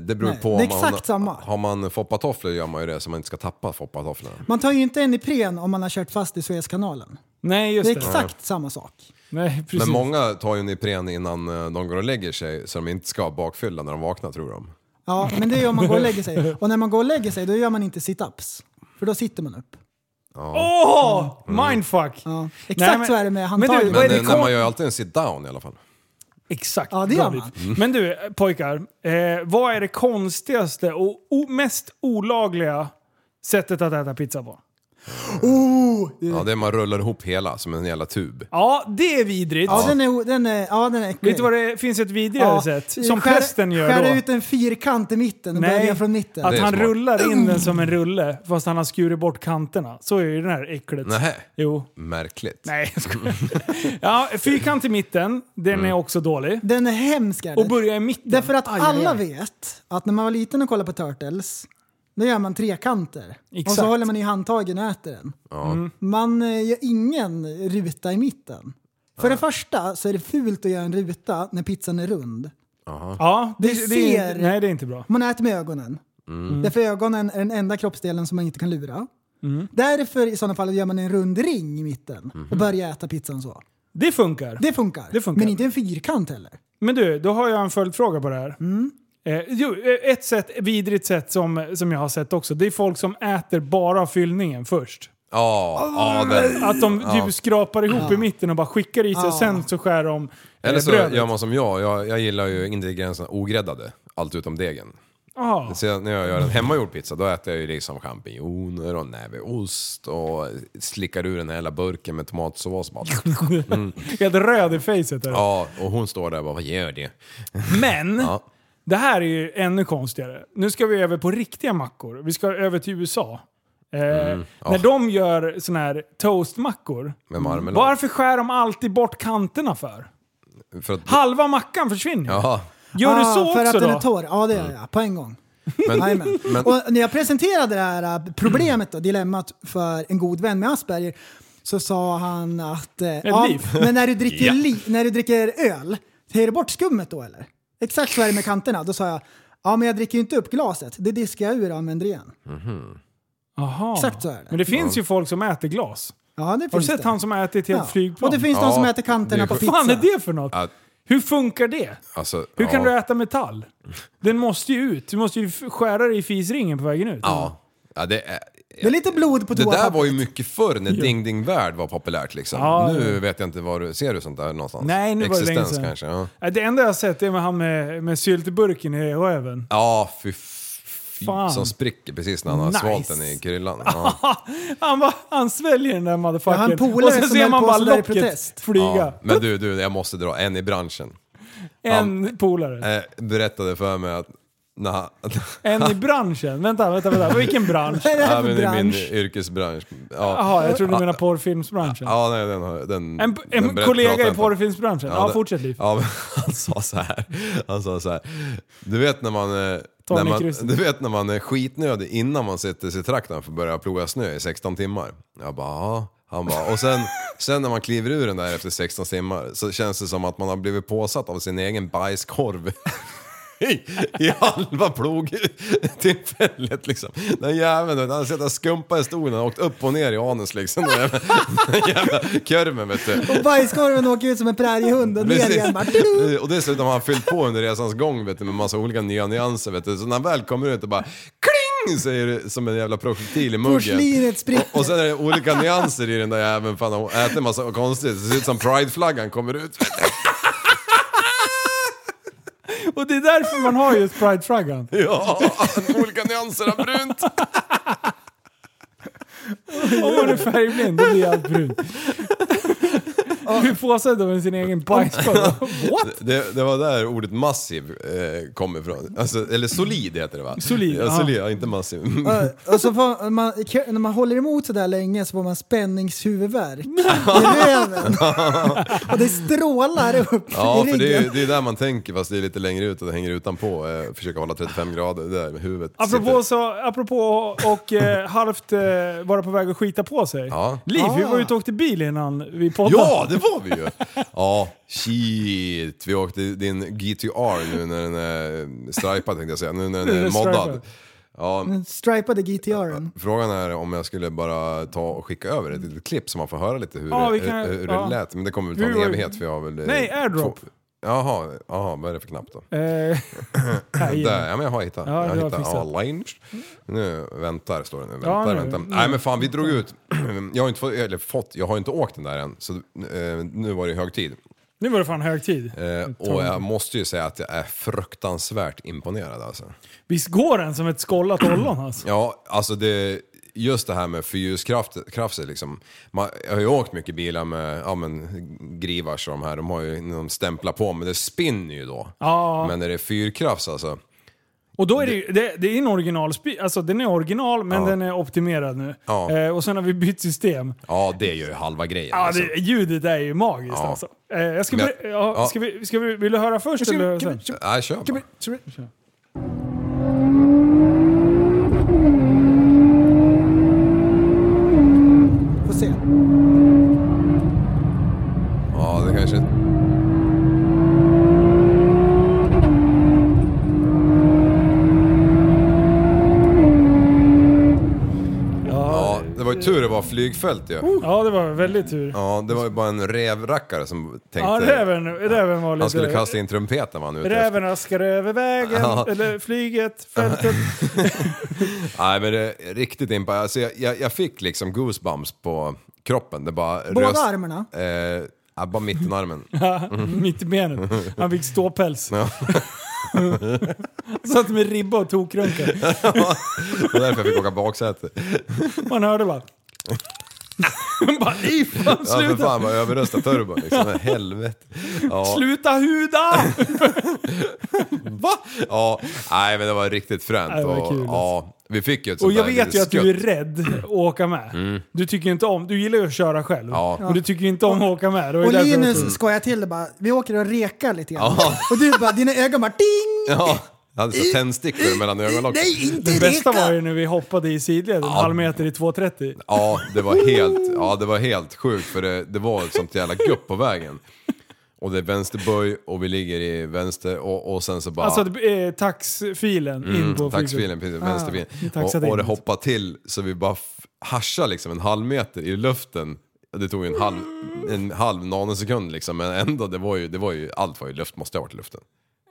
[SPEAKER 1] det beror
[SPEAKER 7] Nej,
[SPEAKER 1] på.
[SPEAKER 7] det är
[SPEAKER 1] om man-
[SPEAKER 7] exakt samma.
[SPEAKER 1] Har man foppatofflor gör man ju det så man inte ska tappa foppatofflorna.
[SPEAKER 7] Man tar ju inte en Ipren om man har kört fast i Suezkanalen.
[SPEAKER 2] Nej,
[SPEAKER 7] Det
[SPEAKER 2] just
[SPEAKER 7] är
[SPEAKER 2] det.
[SPEAKER 7] exakt samma sak.
[SPEAKER 2] Nej, precis.
[SPEAKER 1] Men många tar ju Ipren innan eh, de går och lägger sig så de inte ska ha bakfylla när de vaknar tror de.
[SPEAKER 7] Ja, men det är ju om man går och lägger sig. Och när man går och lägger sig, då gör man inte sit-ups. För då sitter man upp.
[SPEAKER 2] Åh! Mindfuck!
[SPEAKER 7] Mm. Ja. Exakt
[SPEAKER 2] Nej, men-
[SPEAKER 7] så är det med
[SPEAKER 2] men du,
[SPEAKER 7] handtaget.
[SPEAKER 2] vad
[SPEAKER 1] Men
[SPEAKER 2] är det
[SPEAKER 1] eh, när
[SPEAKER 2] kon-
[SPEAKER 1] man gör alltid en sit down i alla fall.
[SPEAKER 2] Exakt.
[SPEAKER 7] Ja, det gör
[SPEAKER 2] Bra,
[SPEAKER 7] man.
[SPEAKER 2] Liv. Men du, eh, pojkar. Eh, vad är det konstigaste och o- mest olagliga sättet att äta pizza på?
[SPEAKER 1] Ja, det är man rullar ihop hela som en jävla tub.
[SPEAKER 2] Ja, det är vidrigt.
[SPEAKER 7] Ja, den är, den är, ja, den är äcklig.
[SPEAKER 2] Vet du vad det finns ett vidrigare sätt? Som
[SPEAKER 7] skär-
[SPEAKER 2] prästen gör
[SPEAKER 7] Skär
[SPEAKER 2] då.
[SPEAKER 7] ut en fyrkant i mitten och
[SPEAKER 2] Nej,
[SPEAKER 7] börja från mitten.
[SPEAKER 2] Att
[SPEAKER 1] Det är
[SPEAKER 2] han
[SPEAKER 1] smart.
[SPEAKER 2] rullar in den som en rulle fast han har skurit bort kanterna. Så är ju det här äcklet.
[SPEAKER 1] Nähä.
[SPEAKER 2] Jo.
[SPEAKER 1] Märkligt.
[SPEAKER 2] Nej, jag skojar. Ja, fyrkant i mitten, den
[SPEAKER 1] Mm.
[SPEAKER 2] är också dålig.
[SPEAKER 7] Den är hemsk är
[SPEAKER 2] Och
[SPEAKER 7] den.
[SPEAKER 2] börja i mitten.
[SPEAKER 7] Mm. Därför att
[SPEAKER 2] Aj, aj,
[SPEAKER 7] alla
[SPEAKER 2] aj.
[SPEAKER 7] vet att när man var liten och kollade på Turtles, då gör man trekanter. Och
[SPEAKER 2] Exakt. Mm.
[SPEAKER 7] så håller man i handtagen och äter den. Man eh, gör ingen ruta i mitten. För det första så är det fult att göra en ruta när pizzan är rund.
[SPEAKER 2] Ja, det,
[SPEAKER 7] Det
[SPEAKER 2] det, är,
[SPEAKER 7] ser-
[SPEAKER 2] nej, det är inte bra.
[SPEAKER 7] Man äter med ögonen.
[SPEAKER 2] Mm.
[SPEAKER 7] Därför ögonen är den enda kroppsdelen som man inte kan lura.
[SPEAKER 2] Mm.
[SPEAKER 7] Därför i sådana fall gör man en rund ring i mitten och börjar äta pizzan så.
[SPEAKER 2] Det funkar.
[SPEAKER 7] Det funkar.
[SPEAKER 2] Det funkar.
[SPEAKER 7] Men inte en fyrkant heller.
[SPEAKER 2] Men du, då har jag en följdfråga på det här. Eh, jo, eh, ett sätt, vidrigt sätt som, som jag har sett också, det är folk som äter bara fyllningen först.
[SPEAKER 1] Ja, ja, den.
[SPEAKER 2] Att de typ skrapar ihop i mitten och bara skickar i sig och sen så skär de eh,
[SPEAKER 1] Eller så
[SPEAKER 2] brödet.
[SPEAKER 1] gör man som jag. jag. Jag gillar ju ingredienserna ogräddade. Allt utom degen.
[SPEAKER 2] Ja.
[SPEAKER 1] Så jag, när jag gör en hemmagjord pizza då äter jag ju liksom champinjoner och näveost och slickar ur den här hela burken med tomatsås bara. Mm.
[SPEAKER 2] Helt röd i facet. är du.
[SPEAKER 1] Ja, och hon står där och bara vad gör det?
[SPEAKER 2] Men,
[SPEAKER 1] Ja.
[SPEAKER 2] det här är ju ännu konstigare. Nu ska vi över på riktiga mackor. Vi ska över till USA. Eh, När de gör såna här toastmackor,
[SPEAKER 1] Mm, Med marmelad.
[SPEAKER 2] varför skär de alltid bort kanterna för?
[SPEAKER 1] För att,
[SPEAKER 2] Halva mackan försvinner ju.
[SPEAKER 1] ja,
[SPEAKER 2] Gör du
[SPEAKER 7] Ah,
[SPEAKER 2] så
[SPEAKER 7] för
[SPEAKER 2] också
[SPEAKER 7] att
[SPEAKER 2] då?
[SPEAKER 7] den är torr. Ja, det gör jag. På en gång.
[SPEAKER 1] men,
[SPEAKER 7] Jajamän. Och när jag presenterade det här äh, problemet och dilemmat för en god vän med Asperger så sa han att eh, ja,
[SPEAKER 2] liv.
[SPEAKER 7] men när, du dricker li, när du dricker öl, tar du bort skummet då eller? Exakt så är det med kanterna. Då sa jag ja men jag dricker ju inte upp glaset, det diskar jag ur och använder igen.
[SPEAKER 2] Aha.
[SPEAKER 7] Exakt så är det.
[SPEAKER 2] Men det finns ju folk som äter glas.
[SPEAKER 7] Ja, det
[SPEAKER 2] Har du
[SPEAKER 7] finns
[SPEAKER 2] sett
[SPEAKER 7] det.
[SPEAKER 2] han som har ätit helt
[SPEAKER 7] Ja.
[SPEAKER 2] flygplan?
[SPEAKER 7] Och det finns de
[SPEAKER 1] Ja,
[SPEAKER 7] som äter
[SPEAKER 1] det
[SPEAKER 7] kanterna
[SPEAKER 1] är
[SPEAKER 7] på
[SPEAKER 1] sjukt.
[SPEAKER 7] pizza.
[SPEAKER 2] Vad fan är det för något?
[SPEAKER 1] att,
[SPEAKER 2] Hur funkar det?
[SPEAKER 1] alltså,
[SPEAKER 2] Hur
[SPEAKER 1] ja,
[SPEAKER 2] kan du äta metall? Den måste ju ut. Du måste ju f- skära dig i fisringen på vägen ut.
[SPEAKER 1] Ja, ja det är...
[SPEAKER 7] Det är lite blod på
[SPEAKER 1] Det där var
[SPEAKER 7] toapappret.
[SPEAKER 1] ju mycket förr när Ding Ding Värld var populärt liksom.
[SPEAKER 2] Ja,
[SPEAKER 1] nu vet jag inte var du... Ser du sånt där någonstans?
[SPEAKER 2] Nej, nu var det
[SPEAKER 1] Existens
[SPEAKER 2] länge sedan.
[SPEAKER 1] kanske? Ja,
[SPEAKER 2] Nej, Det enda jag har sett är med han med, med syltburken i röven.
[SPEAKER 1] ja fy
[SPEAKER 2] Fan.
[SPEAKER 1] fan. Som spricker precis när han har
[SPEAKER 2] Nice.
[SPEAKER 1] svalt den i kryllan. Ja.
[SPEAKER 2] Han, bara, han sväljer den där
[SPEAKER 7] Ja, han
[SPEAKER 2] motherfuckern.
[SPEAKER 7] polare
[SPEAKER 2] och sen
[SPEAKER 7] som
[SPEAKER 2] ser
[SPEAKER 7] höll
[SPEAKER 2] man
[SPEAKER 7] på
[SPEAKER 2] bara
[SPEAKER 7] sådär i
[SPEAKER 2] locket
[SPEAKER 7] protest.
[SPEAKER 2] flyga.
[SPEAKER 1] Ja. Men du, du, jag måste dra en i branschen.
[SPEAKER 2] En polare.
[SPEAKER 1] Eh, berättade för mig att... När han,
[SPEAKER 2] En i branschen. Vänta, vänta, vänta. Vilken bransch?
[SPEAKER 7] Vad är det här
[SPEAKER 1] Ja,
[SPEAKER 7] för
[SPEAKER 1] men i min
[SPEAKER 7] bransch?
[SPEAKER 1] yrkesbransch. Ja,
[SPEAKER 2] Jaha, jag trodde du menade porrfilmsbranschen.
[SPEAKER 1] ja nej, den, har- den, den
[SPEAKER 2] En, en
[SPEAKER 1] berätt- pratar
[SPEAKER 2] kollega i
[SPEAKER 1] jag inte om.
[SPEAKER 2] porrfilmsbranschen. Ja,
[SPEAKER 1] det-
[SPEAKER 2] fortsätt Liv.
[SPEAKER 1] Ja, men han sa så här. Han sa så här. Du vet när man... eh,
[SPEAKER 2] Tony
[SPEAKER 1] När man
[SPEAKER 2] Kristensson.
[SPEAKER 1] du vet när man är skitnödig innan man sätter sig i traktorn för att börja ploga snö i 16 timmar. Jag bara, ja. Han bara, och sen, sen när man kliver ur den där efter 16 timmar så känns det som att man har blivit påsatt av sin egen bajskorv. I, I halva plogtillfället liksom. Den jäveln han har suttit och skumpat i stolen och åkt upp och ner i anus liksom. Den jävla, den jävla körmen vet du.
[SPEAKER 7] Och bajskorven åker ut som en präriehund och ner
[SPEAKER 1] Precis.
[SPEAKER 7] igen. Bara,
[SPEAKER 1] Och dessutom har han fyllt på under resans gång vet du, med massa olika nya nyanser. Vet du. Så när han väl kommer ut och bara kling säger det som en jävla projektil i muggen.
[SPEAKER 7] Porslinet spricker.
[SPEAKER 1] Och sen är det olika nyanser i den där jäveln. Fan, hon äter massa konstigt. Det ser ut som prideflaggan kommer ut.
[SPEAKER 2] Och det är därför man har just prideflaggan.
[SPEAKER 1] Ja, olika nyanser av brunt.
[SPEAKER 2] Om man är färgblind, då blir allt brunt. Hur påsad av sin egen bajskorv. What?
[SPEAKER 1] Det, det var där ordet massiv eh, kommer ifrån. Alltså, eller solid heter det va?
[SPEAKER 2] Solid,
[SPEAKER 1] ja.
[SPEAKER 2] ja.
[SPEAKER 1] Solid, ja, inte massiv.
[SPEAKER 7] Ja, Eh, och så får man, när man håller emot så där länge så får man spänningshuvudvärk i röven. och det strålar upp
[SPEAKER 1] Ja,
[SPEAKER 7] i
[SPEAKER 1] för det är,
[SPEAKER 7] ryggen.
[SPEAKER 1] det är där man tänker fast det är lite längre ut och det hänger utanpå. Eh, försöka hålla 35 grader där med huvudet.
[SPEAKER 2] Apropå,
[SPEAKER 1] sitter.
[SPEAKER 2] så, apropå och eh, halvt eh, vara på väg att skita på sig.
[SPEAKER 1] Ja.
[SPEAKER 2] Liv, vi var ute och åkte bil innan vi poddade.
[SPEAKER 1] Ja, det var vi ju! Ja, shit. Vi åkte din GTR nu när den är stripad tänkte jag säga, nu när den
[SPEAKER 2] Nu är
[SPEAKER 1] är
[SPEAKER 2] den
[SPEAKER 1] moddad.
[SPEAKER 2] stripad.
[SPEAKER 1] Ja,
[SPEAKER 7] Den stripade GTR'n.
[SPEAKER 1] Frågan är om jag skulle bara ta och skicka över ett litet klipp så man får höra lite hur,
[SPEAKER 2] Ja, vi
[SPEAKER 1] det-
[SPEAKER 2] kan-
[SPEAKER 1] hur, hur
[SPEAKER 2] ja.
[SPEAKER 1] det lät. Men det kommer väl ta en
[SPEAKER 2] Hur-
[SPEAKER 1] evighet för jag har väl... eh,
[SPEAKER 2] Nej, airdrop.
[SPEAKER 1] två- Jaha, jaha, vad är det för knapp då?
[SPEAKER 2] Eh, här inne.
[SPEAKER 1] Där, ja men jag har hittat.
[SPEAKER 2] Ja,
[SPEAKER 1] jag har
[SPEAKER 2] du har
[SPEAKER 1] hittat
[SPEAKER 2] fixat.
[SPEAKER 1] online. Nu väntar, står det nu. Väntar,
[SPEAKER 2] Ja, nu.
[SPEAKER 1] väntar.
[SPEAKER 2] Mm.
[SPEAKER 1] Nej men fan, vi drog ut. Jag har inte fått, eller fått, jag har inte åkt den där än. Så eh, nu var det hög tid.
[SPEAKER 2] Nu var det fan hög tid.
[SPEAKER 1] Eh, och jag måste ju säga att jag är fruktansvärt imponerad alltså.
[SPEAKER 2] Visst går den som ett skållat ollon alltså?
[SPEAKER 1] Ja, alltså det, just det här med fyrhjulskrafter liksom. Man, jag har ju åkt mycket bilar med, ja men Grivars och de här, de har ju, de stämplar på men det spinner ju då.
[SPEAKER 2] Ja,
[SPEAKER 1] Men när det är fyrkrafts alltså,
[SPEAKER 2] och då är det ju, det, det är en originalspeed, alltså den är original men den är optimerad nu.
[SPEAKER 1] Ja.
[SPEAKER 2] Eh, och sen har vi bytt system.
[SPEAKER 1] ja det är ju halva grejen.
[SPEAKER 2] Ja,
[SPEAKER 1] alltså.
[SPEAKER 2] det, ljudet är ju magiskt
[SPEAKER 1] Ja.
[SPEAKER 2] alltså. Eh, jag ska,
[SPEAKER 1] Men-
[SPEAKER 2] ber- ja,
[SPEAKER 1] ja.
[SPEAKER 2] ska, vi, ska vi, vill du höra först eller sen?
[SPEAKER 1] Nej, kör bara.
[SPEAKER 7] Får se.
[SPEAKER 1] Ja, det kanske... Ja, det var ju tur det var flygfält ju.
[SPEAKER 2] Ja, det var väldigt tur.
[SPEAKER 1] Ja, det var ju bara en rävrackare som tänkte...
[SPEAKER 2] Ja, räven, räven var lite...
[SPEAKER 1] Han skulle kasta in trumpeten var han ute efter.
[SPEAKER 2] Räven askar över vägen,
[SPEAKER 1] Ja.
[SPEAKER 2] eller flyget, fältet.
[SPEAKER 1] Nej men det är riktigt impa. Alltså, jag, jag, jag fick liksom goosebumps på kroppen. Det bara
[SPEAKER 7] Båda armarna?
[SPEAKER 1] Eh, ja, bara mittenarmen.
[SPEAKER 2] Mitt i benen. Han fick ståpäls. Satt med ribba och tokrunkade.
[SPEAKER 1] Det var därför jag fick åka baksäte.
[SPEAKER 2] Man hörde bara... bara nej fan,
[SPEAKER 1] Ja, för
[SPEAKER 2] sluta!
[SPEAKER 1] fan vad överrösta turbon liksom. Helvete. Ja,
[SPEAKER 2] Sluta huda!
[SPEAKER 1] va? Ja, nej men det var riktigt
[SPEAKER 2] Nej,
[SPEAKER 1] fränt.
[SPEAKER 2] det var
[SPEAKER 1] Och,
[SPEAKER 2] kul, alltså.
[SPEAKER 1] ja, vi fick ju ett
[SPEAKER 2] Och
[SPEAKER 1] sånt
[SPEAKER 2] jag
[SPEAKER 1] där
[SPEAKER 2] vet ju
[SPEAKER 1] litet
[SPEAKER 2] att du är
[SPEAKER 1] skutt.
[SPEAKER 2] rädd att åka med. Du tycker ju inte om... Du gillar ju att köra själv.
[SPEAKER 1] Mm. Ja.
[SPEAKER 2] Och du tycker ju inte om att åka med. Det var ju
[SPEAKER 7] Och
[SPEAKER 2] därför jag
[SPEAKER 7] Linus
[SPEAKER 2] tog-
[SPEAKER 7] skojar till det bara. Vi åker och rekar lite grann. Och du bara, dina ögon bara ding!
[SPEAKER 1] Ja, jag hade så tändstickor mellan ögonlocken.
[SPEAKER 7] Nej, inte
[SPEAKER 2] Det bästa var
[SPEAKER 7] reka!
[SPEAKER 2] ju när vi hoppade i sidled en halv meter i 2,30.
[SPEAKER 1] Ja, det var helt, ja, det var helt sjukt för det, det var ett sånt jävla gupp på vägen. Och det är vänsterböj och vi ligger i vänster och, och sen så bara...
[SPEAKER 2] Alltså eh, taxfilen in på
[SPEAKER 1] Mm, Taxfilen, precis,
[SPEAKER 2] Ah,
[SPEAKER 1] vänsterfilen.
[SPEAKER 2] taxade
[SPEAKER 1] och, och
[SPEAKER 2] in.
[SPEAKER 1] det hoppade till så vi bara f- haschade liksom en halv meter i luften. Det tog en halv, en halv nanosekund liksom, men ändå, det var ju, det var ju, allt var ju luft, måste ha varit i luften.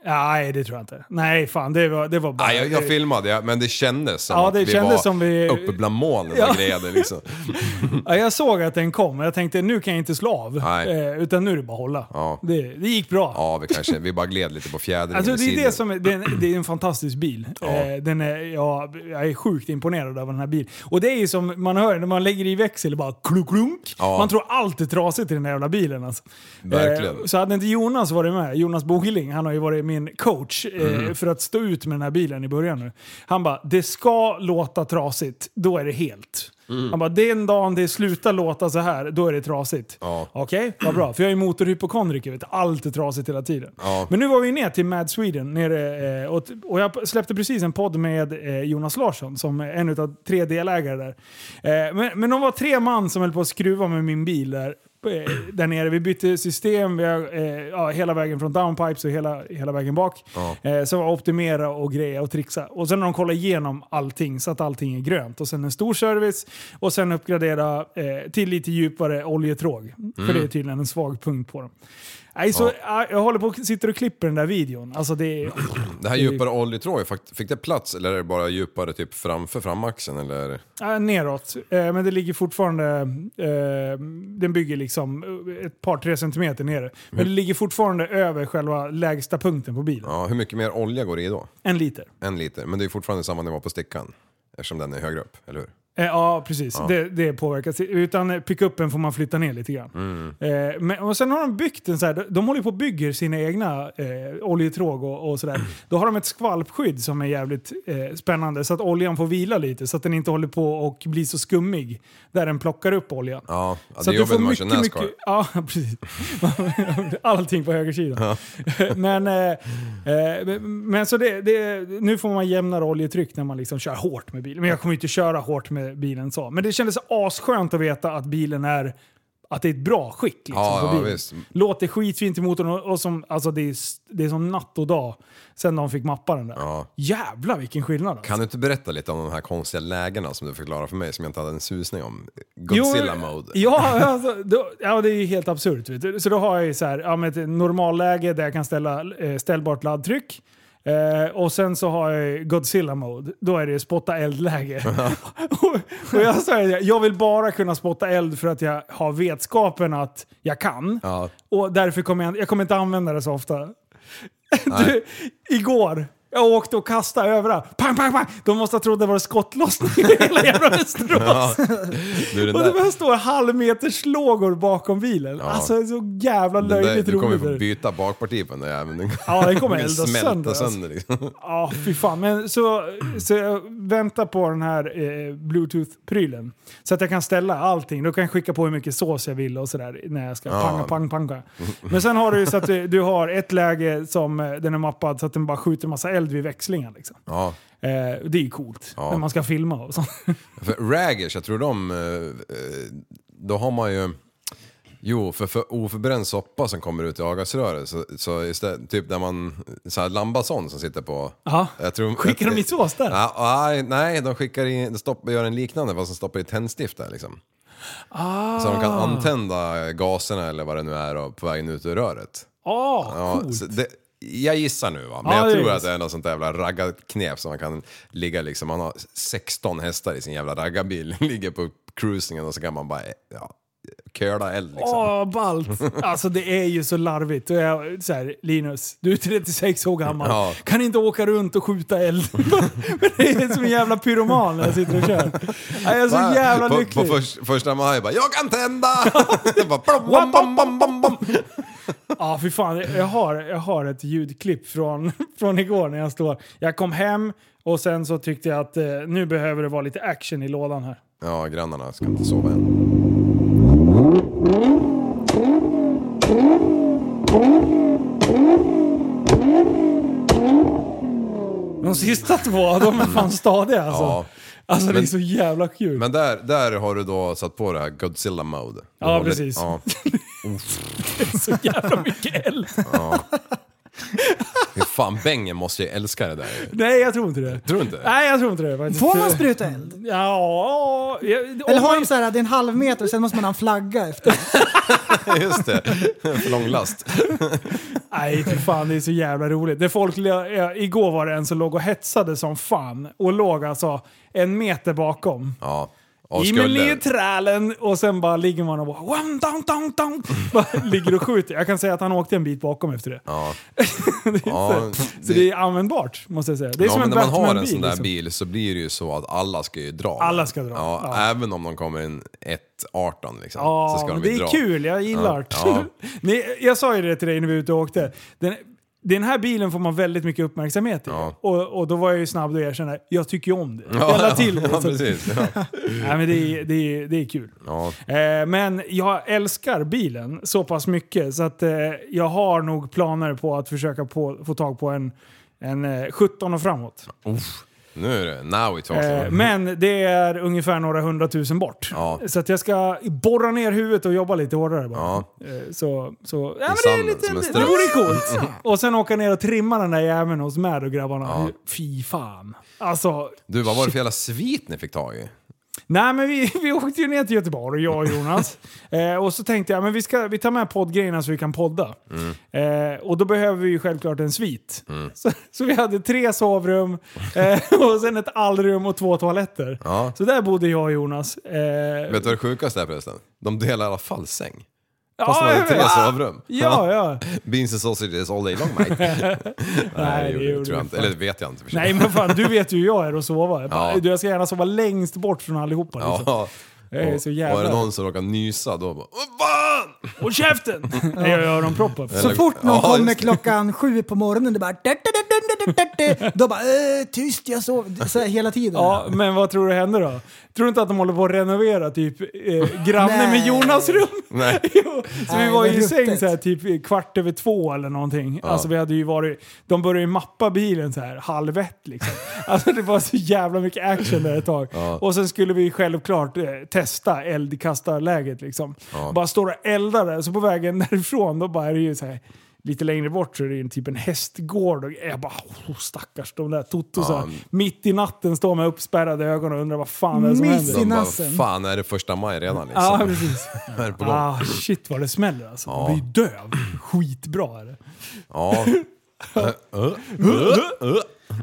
[SPEAKER 2] Nej, det tror jag inte. Nej, fan det var, det var bara...
[SPEAKER 1] Nej, jag, jag filmade, ja, men det kändes som
[SPEAKER 2] Ja,
[SPEAKER 1] att
[SPEAKER 2] det
[SPEAKER 1] vi
[SPEAKER 2] kändes
[SPEAKER 1] var
[SPEAKER 2] som vi-
[SPEAKER 1] uppe bland molnen och
[SPEAKER 2] Ja.
[SPEAKER 1] grejade liksom.
[SPEAKER 2] Ja, jag såg att den kom och jag tänkte nu kan jag inte slå av.
[SPEAKER 1] Nej.
[SPEAKER 2] Eh, utan nu är det bara att hålla.
[SPEAKER 1] Ja.
[SPEAKER 2] Det, det gick bra.
[SPEAKER 1] Ja, vi kanske, vi bara gled lite på fjädringen
[SPEAKER 2] Alltså,
[SPEAKER 1] i
[SPEAKER 2] det, är
[SPEAKER 1] sidorna.
[SPEAKER 2] det, som är, det, är en, det är en fantastisk bil.
[SPEAKER 1] Ja.
[SPEAKER 2] Eh, den är, ja, jag är sjukt imponerad av den här bilen. Och det är ju som man hör när man lägger i växel, bara kluklunk.
[SPEAKER 1] Ja.
[SPEAKER 2] Man tror allt är trasigt i den här jävla bilen. Alltså. Eh,
[SPEAKER 1] Verkligen.
[SPEAKER 2] så hade inte Jonas varit med, Jonas Bogeling, han har ju varit min coach eh,
[SPEAKER 1] Mm-hmm.
[SPEAKER 2] för att stå ut med den här bilen i början nu. Han bara, det ska låta trasigt, då är det helt.
[SPEAKER 1] Mm.
[SPEAKER 2] Han bara, den dagen det slutar låta så här, då är det trasigt.
[SPEAKER 1] Ja.
[SPEAKER 2] Okej, vad bra. För jag är motorhypokondriker, vet du. allt är trasigt hela tiden.
[SPEAKER 1] Ja.
[SPEAKER 2] Men nu var vi ner till Mad Sweden nere, eh, och, och jag släppte precis en podd med eh, Jonas Larsson som är en av tre delägare där. Eh, Men, men de var tre man som höll på att skruva med min bil där, eh, där nere. Vi bytte system vi har, eh, ja, hela vägen från downpipes och hela, hela vägen bak.
[SPEAKER 1] Ja.
[SPEAKER 2] Eh, Så var optimera och greja och trixa. Och sen har de kollat igenom allting så att allting är grönt. Och sen en stor service och sen uppgradera eh, till lite djupare oljetråg. För
[SPEAKER 1] Mm.
[SPEAKER 2] det är tydligen en svag punkt på dem. Nej, så, eh, Jag håller på och sitter och klipper den där videon. Alltså det är...
[SPEAKER 1] Det här djupare oljetråget, fakt- fick det plats eller är det bara djupare typ framför framaxeln eller?
[SPEAKER 2] Ja, neråt. Eh, men det ligger fortfarande... Eh, den bygger liksom ett par, tre centimeter nere. Men det ligger fortfarande över själva lägsta punkten på bilen.
[SPEAKER 1] Ja, hur mycket mer olja går det i då?
[SPEAKER 2] En liter.
[SPEAKER 1] En liter, men det är fortfarande samma nivå på stickan. Eftersom den är högre upp, eller hur?
[SPEAKER 2] Eh, ja, precis. Det, det påverkas. Utan eh, pickuppen får man flytta ner lite grann. Eh, men, och sen har de byggt en så här, de- de håller på och bygger sina egna eh, oljetråg och, och sådär. Då har de ett skvalpskydd som är jävligt eh, spännande så att oljan får vila lite så att den inte håller på och blir så skummig där den plockar upp oljan.
[SPEAKER 1] Ja, ja
[SPEAKER 2] Så
[SPEAKER 1] det
[SPEAKER 2] att
[SPEAKER 1] är
[SPEAKER 2] du
[SPEAKER 1] jobbigt
[SPEAKER 2] får
[SPEAKER 1] när man kör
[SPEAKER 2] mycket,
[SPEAKER 1] Nascar.
[SPEAKER 2] mycket, Ja, precis. Allting på högersidan. men, eh, eh, men så det, det, nu får man jämnare oljetryck när man liksom kör hårt med bilen. Men jag kommer ju inte köra hårt med bilen så. Men det kändes asskönt att veta att bilen är att det är ett bra skick. Liksom,
[SPEAKER 1] Ja,
[SPEAKER 2] på
[SPEAKER 1] ja,
[SPEAKER 2] bilen.
[SPEAKER 1] visst.
[SPEAKER 2] Låter skitfint i motorn och, och som, alltså, det, är, s- det är som natt och dag sen de fick mappa den där.
[SPEAKER 1] Ja.
[SPEAKER 2] Jävlar vilken skillnad. alltså.
[SPEAKER 1] Kan du inte berätta lite om de här konstiga lägena som du förklarar för mig som jag inte hade en susning om? Godzilla-mode.
[SPEAKER 2] Ja, alltså, då, ja, det är ju helt absurt. Vet du. Så då har jag ju så här, ja, men ett normalläge där jag kan ställa eh, ställbart laddtryck. Eh, och sen så har jag ju Godzilla-mode. Då är det spotta eld-läge. och, och jag säger jag vill bara kunna spotta eld för att jag har vetskapen att jag kan.
[SPEAKER 1] Ja.
[SPEAKER 2] Och därför kommer jag, jag kommer inte använda det så ofta.
[SPEAKER 1] Nej.
[SPEAKER 2] Du, igår, jag åkte och kastade överallt. Pang, pang, pang! De måste ha trott det var skottlossning i hela jävla Västerås.
[SPEAKER 1] Ja. Du, den
[SPEAKER 2] Och det
[SPEAKER 1] där,
[SPEAKER 2] bara står halvmeterslågor bakom bilen.
[SPEAKER 1] Ja.
[SPEAKER 2] Alltså det är så jävla
[SPEAKER 1] den där,
[SPEAKER 2] löjligt
[SPEAKER 1] du kommer ju
[SPEAKER 2] roligt.
[SPEAKER 1] få
[SPEAKER 2] är det.
[SPEAKER 1] byta bakparti på den där jäveln. Den
[SPEAKER 2] Ja, den kommer
[SPEAKER 1] kommer
[SPEAKER 2] elda sönder.
[SPEAKER 1] smälta
[SPEAKER 2] Alltså.
[SPEAKER 1] sönder liksom.
[SPEAKER 2] Ja, fy fan. Men så, så jag väntar på den här eh, bluetooth-prylen. Så att jag kan ställa allting. Då kan jag skicka på hur mycket sås jag vill och sådär. När jag ska
[SPEAKER 1] Ja.
[SPEAKER 2] panga, pang, panga. Men sen har du ju så att du, du har ett läge som eh, den är mappad så att den bara skjuter massa eld vid växlingen. Liksom.
[SPEAKER 1] Ja.
[SPEAKER 2] Eh, och det är ju coolt.
[SPEAKER 1] Ja.
[SPEAKER 2] När man ska filma och sånt.
[SPEAKER 1] För raggers, jag tror de... eh, eh, Då har man ju... Jo, för, för oförbränd soppa som kommer ut i avgasröret, så, så istället, typ där man... Så här Lambasson som sitter på...
[SPEAKER 2] Ja.
[SPEAKER 1] Jag tror,
[SPEAKER 2] Skickar de i sås där?
[SPEAKER 1] Ja, nej, nej, de skickar i, de stoppar, gör en liknande vad som stoppar i tändstift där liksom. Så de kan
[SPEAKER 2] Ah.
[SPEAKER 1] antända gaserna eller vad det nu är och, på vägen ut ur röret.
[SPEAKER 2] Ah,
[SPEAKER 1] Ja,
[SPEAKER 2] coolt.
[SPEAKER 1] så det, jag gissar nu va, men
[SPEAKER 2] Ja,
[SPEAKER 1] jag
[SPEAKER 2] det
[SPEAKER 1] tror
[SPEAKER 2] är
[SPEAKER 1] att det är något sånt där jävla raggarknep som man kan ligga liksom, man har 16 hästar i sin jävla raggarbil, ligger på cruisingen och så kan man bara ja, köla eld liksom.
[SPEAKER 2] Åh, ballt! Alltså det är ju så larvigt. Och jag, så här, Linus, du är 36 år gammal.
[SPEAKER 1] Ja.
[SPEAKER 2] Kan inte åka runt och skjuta eld. Men det är som en jävla pyroman när jag sitter och kör. Jag är så
[SPEAKER 1] Va?
[SPEAKER 2] jävla
[SPEAKER 1] på,
[SPEAKER 2] lycklig.
[SPEAKER 1] på förs- första maj bara, jag kan tända! bara, bom, bom, bom, bom, bom, bom.
[SPEAKER 2] Ja, fy fan. Jag har, jag har ett ljudklipp från, från igår när jag står... Jag kom hem och sen så tyckte jag att eh, nu behöver det vara lite action i lådan här.
[SPEAKER 1] Ja, grannarna ska inte sova än.
[SPEAKER 2] De sista två, de är fan stadiga alltså.
[SPEAKER 1] Mm. Ja.
[SPEAKER 2] Alltså det är
[SPEAKER 1] Men-
[SPEAKER 2] så jävla kul.
[SPEAKER 1] Men där, där har du då satt på det här Godzilla mode. Du
[SPEAKER 2] Ja,
[SPEAKER 1] håller-
[SPEAKER 2] precis.
[SPEAKER 1] Ja,
[SPEAKER 2] Så jävla mycket eld.
[SPEAKER 1] Fy fan, Bengen måste ju älska det där.
[SPEAKER 2] Nej, jag tror inte det.
[SPEAKER 1] Tror du inte?
[SPEAKER 2] Nej, jag tror inte det faktiskt.
[SPEAKER 7] Får man spruta eld?
[SPEAKER 2] Ja... jag-
[SPEAKER 7] Eller
[SPEAKER 2] om
[SPEAKER 7] har
[SPEAKER 2] man-
[SPEAKER 7] de så här att det är en halv meter och sen måste man ha en flagga efter?
[SPEAKER 1] Just det, för lång last.
[SPEAKER 2] Nej, för fan det är så jävla roligt. Det folk, eh, igår var det en som låg och hetsade som fan och låg alltså en meter bakom.
[SPEAKER 1] Ja. Och
[SPEAKER 2] I med
[SPEAKER 1] skulle,
[SPEAKER 2] neutralen och sen bara ligger man och bara... Wam, dong, dong, dong, bara ligger och skjuter. Jag kan säga att han åkte en bit bakom efter det.
[SPEAKER 1] ja.
[SPEAKER 2] det är
[SPEAKER 1] Ja,
[SPEAKER 2] så,
[SPEAKER 1] det-
[SPEAKER 2] så det är användbart, måste jag säga. Det är
[SPEAKER 1] ja,
[SPEAKER 2] som
[SPEAKER 1] men
[SPEAKER 2] en
[SPEAKER 1] när man har en
[SPEAKER 2] Batman-bil.
[SPEAKER 1] sån där
[SPEAKER 2] liksom.
[SPEAKER 1] bil så blir det ju så att alla ska ju dra.
[SPEAKER 2] Alla ska dra,
[SPEAKER 1] Ja,
[SPEAKER 2] ja.
[SPEAKER 1] Även om de kommer en 1.18 liksom. så
[SPEAKER 2] Ja,
[SPEAKER 1] ska de
[SPEAKER 2] men
[SPEAKER 1] ju
[SPEAKER 2] det är
[SPEAKER 1] dra.
[SPEAKER 2] kul. Jag gillar det.
[SPEAKER 1] Ja,
[SPEAKER 2] Ni- jag sa ju det till dig när vi var ute och åkte. Den, den här bilen får man väldigt mycket uppmärksamhet i.
[SPEAKER 1] Ja.
[SPEAKER 2] Och, och då var jag ju snabb att erkänna, jag tycker ju om det.
[SPEAKER 1] Ja,
[SPEAKER 2] jag la till
[SPEAKER 1] ja,
[SPEAKER 2] det. så-
[SPEAKER 1] precis. Ja.
[SPEAKER 2] Nej, men det, är- det, är- det är kul.
[SPEAKER 1] Ja.
[SPEAKER 2] Eh, men jag älskar bilen så pass mycket så att eh, jag har nog planer på att försöka på, få tag på en, en eh, 17 och framåt.
[SPEAKER 1] Nu är det, now it talks.
[SPEAKER 2] Eh, men det är ungefär några hundratusen bort.
[SPEAKER 1] Mm. Ja.
[SPEAKER 2] Så att jag ska borra ner huvudet och jobba lite hårdare bara.
[SPEAKER 1] Ja.
[SPEAKER 2] Eh, Så, så, ja, men det, är
[SPEAKER 1] sanden,
[SPEAKER 2] lite,
[SPEAKER 1] som en
[SPEAKER 2] det,
[SPEAKER 1] struts.
[SPEAKER 2] vore coolt. Och sen åka ner och trimma den där jäveln hos Mad och grabbarna.
[SPEAKER 1] Ja.
[SPEAKER 2] Fy fan. Alltså,
[SPEAKER 1] Du, vad var det för jävla svit ni fick tag i?
[SPEAKER 2] nej men vi, vi åkte ju ner till Göteborg, jag och Jonas. eh, och så tänkte jag, men vi, ska, vi tar med poddgrejerna så vi kan podda.
[SPEAKER 1] Mm.
[SPEAKER 2] Eh, och då behöver vi ju självklart en svit. Så, så vi hade tre sovrum, eh, och sen ett allrum och två toaletter.
[SPEAKER 1] Ja.
[SPEAKER 2] Så där bodde jag och Jonas. Eh,
[SPEAKER 1] Vet du vad det sjukaste är förresten? De delar i alla fall säng.
[SPEAKER 2] ja,
[SPEAKER 1] Fast de
[SPEAKER 2] jag
[SPEAKER 1] hade tre
[SPEAKER 2] vet.
[SPEAKER 1] sovrum.
[SPEAKER 2] Ja, ja.
[SPEAKER 1] Beans and sausages all day long mate.
[SPEAKER 2] Nej,
[SPEAKER 1] Nej, det gjorde, tror
[SPEAKER 2] vi
[SPEAKER 1] jag
[SPEAKER 2] fan
[SPEAKER 1] inte. Eller det vet jag inte. för sig.
[SPEAKER 2] Nej men fan, du vet ju hur jag är att sova. Jag, bara,
[SPEAKER 1] Ja.
[SPEAKER 2] du, jag ska gärna sova längst bort från allihopa. Liksom.
[SPEAKER 1] Ja.
[SPEAKER 2] Jag är
[SPEAKER 1] Och-
[SPEAKER 2] så jävla-
[SPEAKER 1] Och är det någon som råkar nysa då bara "Åh, fan!
[SPEAKER 2] Och käften! Jag gör öronproppar.
[SPEAKER 7] Så fort någon
[SPEAKER 1] Ja,
[SPEAKER 7] kommer
[SPEAKER 1] just det.
[SPEAKER 7] klockan sju på morgonen, det bara... Da, da, da, Då bara eh, tyst, jag sover. Så här hela tiden.
[SPEAKER 2] Ja, men vad tror du händer då? Tror du inte att de håller på att renovera typ eh, grannen med
[SPEAKER 7] Nej.
[SPEAKER 2] Jonas rum?
[SPEAKER 1] Nej.
[SPEAKER 2] jo, så vi
[SPEAKER 7] Nej,
[SPEAKER 2] var
[SPEAKER 7] vad
[SPEAKER 2] ju i säng
[SPEAKER 7] ruttet.
[SPEAKER 2] så här, typ kvart över två eller någonting. Alltså vi hade ju varit, de började ju mappa bilen så här halv ett liksom. Alltså det var så jävla mycket action där ett tag. Och sen skulle vi självklart eh, testa eldkastarläget liksom. Bara stå och elda där, så på vägen därifrån då bara är det ju så här Lite längre bort så är det ju typ en hästgård. Och jag bara, oh, stackars de där tottosarna. Mitt i natten står med uppspärrade ögon och undrar vad fan det är som
[SPEAKER 7] Mitt
[SPEAKER 2] händer.
[SPEAKER 1] De bara,
[SPEAKER 7] nassen.
[SPEAKER 1] fan är det första maj redan liksom?
[SPEAKER 2] Ja, precis.
[SPEAKER 1] Här på gång.
[SPEAKER 2] Ah, shit vad det smäller alltså. Man blir ju döv. Skitbra är det.
[SPEAKER 1] Ja. Äh,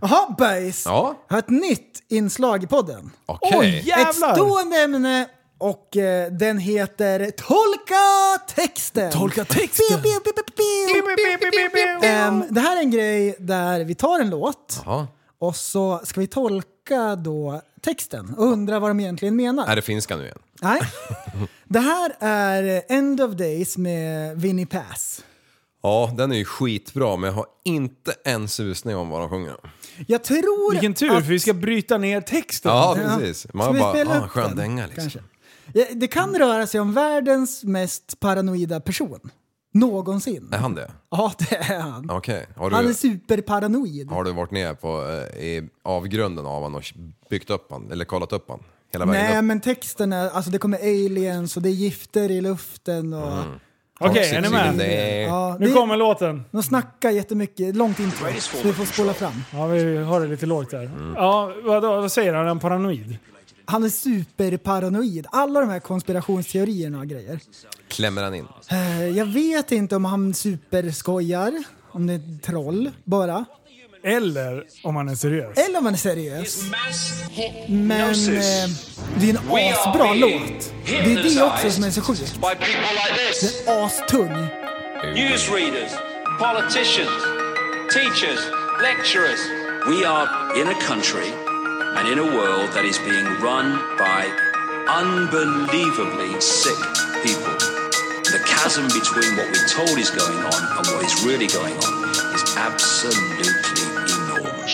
[SPEAKER 7] Jaha böjs!
[SPEAKER 1] Ja,
[SPEAKER 7] Jag har ett nytt inslag i podden.
[SPEAKER 1] okej.
[SPEAKER 2] Oj,
[SPEAKER 7] Ett
[SPEAKER 2] jävlar!
[SPEAKER 7] stående ämne och eh, den heter Tolka texten.
[SPEAKER 2] Tolka texten.
[SPEAKER 7] Pew, pew, pew, pew, pew. Ehm, det här är en grej där vi tar en låt
[SPEAKER 1] Ja.
[SPEAKER 7] och så ska vi tolka då texten och undra vad de egentligen menar.
[SPEAKER 1] Är det finska nu igen?
[SPEAKER 7] Nej. Det här är End of Days med Vinnie Pass.
[SPEAKER 1] Ja, den är ju skitbra men jag har inte en susning om vad de sjunger.
[SPEAKER 7] Jag tror
[SPEAKER 2] Vilken tur,
[SPEAKER 7] att...
[SPEAKER 2] för vi ska bryta ner texten.
[SPEAKER 1] Ja,
[SPEAKER 7] Ja.
[SPEAKER 1] precis.
[SPEAKER 7] Ska
[SPEAKER 1] Man
[SPEAKER 7] vi
[SPEAKER 1] bara,
[SPEAKER 7] spela
[SPEAKER 1] ah,
[SPEAKER 7] upp
[SPEAKER 1] skön
[SPEAKER 7] den?
[SPEAKER 1] dänga liksom.
[SPEAKER 7] Kanske. Ja, Det kan röra sig om världens mest paranoida person. Någonsin.
[SPEAKER 1] Är han det?
[SPEAKER 7] Ja, det är han.
[SPEAKER 1] Okej. Har,
[SPEAKER 7] Han är
[SPEAKER 1] du,
[SPEAKER 7] superparanoid.
[SPEAKER 1] har du varit ner på eh, i avgrunden av han och byggt upp han eller kollat upp han? Hela vägen
[SPEAKER 7] Nej,
[SPEAKER 1] upp?
[SPEAKER 7] men texten är... Alltså det kommer aliens och det är gifter i luften och...
[SPEAKER 2] Okej,
[SPEAKER 1] Toxic
[SPEAKER 2] Mm. är ni med?
[SPEAKER 1] Sunday.
[SPEAKER 7] Ja,
[SPEAKER 2] Nu
[SPEAKER 7] det-
[SPEAKER 2] kommer låten.
[SPEAKER 7] De snackar jättemycket, långt intro. Så vi får spola fram.
[SPEAKER 2] Ja, vi har det lite lågt där.
[SPEAKER 1] Mm.
[SPEAKER 2] Ja, vadå, vad säger han? Är han paranoid?
[SPEAKER 7] Han är superparanoid. Alla de här konspirationsteorierna och grejer.
[SPEAKER 1] Klämmer han in?
[SPEAKER 7] Eh, Jag vet inte om han superskojar, om det är ett troll bara.
[SPEAKER 2] Eller om han är seriös?
[SPEAKER 7] Eller om han är seriös. Men eh, det är en asbra låt. Det är det också som är så sjukt.
[SPEAKER 10] by people like this
[SPEAKER 7] Den är astung.
[SPEAKER 10] newsreaders, politicians, teachers, lecturers. We are in a country and in a world that is being run by unbelievably sick people. The chasm between what we're told is going on and what is really going on is absolutely enormous.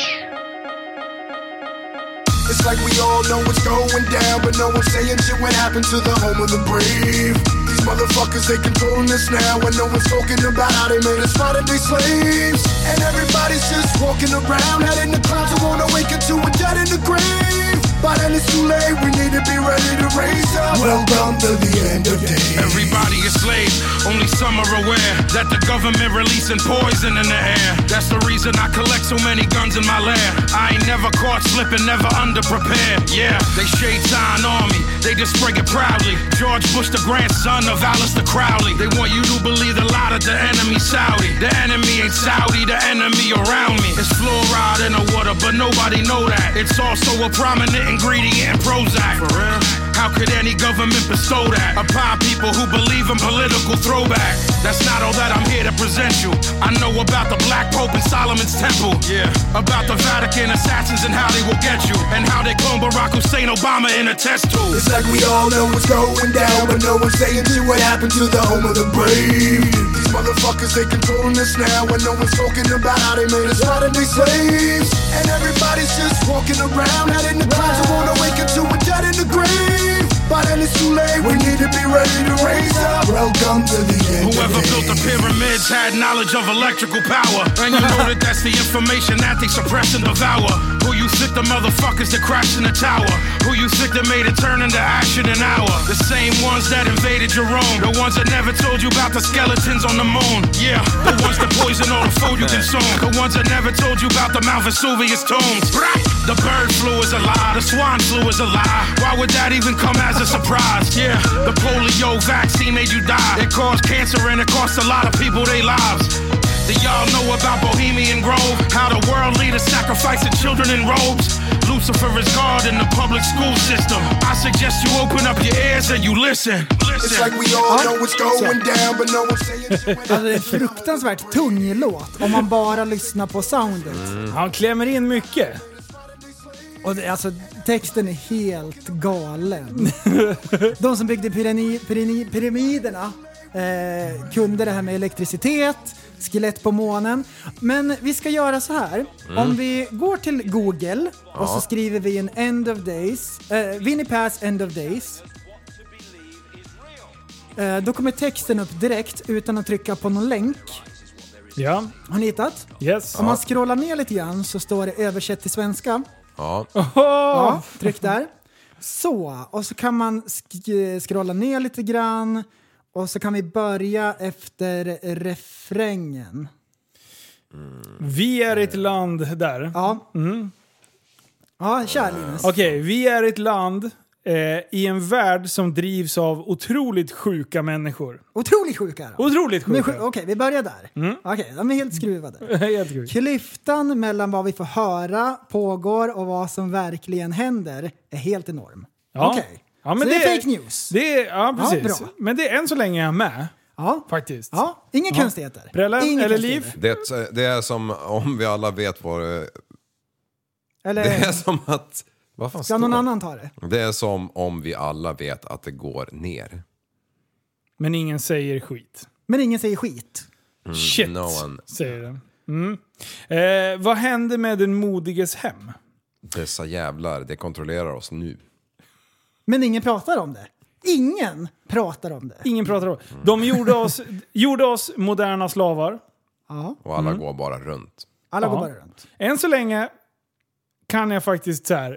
[SPEAKER 11] It's like we all know what's going down, but no one's saying shit what happened to the home of the brave. These motherfuckers, they controlling us now, and no one's talking about how they made us modern day slaves. And everybody's just walking around, head in the clouds, and won't awaken to a dead in the grave. By then it's too late, we need to be ready to raise up. Welcome to the end of days.
[SPEAKER 9] Everybody is slaves, only some are aware that the government releasing poison in the air. That's the reason I collect so many guns in my lair. I ain't never caught slipping, never underprepared. Yeah, they shade sign on me, they just spray it proudly. George Bush, the grandson of Alistair Crowley. They want you to believe the lie that the enemy Saudi. The enemy ain't Saudi, the enemy around me. It's fluoride in the water, but nobody know that. It's also a prominent ingredient in Prozac. For real? How could any government bestow that upon people who believe in political throwback? That's not all that I'm here to present you. I know about the Black Pope and Solomon's Temple. Yeah. About the Vatican assassins and how they will get you. And how they clone Barack Hussein Obama in a test tube.
[SPEAKER 11] It's like we all know what's going down, but no one's saying shit what happened to the home of the brave. These motherfuckers, they controlling us now, and no one's talking about how they made us modern day slaves. And everybody's just walking around, head in the clouds, and won't awaken to a dead in the grave. By then it's too late, we need to be ready to raise up. Welcome to the end.
[SPEAKER 9] Whoever
[SPEAKER 11] of
[SPEAKER 9] built the
[SPEAKER 11] days.
[SPEAKER 9] pyramids had knowledge of electrical power. And you know that that's the information that they suppress and devour. Who you sick the motherfuckers that crashed in the tower? Who you sick that made it turn into ash in an hour? The same ones that invaded your Jerome. The ones that never told you about the skeletons on the moon. Yeah, the ones that poison all the food you consume. The ones that never told you about the Mount Vesuvius tombs. The bird flu is a lie, the swan flu is a lie. Why would that even come as a surprise? Yeah, the polio vaccine made you die. It caused cancer and it cost a lot of people their lives. Do y'all know about Bohemian Grove? How the world leaders sacrificing children in robes? Lucifer is God in the public school system. I suggest you open up your ears and you listen. Listen.
[SPEAKER 11] It's like we all know what's going down, but no one's saying shit what
[SPEAKER 7] Alltså, det är en fruktansvärt tung låt om man bara lyssnar på soundet.
[SPEAKER 1] Mm.
[SPEAKER 2] Han klämmer in mycket.
[SPEAKER 7] Och det, alltså, texten är helt galen. De som byggde pyrani, pyrini, pyramiderna eh, kunde det här med elektricitet, skelett på månen. Men vi ska göra så här.
[SPEAKER 8] Mm.
[SPEAKER 7] Om vi går till Google och
[SPEAKER 8] Ja.
[SPEAKER 7] så skriver vi en End of Days, eh, Winnie Pass End of Days. Eh, då kommer texten upp direkt utan att trycka på någon länk.
[SPEAKER 2] Ja.
[SPEAKER 7] Har ni hittat?
[SPEAKER 2] Yes. Ah.
[SPEAKER 7] Om man scrollar ner lite grann så står det översätt till svenska.
[SPEAKER 1] Ja.
[SPEAKER 7] Ja, tryck där. Så, och så kan man sk- scrolla ner lite grann och så kan vi börja efter refrängen.
[SPEAKER 2] Vi är ett land där.
[SPEAKER 7] Ja.
[SPEAKER 2] Mm.
[SPEAKER 7] Ja, kör Linus.
[SPEAKER 2] Okej, vi är ett land eh, i en värld som drivs av otroligt sjuka människor.
[SPEAKER 7] Otroligt sjuka då.
[SPEAKER 2] Otroligt
[SPEAKER 7] Men
[SPEAKER 2] sjuka. Mm.
[SPEAKER 7] sju- Okej, vi börjar där. Okej, de är helt skruvade.
[SPEAKER 2] Helt sjukt.
[SPEAKER 7] Klyftan mellan vad vi får höra, pågår och vad som verkligen händer är helt enorm.
[SPEAKER 2] Ja.
[SPEAKER 7] Okej.
[SPEAKER 2] Ja, men
[SPEAKER 7] så det är
[SPEAKER 2] det-
[SPEAKER 7] fake news.
[SPEAKER 2] Det är, ja,
[SPEAKER 7] Ja,
[SPEAKER 2] precis.
[SPEAKER 7] bra.
[SPEAKER 2] men det är än så länge är jag med.
[SPEAKER 7] Ja.
[SPEAKER 2] Faktiskt.
[SPEAKER 7] Ja, inga
[SPEAKER 2] Ja.
[SPEAKER 7] konstigheter.
[SPEAKER 2] Prällen
[SPEAKER 7] Inga
[SPEAKER 2] eller
[SPEAKER 7] konstigheter.
[SPEAKER 2] liv?
[SPEAKER 1] Det, det är som om vi alla vet eh, vad det...
[SPEAKER 7] Eller
[SPEAKER 1] Det är som att... Vad fan
[SPEAKER 7] Eh, ska
[SPEAKER 1] står
[SPEAKER 7] någon
[SPEAKER 1] det?
[SPEAKER 7] annan ta det?
[SPEAKER 1] Det är som om vi alla vet att det går ner.
[SPEAKER 2] Men ingen säger skit.
[SPEAKER 7] Men ingen säger skit.
[SPEAKER 1] Mm,
[SPEAKER 2] Shit,
[SPEAKER 1] no one-
[SPEAKER 2] säger den. Mm. Eh, vad händer med den modiges hem?
[SPEAKER 1] Dessa jävlar, det kontrollerar oss nu.
[SPEAKER 7] Men ingen pratar om det. Ingen pratar om det.
[SPEAKER 2] Ingen pratar om
[SPEAKER 1] Mm.
[SPEAKER 2] De gjorde oss, gjorde oss moderna slavar.
[SPEAKER 7] Ja.
[SPEAKER 1] Och alla går bara runt.
[SPEAKER 7] Alla går bara runt.
[SPEAKER 2] Än så länge kan jag faktiskt så här,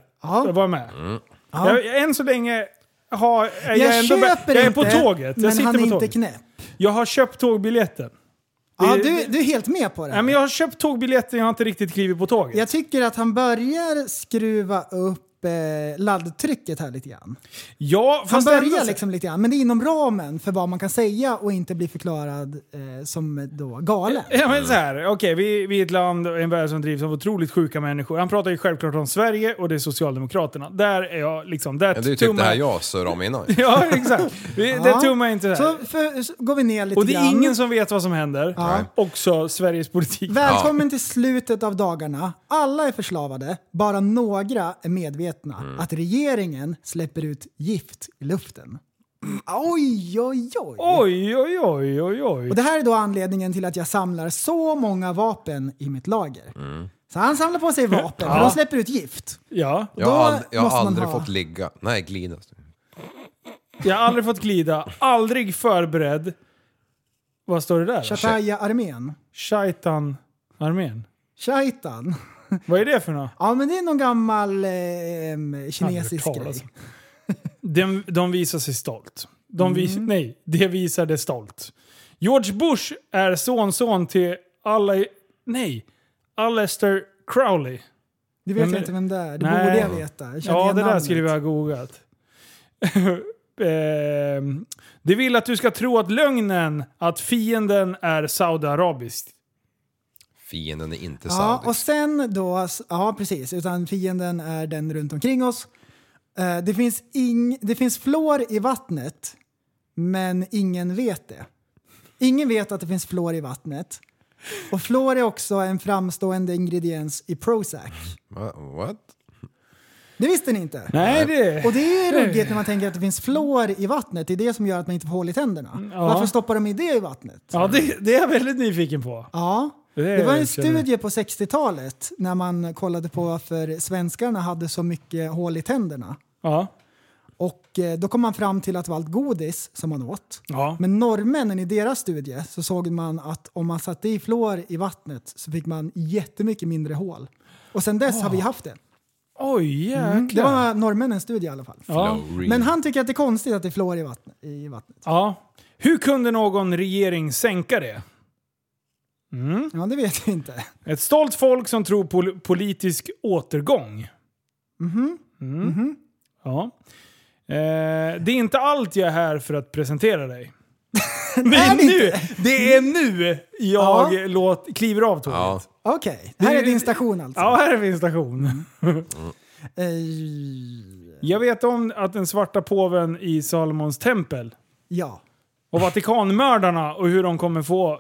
[SPEAKER 2] vara med.
[SPEAKER 1] Mm.
[SPEAKER 7] Ja.
[SPEAKER 2] Jag, än så länge har, är jag,
[SPEAKER 7] Jag
[SPEAKER 2] ändå med.
[SPEAKER 7] köper
[SPEAKER 2] Jag är på
[SPEAKER 7] inte,
[SPEAKER 2] tåget. Jag
[SPEAKER 7] men
[SPEAKER 2] sitter
[SPEAKER 7] han är
[SPEAKER 2] på
[SPEAKER 7] inte
[SPEAKER 2] tåget.
[SPEAKER 7] knäpp.
[SPEAKER 2] Jag har köpt tågbiljetten.
[SPEAKER 7] Ja,
[SPEAKER 2] Det-
[SPEAKER 7] du, du är helt med på det.
[SPEAKER 2] Nej, men jag har köpt tågbiljetten, jag har inte riktigt klivit på tåget.
[SPEAKER 7] Jag tycker att han börjar skruva upp eh, laddtrycket här lite grann.
[SPEAKER 2] Ja,
[SPEAKER 7] Han
[SPEAKER 2] fast ändå
[SPEAKER 7] börjar
[SPEAKER 2] så-
[SPEAKER 7] liksom lite grann, men det är inom ramen för vad man kan säga och inte bli förklarad eh, som då galen.
[SPEAKER 2] Ja men så här, okej vi, vi är ett land och en värld som drivs av otroligt sjuka människor. Han pratar ju självklart om Sverige och det är Socialdemokraterna. Där är jag liksom, där
[SPEAKER 1] Men det är ju typ det
[SPEAKER 2] tummar
[SPEAKER 1] här jag surrade om innan.
[SPEAKER 2] Ja exakt. Vi, eh, Det
[SPEAKER 7] Ja.
[SPEAKER 2] tummar jag inte där.
[SPEAKER 7] Så, för, så går vi ner lite
[SPEAKER 2] och det är
[SPEAKER 7] grann.
[SPEAKER 2] ingen som vet vad som händer.
[SPEAKER 7] Ja.
[SPEAKER 2] Också Sveriges politik.
[SPEAKER 7] Välkommen till slutet av dagarna. Alla är förslavade, bara några är medvetna
[SPEAKER 2] Mm.
[SPEAKER 7] att regeringen släpper ut gift i luften. Oj, oj, oj.
[SPEAKER 2] Oj, oj, oj, oj, oj.
[SPEAKER 7] Och det här är då anledningen till att jag samlar så många vapen i mitt lager.
[SPEAKER 2] Mm.
[SPEAKER 7] Så han samlar på sig vapen,
[SPEAKER 1] Ja.
[SPEAKER 7] för de släpper ut gift.
[SPEAKER 2] Ja.
[SPEAKER 1] Jag har, ald- jag
[SPEAKER 7] måste
[SPEAKER 1] har
[SPEAKER 7] man
[SPEAKER 1] aldrig
[SPEAKER 7] ha-
[SPEAKER 1] fått ligga. Nej, glida.
[SPEAKER 2] Jag har aldrig fått glida, aldrig förberedd. Vad står det där?
[SPEAKER 7] Shataya-armén.
[SPEAKER 2] Shaitan-armén.
[SPEAKER 7] Shaitan.
[SPEAKER 2] Vad är det för något?
[SPEAKER 7] Ja, men det är någon gammal eh, em,
[SPEAKER 2] Aldrig
[SPEAKER 7] kinesisk
[SPEAKER 2] hört talas
[SPEAKER 7] grej.
[SPEAKER 2] De, de visar sig stolt. De vis,
[SPEAKER 7] Mm.
[SPEAKER 2] Nej, det visade stolt. George Bush är sonson till alla... Nej, Aleister Crowley.
[SPEAKER 7] Du vet inte vem det är. Det
[SPEAKER 2] Nej.
[SPEAKER 7] borde jag veta. Jag känner
[SPEAKER 2] ja,
[SPEAKER 7] igen
[SPEAKER 2] det där
[SPEAKER 7] namnet.
[SPEAKER 2] skulle vi ha googlat. Ehm, det vill att du ska tro att lögnen att fienden är saudiarabisk.
[SPEAKER 1] Fienden är inte
[SPEAKER 7] Ja,
[SPEAKER 1] saudi.
[SPEAKER 7] och sen då, ja precis, utan fienden är den runt omkring oss. Eh, Det finns, ing, det finns flår i vattnet, men ingen vet det. Ingen vet att det finns flår i vattnet. Och flår är också en framstående ingrediens i Prozac.
[SPEAKER 1] Va- What?
[SPEAKER 7] Det visste ni inte?
[SPEAKER 1] Nej, det-
[SPEAKER 7] Och det är ruggigt när man tänker att det finns flår i vattnet. Det är det som gör att man inte får hål i tänderna.
[SPEAKER 2] ja.
[SPEAKER 7] Varför stoppar de i det i vattnet?
[SPEAKER 2] Ja, det, det är jag väldigt nyfiken på.
[SPEAKER 7] Ja.
[SPEAKER 2] Det,
[SPEAKER 7] Det var en
[SPEAKER 2] känner-
[SPEAKER 7] studie på 60-talet när man kollade på varför svenskarna hade så mycket hål i tänderna.
[SPEAKER 2] Ja.
[SPEAKER 7] Och eh, då kom man fram till att det var allt godis som man åt.
[SPEAKER 2] Ja.
[SPEAKER 7] Men norrmännen i deras studie så såg man att om man satte i fluor i vattnet så fick man jättemycket mindre hål. Och sen dess har
[SPEAKER 2] Ah.
[SPEAKER 7] vi haft det.
[SPEAKER 2] Oj, jäklar.
[SPEAKER 7] Mm, Det var norrmännens studie i alla fall.
[SPEAKER 2] Ja.
[SPEAKER 1] Oh,
[SPEAKER 7] Men han tycker att det är konstigt att det är fluor i vattnet. I vattnet.
[SPEAKER 2] Ja. Hur kunde någon regering sänka det? Mm.
[SPEAKER 7] Ja, det vet jag inte.
[SPEAKER 2] Ett stolt folk som tror på politisk återgång.
[SPEAKER 7] Mhm.
[SPEAKER 2] Mm. Ja. Eh, det är inte allt jag är här för att presentera dig. Det är, nu, det är nu jag låt, kliver av tåget. Ja.
[SPEAKER 7] Okej, här är din station alltså.
[SPEAKER 2] här är min station. Mm.
[SPEAKER 7] Eh,
[SPEAKER 2] jag vet om att den svarta påven i Salomons tempel
[SPEAKER 7] Ja.
[SPEAKER 2] och Vatikanmördarna och hur de kommer få,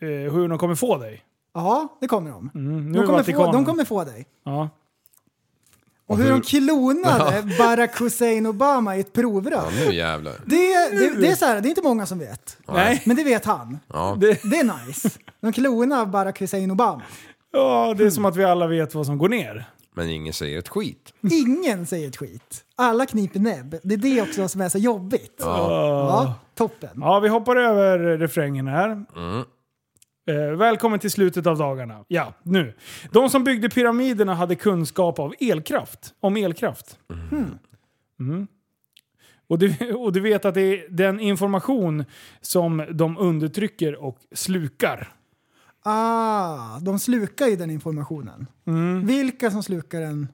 [SPEAKER 2] eh, hur de kommer få dig.
[SPEAKER 7] Ja, det kommer de.
[SPEAKER 2] Mm, nu
[SPEAKER 7] De kommer,
[SPEAKER 2] är
[SPEAKER 7] få,
[SPEAKER 2] Vatikanen.
[SPEAKER 7] de kommer få dig.
[SPEAKER 2] Ja.
[SPEAKER 7] Och hur de klonade Barack Hussein Obama i ett
[SPEAKER 1] Ja,
[SPEAKER 7] provrör.
[SPEAKER 1] nu jävlar.
[SPEAKER 7] Det, det, det, är så här, det är inte många som vet.
[SPEAKER 1] Nej.
[SPEAKER 7] Men det vet han.
[SPEAKER 1] Ja.
[SPEAKER 7] Det, är nice. De klonar Barack Hussein Obama.
[SPEAKER 2] Ja, det är som att vi alla vet vad som går ner.
[SPEAKER 1] Men ingen säger ett skit.
[SPEAKER 7] Ingen säger ett skit. Alla kniper näbb. Det är det också som är så jobbigt.
[SPEAKER 1] Ja.
[SPEAKER 7] Ja, toppen.
[SPEAKER 2] Ja, vi hoppar över refrängen här. Eh, välkommen till slutet av dagarna. Ja, nu. De som byggde pyramiderna hade kunskap av elkraft. Om elkraft. Mm. Och, du, och du vet att det är den information som de undertrycker och slukar.
[SPEAKER 7] Ah, de slukar ju den informationen.
[SPEAKER 2] Mm.
[SPEAKER 7] Vilka som slukar den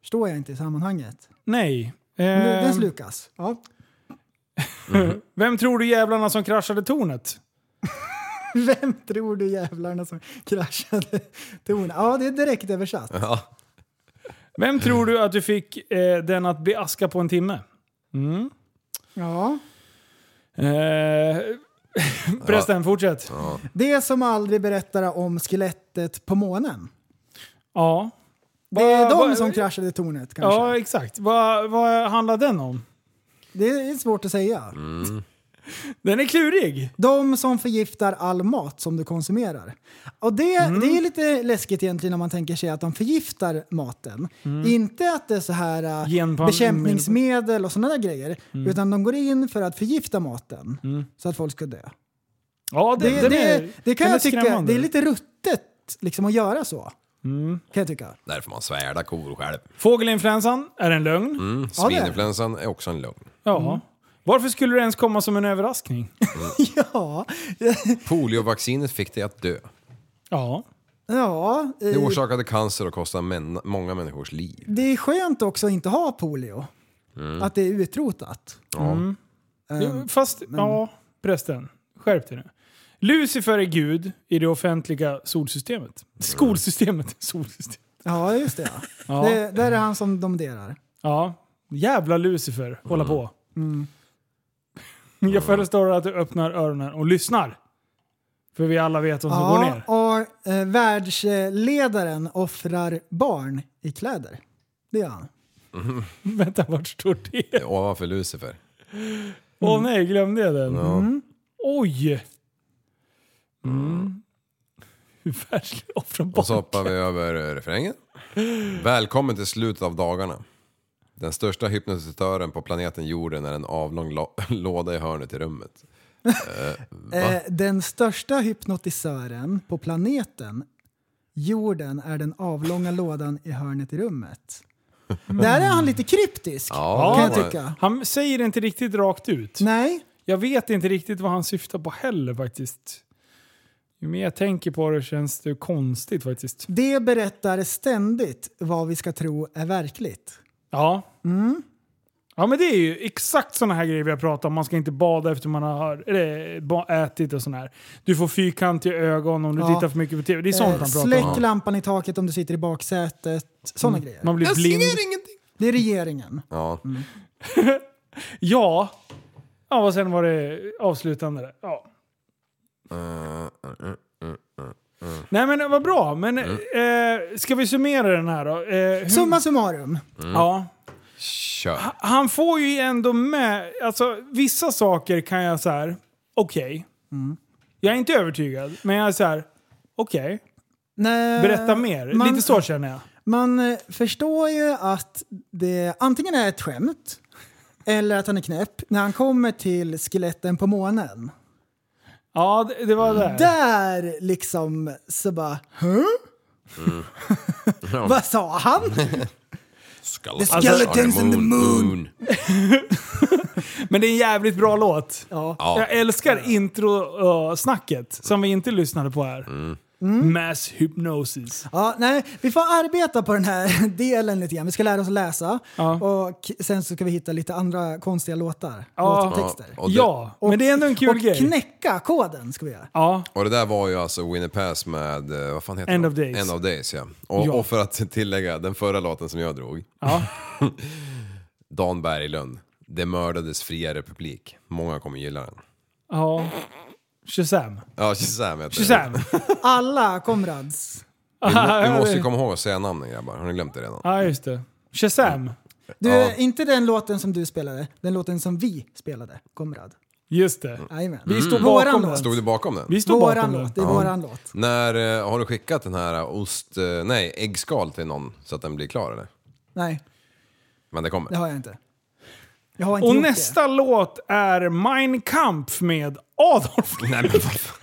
[SPEAKER 7] förstår jag inte i sammanhanget.
[SPEAKER 2] Nej.
[SPEAKER 7] Men
[SPEAKER 2] Eh,
[SPEAKER 7] Den slukas. Ja.
[SPEAKER 2] Vem tror du jävlarna som kraschade tornet?
[SPEAKER 7] Vem tror du jävlarna som kraschade tornet? Ja, det är direkt översatt.
[SPEAKER 2] Vem tror du att du fick eh, den att bli aska på en timme? Mm.
[SPEAKER 7] Ja.
[SPEAKER 2] Eh, Prästen, fortsätt.
[SPEAKER 7] Det som aldrig berättar om skelettet på månen.
[SPEAKER 2] Ja.
[SPEAKER 7] Det är
[SPEAKER 2] Va- va-
[SPEAKER 7] de som kraschade tornet kanske.
[SPEAKER 2] Ja, exakt. Vad, vad handlar den om?
[SPEAKER 7] Det är svårt att säga.
[SPEAKER 2] Den är klurig.
[SPEAKER 7] De som förgiftar all mat som du konsumerar. Och det,
[SPEAKER 2] Mm.
[SPEAKER 7] det är ju lite läskigt egentligen när man tänker sig att de förgiftar maten.
[SPEAKER 2] Mm.
[SPEAKER 7] Inte att det är så här äh,
[SPEAKER 2] Genpan-
[SPEAKER 7] bekämpningsmedel och sådana där grejer.
[SPEAKER 2] Mm.
[SPEAKER 7] Utan de går in för att förgifta maten så att folk ska dö.
[SPEAKER 2] Ja,
[SPEAKER 7] Det,
[SPEAKER 2] den,
[SPEAKER 7] det,
[SPEAKER 2] den
[SPEAKER 7] det,
[SPEAKER 2] är,
[SPEAKER 7] kan
[SPEAKER 2] den
[SPEAKER 7] jag tycka,
[SPEAKER 2] skrämmande. Mm.
[SPEAKER 7] det är lite ruttet liksom att göra så. Kan jag tycka.
[SPEAKER 1] Där får man svärda kor själv.
[SPEAKER 2] Fågelinfluensan är en lögn.
[SPEAKER 1] Mm.
[SPEAKER 7] Ja, det är det.
[SPEAKER 1] Svininfluensan är också en lögn.
[SPEAKER 2] Ja. Varför skulle det ens komma som en överraskning?
[SPEAKER 7] Ja,
[SPEAKER 1] Poliovaccinet fick dig att dö.
[SPEAKER 2] Ja.
[SPEAKER 7] ja eh,
[SPEAKER 1] Det orsakade cancer och kostade män, många människors liv.
[SPEAKER 7] det är skönt också att inte ha polio. Att det är utrotat. Eh,
[SPEAKER 1] Ja.
[SPEAKER 2] Mm. Jo, Fast, ja, prästen. Skärp dig nu. Lucifer är gud i det offentliga solsystemet. Skolsystemet. Solsystemet.
[SPEAKER 7] Ja, just det. Ja.
[SPEAKER 2] Ja.
[SPEAKER 7] Det, där är han som domderar.
[SPEAKER 2] Ja. Jävla Lucifer. Hålla på. Jag föreslår att du öppnar öronen och lyssnar. För vi alla vet vad som går ner.
[SPEAKER 7] och eh, världsledaren offrar barn i kläder. Det gör han.
[SPEAKER 2] Vänta, vart står det?
[SPEAKER 1] Ovanför Lucifer.
[SPEAKER 2] Åh
[SPEAKER 7] Mm.
[SPEAKER 2] nej, glömde jag den?
[SPEAKER 1] Ja.
[SPEAKER 2] Oj! Mm. Hur världslig offra
[SPEAKER 1] Och så
[SPEAKER 2] barn.
[SPEAKER 1] hoppar vi över refrängen. Välkommen till slutet av dagarna. Den största hypnotisatören på planeten jorden är en avlång lo- låda i hörnet i rummet.
[SPEAKER 7] Eh, den största hypnotisören på planeten, jorden, är den avlånga lådan i hörnet i rummet. Där är han lite kryptisk,
[SPEAKER 1] Mm. Ja,
[SPEAKER 7] kan jag
[SPEAKER 1] det var-
[SPEAKER 7] tycka.
[SPEAKER 2] Han säger det inte riktigt rakt ut.
[SPEAKER 7] Nej,
[SPEAKER 2] Jag vet inte riktigt vad han syftar på heller faktiskt. Ju mer jag tänker på det känns det konstigt faktiskt.
[SPEAKER 7] det berättar ständigt vad vi ska tro är verkligt.
[SPEAKER 2] Ja.
[SPEAKER 7] Mm.
[SPEAKER 2] Ja men det är ju exakt sådana här grejer vi har pratat om. Man ska inte bada efter man har eller, ba- ätit och sådär. Du får fyrkantiga ögon om du
[SPEAKER 7] Ja.
[SPEAKER 2] tittar för mycket på TV. Det är sånt
[SPEAKER 7] Eh,
[SPEAKER 2] han pratar om. Mm.
[SPEAKER 7] släck lampan i taket om du sitter i baksätet. Sådana grejer.
[SPEAKER 2] Man blir blind.
[SPEAKER 7] Det är regeringen.
[SPEAKER 1] Ja.
[SPEAKER 2] Ja. Ja, och sen var det avslutande där. Ja. Nej men vad bra. Men eh, ska vi summera den här då? Eh, hur-
[SPEAKER 7] Summa summarum.
[SPEAKER 2] Ja.
[SPEAKER 1] Kör.
[SPEAKER 7] Ah,
[SPEAKER 2] Han får ju ändå med, alltså vissa saker kan jag så här. okej. Mm. Jag är inte övertygad, men jag är så här. okej.
[SPEAKER 7] Nej,
[SPEAKER 2] Berätta mer.
[SPEAKER 7] man-
[SPEAKER 2] Lite så känner jag.
[SPEAKER 7] Man eh, förstår ju att det antingen är ett skämt eller att han är knäpp när han kommer till skeletten på månen.
[SPEAKER 2] Ja, det, det var det.
[SPEAKER 7] Där liksom så bara... Huh? Vad sa han?
[SPEAKER 1] Alltså,
[SPEAKER 7] skeletons in the moon.
[SPEAKER 2] Men det är en jävligt bra låt.
[SPEAKER 7] Ja.
[SPEAKER 2] Jag älskar intro-snacket som vi inte lyssnade på här.
[SPEAKER 1] Mm.
[SPEAKER 7] Mm.
[SPEAKER 2] Mass hypnosis.
[SPEAKER 7] Ja, nej, vi får arbeta på den här delen lite grann. Vi ska lära oss att läsa
[SPEAKER 2] Ja.
[SPEAKER 7] och sen så ska vi hitta lite andra konstiga låtar,
[SPEAKER 2] Ja.
[SPEAKER 7] låttexter.
[SPEAKER 1] Och det,
[SPEAKER 2] ja, men det är ändå en kul
[SPEAKER 7] och
[SPEAKER 2] grej.
[SPEAKER 7] knäcka koden ska vi göra.
[SPEAKER 2] ja,
[SPEAKER 1] och det där var ju alltså Winnie Pass med, eh, vad fan heter
[SPEAKER 2] End
[SPEAKER 1] den?
[SPEAKER 2] of Days.
[SPEAKER 1] End of Days ja. Och,
[SPEAKER 2] Ja.
[SPEAKER 1] och för att tillägga, den förra låten som jag drog.
[SPEAKER 2] ja.
[SPEAKER 1] Dan Berglund. Det mördades fria republik. Många kommer gilla den.
[SPEAKER 2] ja. Shazam.
[SPEAKER 1] Ja, Shazam heter
[SPEAKER 2] Shazam.
[SPEAKER 1] den.
[SPEAKER 7] Alla Konrads.
[SPEAKER 1] Vi, må- vi måste ju komma ihåg att säga namnen grabbar. Har ni glömt det redan?
[SPEAKER 2] Ja, just det. Shazam.
[SPEAKER 7] Du, inte den låten som du spelade, den låten som vi spelade, Komrad.
[SPEAKER 2] Just det.
[SPEAKER 7] Jajamän. Mm.
[SPEAKER 2] Vi står
[SPEAKER 7] Våran
[SPEAKER 2] bakom
[SPEAKER 7] låt.
[SPEAKER 2] den.
[SPEAKER 1] Stod du bakom den?
[SPEAKER 2] Vi står
[SPEAKER 7] Våran
[SPEAKER 2] bakom den.
[SPEAKER 7] låt, det är våran låt.
[SPEAKER 1] När, eh, har du skickat den här ost... eh, Nej, äggskal till någon så att den blir klar eller?
[SPEAKER 7] Nej,
[SPEAKER 1] Men det kommer.
[SPEAKER 7] det har jag inte. Jag har inte
[SPEAKER 2] Och
[SPEAKER 7] gjort
[SPEAKER 2] nästa låt är Mein Kampf med Adolf.
[SPEAKER 1] Nej men vad fan.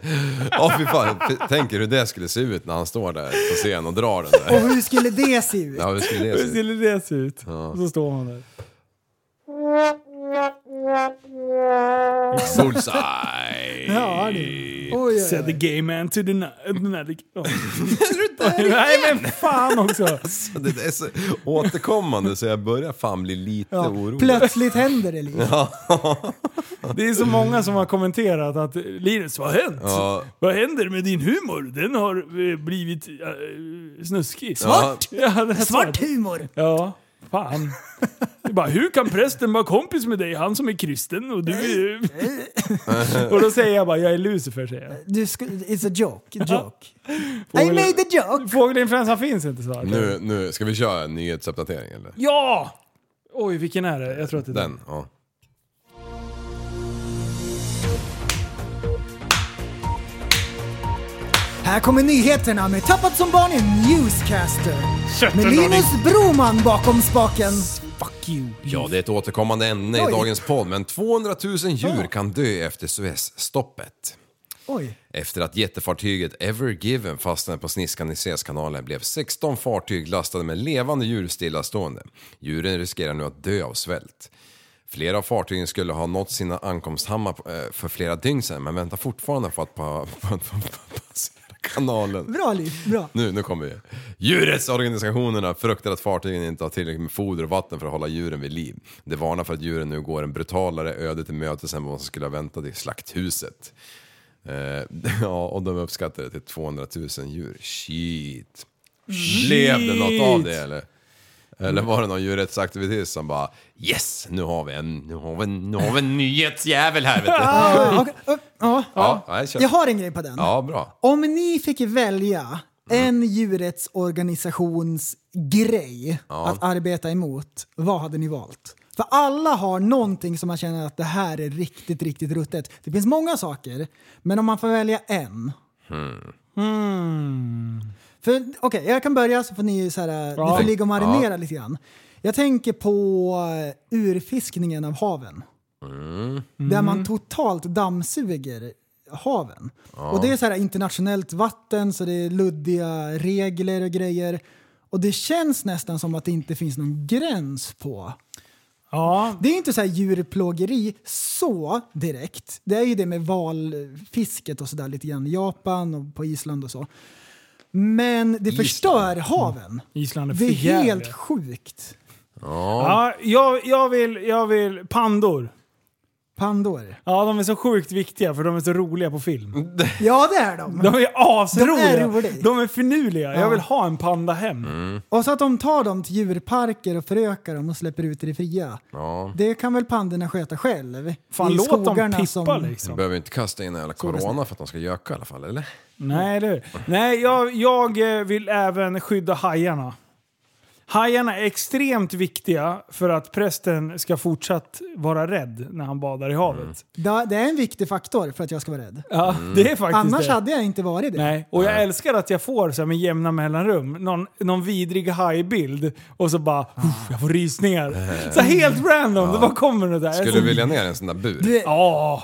[SPEAKER 1] Ja fy fan, T- tänk er hur det skulle se ut när han står där på scen och drar den
[SPEAKER 7] det. Och
[SPEAKER 1] där.
[SPEAKER 7] hur skulle det se ut?
[SPEAKER 1] Ja, hur skulle det se
[SPEAKER 2] Hur
[SPEAKER 1] ut?
[SPEAKER 2] skulle det se ut?
[SPEAKER 1] Ja.
[SPEAKER 2] Och så står han där.
[SPEAKER 1] Bullseye!
[SPEAKER 7] Ja, det. Oj, oj,
[SPEAKER 2] Said the
[SPEAKER 7] oj.
[SPEAKER 2] gay man to the night. Nej men fan också.
[SPEAKER 1] Det där är så återkommande så jag börjar fan bli lite
[SPEAKER 7] Ja,
[SPEAKER 1] orolig.
[SPEAKER 7] plötsligt händer det liksom.
[SPEAKER 2] Det är så många som har kommenterat att eh, Linus, vad har hänt?
[SPEAKER 1] Ja.
[SPEAKER 2] Vad händer med din humor? Den har eh, blivit eh, snuskig.
[SPEAKER 1] Svart?
[SPEAKER 2] Ja, den är svart.
[SPEAKER 7] Svart humor!
[SPEAKER 2] Ja, fan. Det är bara, hur kan prästen vara kompis med dig? Han som är kristen och du är... och då säger jag bara, jag är Lucifer säger jag.
[SPEAKER 7] Du sku, it's a joke, a
[SPEAKER 2] Ja.
[SPEAKER 7] joke. I made a joke!
[SPEAKER 2] Fågelinfluensan finns inte så.
[SPEAKER 1] Nu, nu, ska vi köra en nyhetsuppdatering eller?
[SPEAKER 2] Ja! Oj, vilken är det? Jag tror att det är den.
[SPEAKER 1] Den, ja.
[SPEAKER 7] Här kommer nyheterna med Tappat som barn i Newscaster. Med Linus Broman bakom spaken.
[SPEAKER 2] Fuck you.
[SPEAKER 1] Ja, det är ett återkommande ämne i
[SPEAKER 7] Oj.
[SPEAKER 1] dagens podd, men 200 000 djur kan dö efter Suezstoppet.
[SPEAKER 7] Oj.
[SPEAKER 1] Efter att jättefartyget Ever Given fastnade på sniskan i Suezkanalen blev 16 fartyg lastade med levande djur stillastående. Djuren riskerar nu att dö av svält. Flera av fartygen skulle ha nått sina ankomsthammar eh, för flera dygn sedan men väntar fortfarande på att pa- på att passera kanalen.
[SPEAKER 7] Bra Liv, bra.
[SPEAKER 1] Nu, nu kommer vi. Djurrättsorganisationerna fruktar att fartygen inte har tillräckligt med foder och vatten för att hålla djuren vid liv. Det varnar för att djuren nu går en brutalare öde till mötes än vad som skulle ha väntat i slakthuset. Eh, ja, och de uppskattar det till 200 000 djur. Shit. Blev det något av det eller? Eller var det någon djurrättsaktivist som bara Yes! Nu har vi en, nu har vi en, nu har vi en nyhetsjävel här vet du.
[SPEAKER 7] Ja, okej, upp, ja.
[SPEAKER 1] Ja, jag, känner,
[SPEAKER 7] Jag har en grej på den.
[SPEAKER 1] ja bra.
[SPEAKER 7] Om ni fick välja en djurrättsorganisationsgrej att arbeta emot, vad hade ni valt? För alla har någonting som man känner att det här är riktigt, riktigt ruttet. Det finns många saker, men om man får välja en. Hmm. För okej, jag kan börja så får ni, så här, ni får ligga och marinera lite grann. Jag tänker på eh, urfiskningen av haven. Där man totalt dammsuger haven. Och det är så här internationellt vatten så det är luddiga regler och grejer. Och det känns nästan som att det inte finns någon gräns på.
[SPEAKER 2] Ja,
[SPEAKER 7] Det är inte så här djurplågeri så direkt. Det är ju det med valfisket och sådär lite grann i Japan och på Island och så. Men det förstör haven.
[SPEAKER 2] Island är
[SPEAKER 7] Det är
[SPEAKER 2] förjävligt.
[SPEAKER 7] helt sjukt.
[SPEAKER 2] Ja, jag, jag, vill, jag vill... Pandor.
[SPEAKER 7] Pandor.
[SPEAKER 2] Ja, de är så sjukt viktiga för de är så roliga på film.
[SPEAKER 7] Ja, det är de.
[SPEAKER 2] De är asroliga.
[SPEAKER 7] De är roliga.
[SPEAKER 2] De är finurliga. Jag vill ha en panda hem.
[SPEAKER 7] Och så att de tar dem till djurparker och förökar dem och släpper ut i det fria.
[SPEAKER 1] Ja.
[SPEAKER 7] Det kan väl pandorna sköta själv?
[SPEAKER 2] Fan,
[SPEAKER 7] I
[SPEAKER 2] låt dem
[SPEAKER 7] skogarna
[SPEAKER 2] pippa
[SPEAKER 7] som-
[SPEAKER 1] Du
[SPEAKER 2] liksom.
[SPEAKER 1] behöver inte kasta in en jävla corona för att de ska göka i alla fall, eller?
[SPEAKER 2] Nej, eller hur? Nej, jag, jag eh, vill även skydda hajarna. Hajarna är extremt viktiga för att prästen ska fortsatt vara rädd när han badar i havet.
[SPEAKER 7] Da- Det är en viktig faktor för att jag ska vara rädd.
[SPEAKER 2] Ja, det är faktiskt
[SPEAKER 7] Annars
[SPEAKER 2] det.
[SPEAKER 7] hade jag inte varit det.
[SPEAKER 2] Nej, och jag älskar att jag får så här med jämna mellanrum någon, någon vidrig hajbild och så bara
[SPEAKER 1] Ah.
[SPEAKER 2] "Uff, jag får rysningar. Så helt random, det bara kommer det där.
[SPEAKER 1] Eh. Skulle
[SPEAKER 2] Så-
[SPEAKER 1] du vilja ner i en sån där bur?
[SPEAKER 7] Alltså, Du,
[SPEAKER 2] Ja,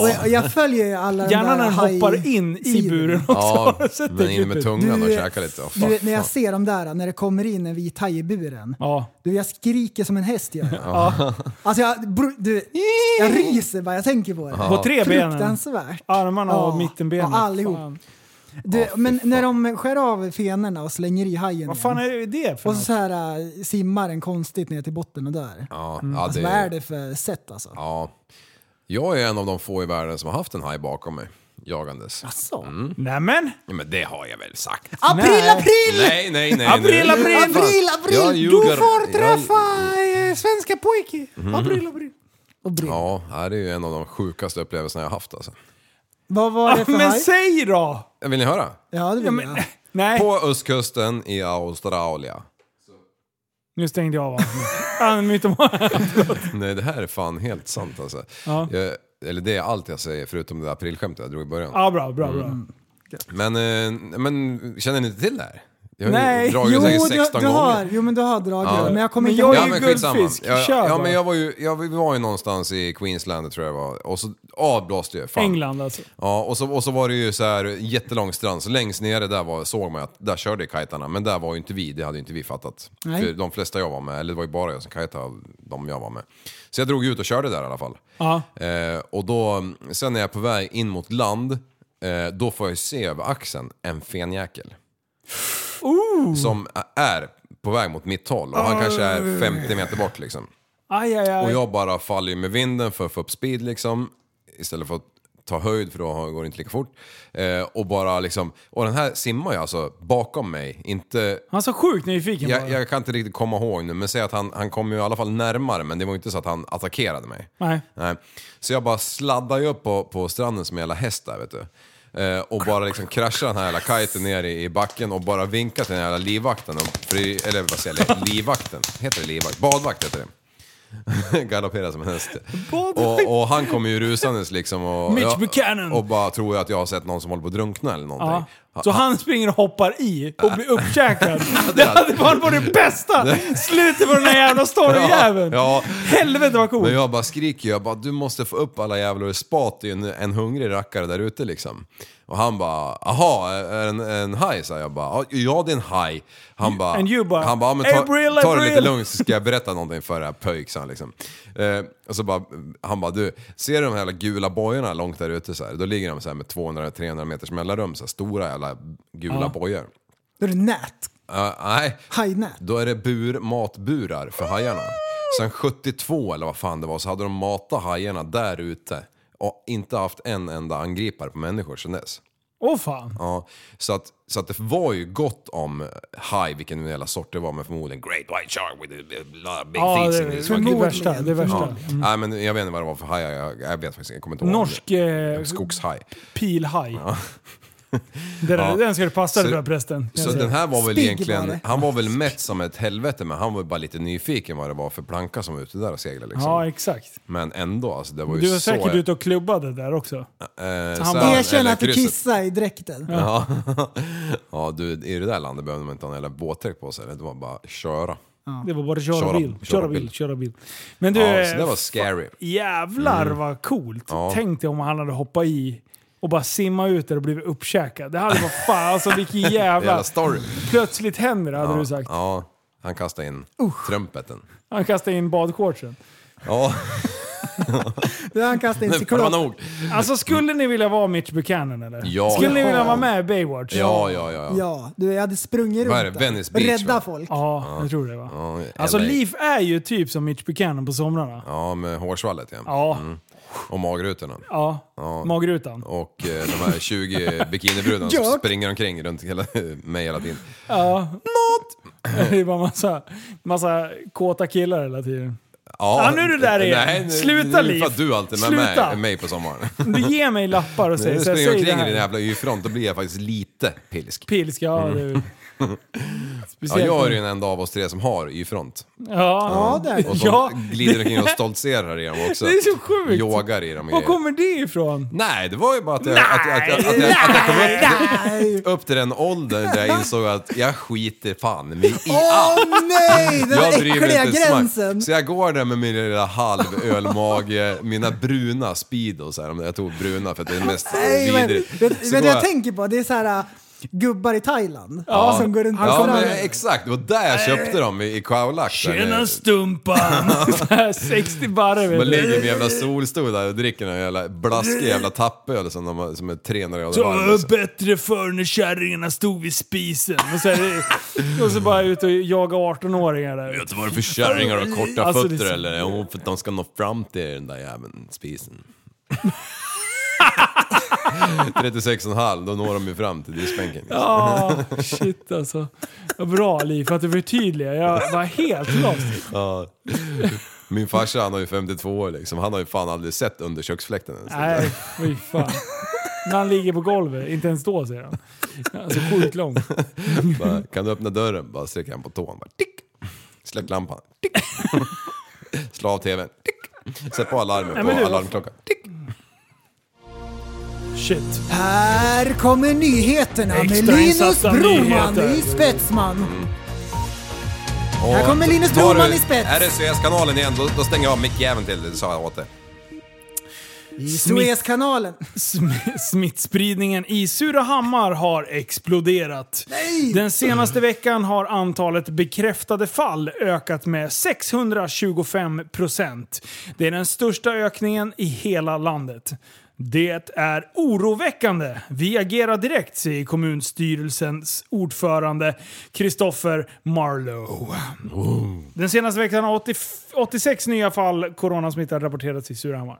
[SPEAKER 7] och jag, och jag följer ju alla de
[SPEAKER 2] gärna
[SPEAKER 7] där
[SPEAKER 2] när den
[SPEAKER 7] haj-
[SPEAKER 2] hoppar in i
[SPEAKER 7] sidorna.
[SPEAKER 2] buren också.
[SPEAKER 1] Ja,
[SPEAKER 2] Har du sett
[SPEAKER 1] men
[SPEAKER 2] det
[SPEAKER 1] in med
[SPEAKER 2] klippet?
[SPEAKER 1] tungan och
[SPEAKER 7] Du-
[SPEAKER 1] käka lite. Oh,
[SPEAKER 7] Du vet, när jag ser de där, när det kommer in en vit haj i buren.
[SPEAKER 2] Ja.
[SPEAKER 7] Du, jag skriker som en häst gör jag. Alltså jag, bro, du, jag ryser bara jag tänker på det.
[SPEAKER 2] På tre benen.
[SPEAKER 7] Fruktansvärt.
[SPEAKER 2] Armarna och
[SPEAKER 7] Ja,
[SPEAKER 2] mittenbenet.
[SPEAKER 7] ja, allihop.
[SPEAKER 2] Fan.
[SPEAKER 7] Du, men när de skär av fenorna och slänger i hajen
[SPEAKER 2] Vad
[SPEAKER 7] igen.
[SPEAKER 2] fan är det för
[SPEAKER 7] Och så,
[SPEAKER 2] något?
[SPEAKER 7] så här äh, simmar den konstigt ner till botten och dör.
[SPEAKER 1] Ja, ja,
[SPEAKER 7] Alltså,
[SPEAKER 1] det,
[SPEAKER 7] vad är det för sätt alltså?
[SPEAKER 1] Ja. Jag är en av de få i världen som har haft en haj bakom mig, jagandes.
[SPEAKER 7] Asså.
[SPEAKER 2] Nämen!
[SPEAKER 1] Ja, men det har jag väl sagt?
[SPEAKER 7] Alltså. April,
[SPEAKER 2] Nej.
[SPEAKER 7] april!
[SPEAKER 1] Nej, nej, nej.
[SPEAKER 2] April,
[SPEAKER 1] nu.
[SPEAKER 2] april,
[SPEAKER 1] Fan.
[SPEAKER 7] april, april!
[SPEAKER 1] Jag
[SPEAKER 7] Du eh,
[SPEAKER 1] ljuger. Jag-
[SPEAKER 2] svenska pojke.
[SPEAKER 1] Mm.
[SPEAKER 2] April, april.
[SPEAKER 7] Och brev.
[SPEAKER 1] Ja, det är ju en av de sjukaste upplevelserna jag har haft alltså.
[SPEAKER 7] Vad var det för
[SPEAKER 2] Ah, Men
[SPEAKER 7] haj?
[SPEAKER 2] säg då!
[SPEAKER 1] Vill ni höra?
[SPEAKER 7] Ja, det vill
[SPEAKER 2] men-
[SPEAKER 7] jag.
[SPEAKER 2] Nej.
[SPEAKER 1] På östkusten i Australien
[SPEAKER 2] Nu stängde jag av honom. Han mytoman.
[SPEAKER 1] Nej, det här är fan helt sant alltså.
[SPEAKER 2] Ja.
[SPEAKER 1] Jag, eller det är allt jag säger förutom det där aprilskämtet jag drog i början.
[SPEAKER 2] Ja, Ah, bra, bra, bra.
[SPEAKER 1] Mm, Men, eh, men känner ni inte till det här? Jag har ju
[SPEAKER 7] Nej, jo,
[SPEAKER 1] dragit det säkert
[SPEAKER 7] du,
[SPEAKER 1] 16
[SPEAKER 7] du
[SPEAKER 1] gånger.
[SPEAKER 7] har, jo men du har dragit
[SPEAKER 1] Ja.
[SPEAKER 7] det. Men jag kommer inte
[SPEAKER 1] ja, men skitsamma. Jag, ja, men jag var ju, jag vi var ju någonstans i Queensland tror jag det var. Och så avblåste ju. Fan.
[SPEAKER 2] England alltså.
[SPEAKER 1] Ja, och så, och så var det ju så här jättelång strand, så längst nere där var, såg man att där körde kajtarna, men där var ju inte vi, det hade ju inte vi fattat.
[SPEAKER 2] Nej.
[SPEAKER 1] För de flesta jag var med, eller det var ju bara jag som kajtade av de jag var med. Så jag drog ut och körde där i alla fall.
[SPEAKER 2] Ja.
[SPEAKER 1] Eh, och då, sen när jag är på väg in mot land, eh, då får jag ju se över axeln en fenjäkel. Som är på väg mot mitt håll och han kanske är 50 meter bort liksom.
[SPEAKER 2] Aj, aj, aj.
[SPEAKER 1] Och jag bara faller ju med vinden för att få upp speed liksom. Istället för att ta höjd för då har- går det inte lika fort. Eh, och bara liksom, och den här simmar ju alltså bakom mig. Inte,
[SPEAKER 2] Han är så sjukt nyfiken
[SPEAKER 1] jag,
[SPEAKER 2] bara.
[SPEAKER 1] jag kan inte riktigt komma ihåg nu men säg att han, han kom ju i alla fall närmare men det var ju inte så att han attackerade mig.
[SPEAKER 2] Nej.
[SPEAKER 1] Nej. Så jag bara sladdar ju upp på, på stranden som en jävla häst där vet du. Eh, och bara liksom kraschar den här jävla kiten ner i, i backen och bara vinkar till den här jävla livvakten. Och, fri- eller vad säger jag, livvakten? Heter det livvakt? Badvakt heter det. Galopperar som en häst. Och, och han kommer ju rusandes liksom. Och,
[SPEAKER 2] Mitch
[SPEAKER 1] ja,
[SPEAKER 2] Buchanan.
[SPEAKER 1] Och bara tror jag att jag har sett någon som håller på att drunkna eller någonting.
[SPEAKER 2] Ja. Så han springer och hoppar i och blir uppkäkad. det
[SPEAKER 1] det
[SPEAKER 2] hade varit på det bästa slutet på den här jävla storyjäveln.
[SPEAKER 1] Ja,
[SPEAKER 2] Helvete vad coolt.
[SPEAKER 1] Men jag bara skriker ju, jag bara du måste få upp alla jävlar i spat, det är ju en, en hungrig rackare där ute liksom. Och han bara, aha, är det en, en haj? sa jag bara, ja det är en haj. Han bara,
[SPEAKER 2] And you bara,
[SPEAKER 1] han bara, "Ja, men ta,
[SPEAKER 2] April,
[SPEAKER 1] ta det lite
[SPEAKER 2] April."
[SPEAKER 1] lugnt så ska jag berätta någonting för det här pöjk, sa han liksom. Eh, och så bara, han bara, du, ser du de här jävla gula bojorna ltömt där ute så här? Då ligger de så här med 200-300 meters mellanrum, så här, stora jävla gula
[SPEAKER 7] Ja.
[SPEAKER 1] bojor.
[SPEAKER 7] Då är det nät.
[SPEAKER 1] Ja, nej.
[SPEAKER 7] Hajnät.
[SPEAKER 1] Då är det bur, matburar för hajarna. Sen 72 eller vad fan det var så hade de matat hajarna där ute och inte haft en enda angripare på människor sedan dess.
[SPEAKER 2] Åh fan.
[SPEAKER 1] Ja, så, att, så att det var ju gott om haj, vilken jävla sort det var, men förmodligen Great White Shark with a lot of big
[SPEAKER 2] Ja,
[SPEAKER 1] things
[SPEAKER 2] det-
[SPEAKER 1] in this
[SPEAKER 2] det är
[SPEAKER 1] one."
[SPEAKER 2] det värsta, det är värsta.
[SPEAKER 1] Ja. Nej, men jag vet inte vad det var för hajar, jag, jag vet faktiskt jag kommer inte ihåg.
[SPEAKER 2] Norsk eh,
[SPEAKER 1] Skogshaj.
[SPEAKER 2] pilhaj. Den,
[SPEAKER 1] Ja.
[SPEAKER 2] den skulle passa dig
[SPEAKER 1] Så-
[SPEAKER 2] bra prästen. kan jag
[SPEAKER 1] Så
[SPEAKER 2] säga.
[SPEAKER 1] den här var väl
[SPEAKER 2] Spigg
[SPEAKER 1] egentligen,
[SPEAKER 2] var det.
[SPEAKER 1] han var väl mätt som ett helvete men han var bara lite nyfiken vad det var för planka som var ute där och seglade liksom.
[SPEAKER 2] Ja, exakt.
[SPEAKER 1] Men ändå alltså, det var ju
[SPEAKER 2] Du var
[SPEAKER 1] så...
[SPEAKER 2] säkert ute och klubbade där också.
[SPEAKER 1] eh,
[SPEAKER 2] Så han
[SPEAKER 1] Sälen
[SPEAKER 2] bara-
[SPEAKER 7] Erkänn
[SPEAKER 1] eller
[SPEAKER 7] att du
[SPEAKER 1] krysset.
[SPEAKER 7] kissade i dräkten.
[SPEAKER 1] Ja. ja du, i det där landet behöver man inte ha en jävla våtdräkt på sig, det var bara köra.
[SPEAKER 2] Det var bara köra,
[SPEAKER 1] Köra,
[SPEAKER 2] bil,
[SPEAKER 1] köra
[SPEAKER 2] köra bil,
[SPEAKER 1] bil.
[SPEAKER 2] köra bil. Men du,
[SPEAKER 1] ja, så det var
[SPEAKER 2] eh,
[SPEAKER 1] scary.
[SPEAKER 2] jävlar
[SPEAKER 1] Mm.
[SPEAKER 2] vad coolt.
[SPEAKER 1] Ja.
[SPEAKER 2] Tänk dig om han hade hoppat i och bara simma ut där och blivit uppkäkad. Det hade varit fan alltså vilken jävla...
[SPEAKER 1] Jävla story.
[SPEAKER 2] Plötsligt händer det hade du sagt.
[SPEAKER 1] Ja, han kastade in trumpeten.
[SPEAKER 2] Han kastade in badshortsen.
[SPEAKER 1] Ja,
[SPEAKER 2] Det han kastade
[SPEAKER 1] nu får det vara nog.
[SPEAKER 2] Alltså skulle ni vilja vara Mitch Buchanan eller?
[SPEAKER 1] Ja,
[SPEAKER 2] skulle ni
[SPEAKER 1] ja.
[SPEAKER 2] vilja vara med i Baywatch?
[SPEAKER 1] Ja, ja, ja. ja.
[SPEAKER 7] Ja, du jag hade sprungit
[SPEAKER 1] Vad är
[SPEAKER 7] runt
[SPEAKER 1] det?
[SPEAKER 7] där.
[SPEAKER 1] Venice Beach,
[SPEAKER 7] Rädda
[SPEAKER 1] va?
[SPEAKER 7] folk.
[SPEAKER 2] Ja, jag tror det va.
[SPEAKER 1] ja
[SPEAKER 2] Alltså
[SPEAKER 1] LA.
[SPEAKER 2] Leif är ju typ som Mitch Buchanan på somrarna.
[SPEAKER 1] Ja, med hårsvallet igen.
[SPEAKER 2] Ja.
[SPEAKER 1] Och magrutorna.
[SPEAKER 2] Ja,
[SPEAKER 1] Ja.
[SPEAKER 2] magrutan.
[SPEAKER 1] Och eh, de här 20 bikinibrudar som springer omkring runt hela, mig hela tiden.
[SPEAKER 2] Ja. Not! Det är bara massa, massa kåta killar hela tiden. Ja, nu är du där igen.
[SPEAKER 1] nu-
[SPEAKER 2] Sluta,
[SPEAKER 1] nu är det för
[SPEAKER 2] Liv.
[SPEAKER 1] att du alltid med
[SPEAKER 2] Sluta.
[SPEAKER 1] mig, mig på sommaren.
[SPEAKER 2] Om du ger mig lappar och
[SPEAKER 1] När
[SPEAKER 2] säger
[SPEAKER 1] du
[SPEAKER 2] så här,
[SPEAKER 1] springer
[SPEAKER 2] säg det
[SPEAKER 1] omkring i din
[SPEAKER 2] här.
[SPEAKER 1] jävla Y-front, då blir jag faktiskt lite pilsk.
[SPEAKER 2] Pilsk, ja
[SPEAKER 1] Mm.
[SPEAKER 2] det är väl-
[SPEAKER 1] Ja,
[SPEAKER 2] Speciellt-
[SPEAKER 1] jag är ju den enda av oss tre som har Y-front.
[SPEAKER 2] Ja, ja,
[SPEAKER 1] Och som glider omkring och stoltserar i dem också.
[SPEAKER 2] Det är så sjukt.
[SPEAKER 1] Yogar i dem och
[SPEAKER 2] Var
[SPEAKER 1] grejer.
[SPEAKER 2] kommer det ifrån?
[SPEAKER 1] Nej, det var ju bara att jag, att, jag- att, jag- att, jag, att jag kom upp, upp till den åldern där jag insåg att jag skiter fan mig i
[SPEAKER 7] Åh nej! Den
[SPEAKER 1] Jag
[SPEAKER 7] där
[SPEAKER 1] bryr mig
[SPEAKER 7] äckliga
[SPEAKER 1] inte ett
[SPEAKER 7] gränsen.
[SPEAKER 1] smack. Så jag går där med min lilla halvölmage, mina bruna speedos här. Jag tog bruna för att det är mest
[SPEAKER 7] Nej, men,
[SPEAKER 1] vidrigt.
[SPEAKER 7] vet,
[SPEAKER 1] Så
[SPEAKER 7] men
[SPEAKER 1] går
[SPEAKER 7] det jag tänker på, det är så här äh, gubbar i Thailand
[SPEAKER 1] Ja,
[SPEAKER 7] som går runt på
[SPEAKER 1] ja, men,
[SPEAKER 7] stranden.
[SPEAKER 1] exakt. Det var där jag köpte dem, i, i Khao-Lak.
[SPEAKER 2] Tjena stumpan! Så här 60 barre vet
[SPEAKER 1] Man
[SPEAKER 2] du.
[SPEAKER 1] ligger med jävla solstol där och dricker en jävla blaskig jävla tappöl som, de, har- som är 300 grader varm.
[SPEAKER 2] Så
[SPEAKER 1] Alltså.
[SPEAKER 2] bättre förr när kärringarna stod vid spisen. Och så, här, och så bara ut och jaga 18-åringar där.
[SPEAKER 1] Vet du vad det är för kärringar och korta
[SPEAKER 2] Alltså, det är
[SPEAKER 1] fötter
[SPEAKER 2] så-
[SPEAKER 1] eller? Jo, för att de ska nå fram till den där jäveln, spisen. 36,5, då når de ju fram till diskbänken.
[SPEAKER 2] Ja, shit alltså. Vad Bra Liv, för att du förtydligar. Jag var helt lost.
[SPEAKER 1] Ja. Min farsa han har ju 52 år liksom, han har ju fan aldrig sett under köksfläkten ens.
[SPEAKER 2] Nej, fy fan. När han ligger på golvet, inte ens då säger han. Alltså sjukt lång.
[SPEAKER 1] Bara, kan du öppna dörren? Bara sträcker han på tån. Bara, tick. Släck lampan. Tick. Slå av tvn. Tick. Sätt på alarmen
[SPEAKER 7] Nej,
[SPEAKER 1] på
[SPEAKER 7] men du-
[SPEAKER 1] alarmklockan.
[SPEAKER 2] Shit.
[SPEAKER 7] Här kommer nyheterna med Linus
[SPEAKER 2] Extrainsatta
[SPEAKER 7] Broman
[SPEAKER 2] nyheter.
[SPEAKER 7] i spetsman.
[SPEAKER 1] Och
[SPEAKER 7] Här kommer Linus
[SPEAKER 1] var
[SPEAKER 7] Broman
[SPEAKER 1] du-
[SPEAKER 7] i spets.
[SPEAKER 1] Är det Suezkanalen igen, då, då stänger jag av mickjäveln till det, sa jag åt dig.
[SPEAKER 7] I Suezkanalen.
[SPEAKER 2] Sm- Smittspridningen i Surahammar har exploderat.
[SPEAKER 7] Nej!
[SPEAKER 2] Den senaste veckan har antalet bekräftade fall ökat med 625 procent. Det är den största ökningen i hela landet. Det är oroväckande. Vi agerar direkt, säger kommunstyrelsens ordförande Christopher Marlowe. Den senaste veckan har 80, 86 nya fall coronasmittade rapporterats i Surahammar.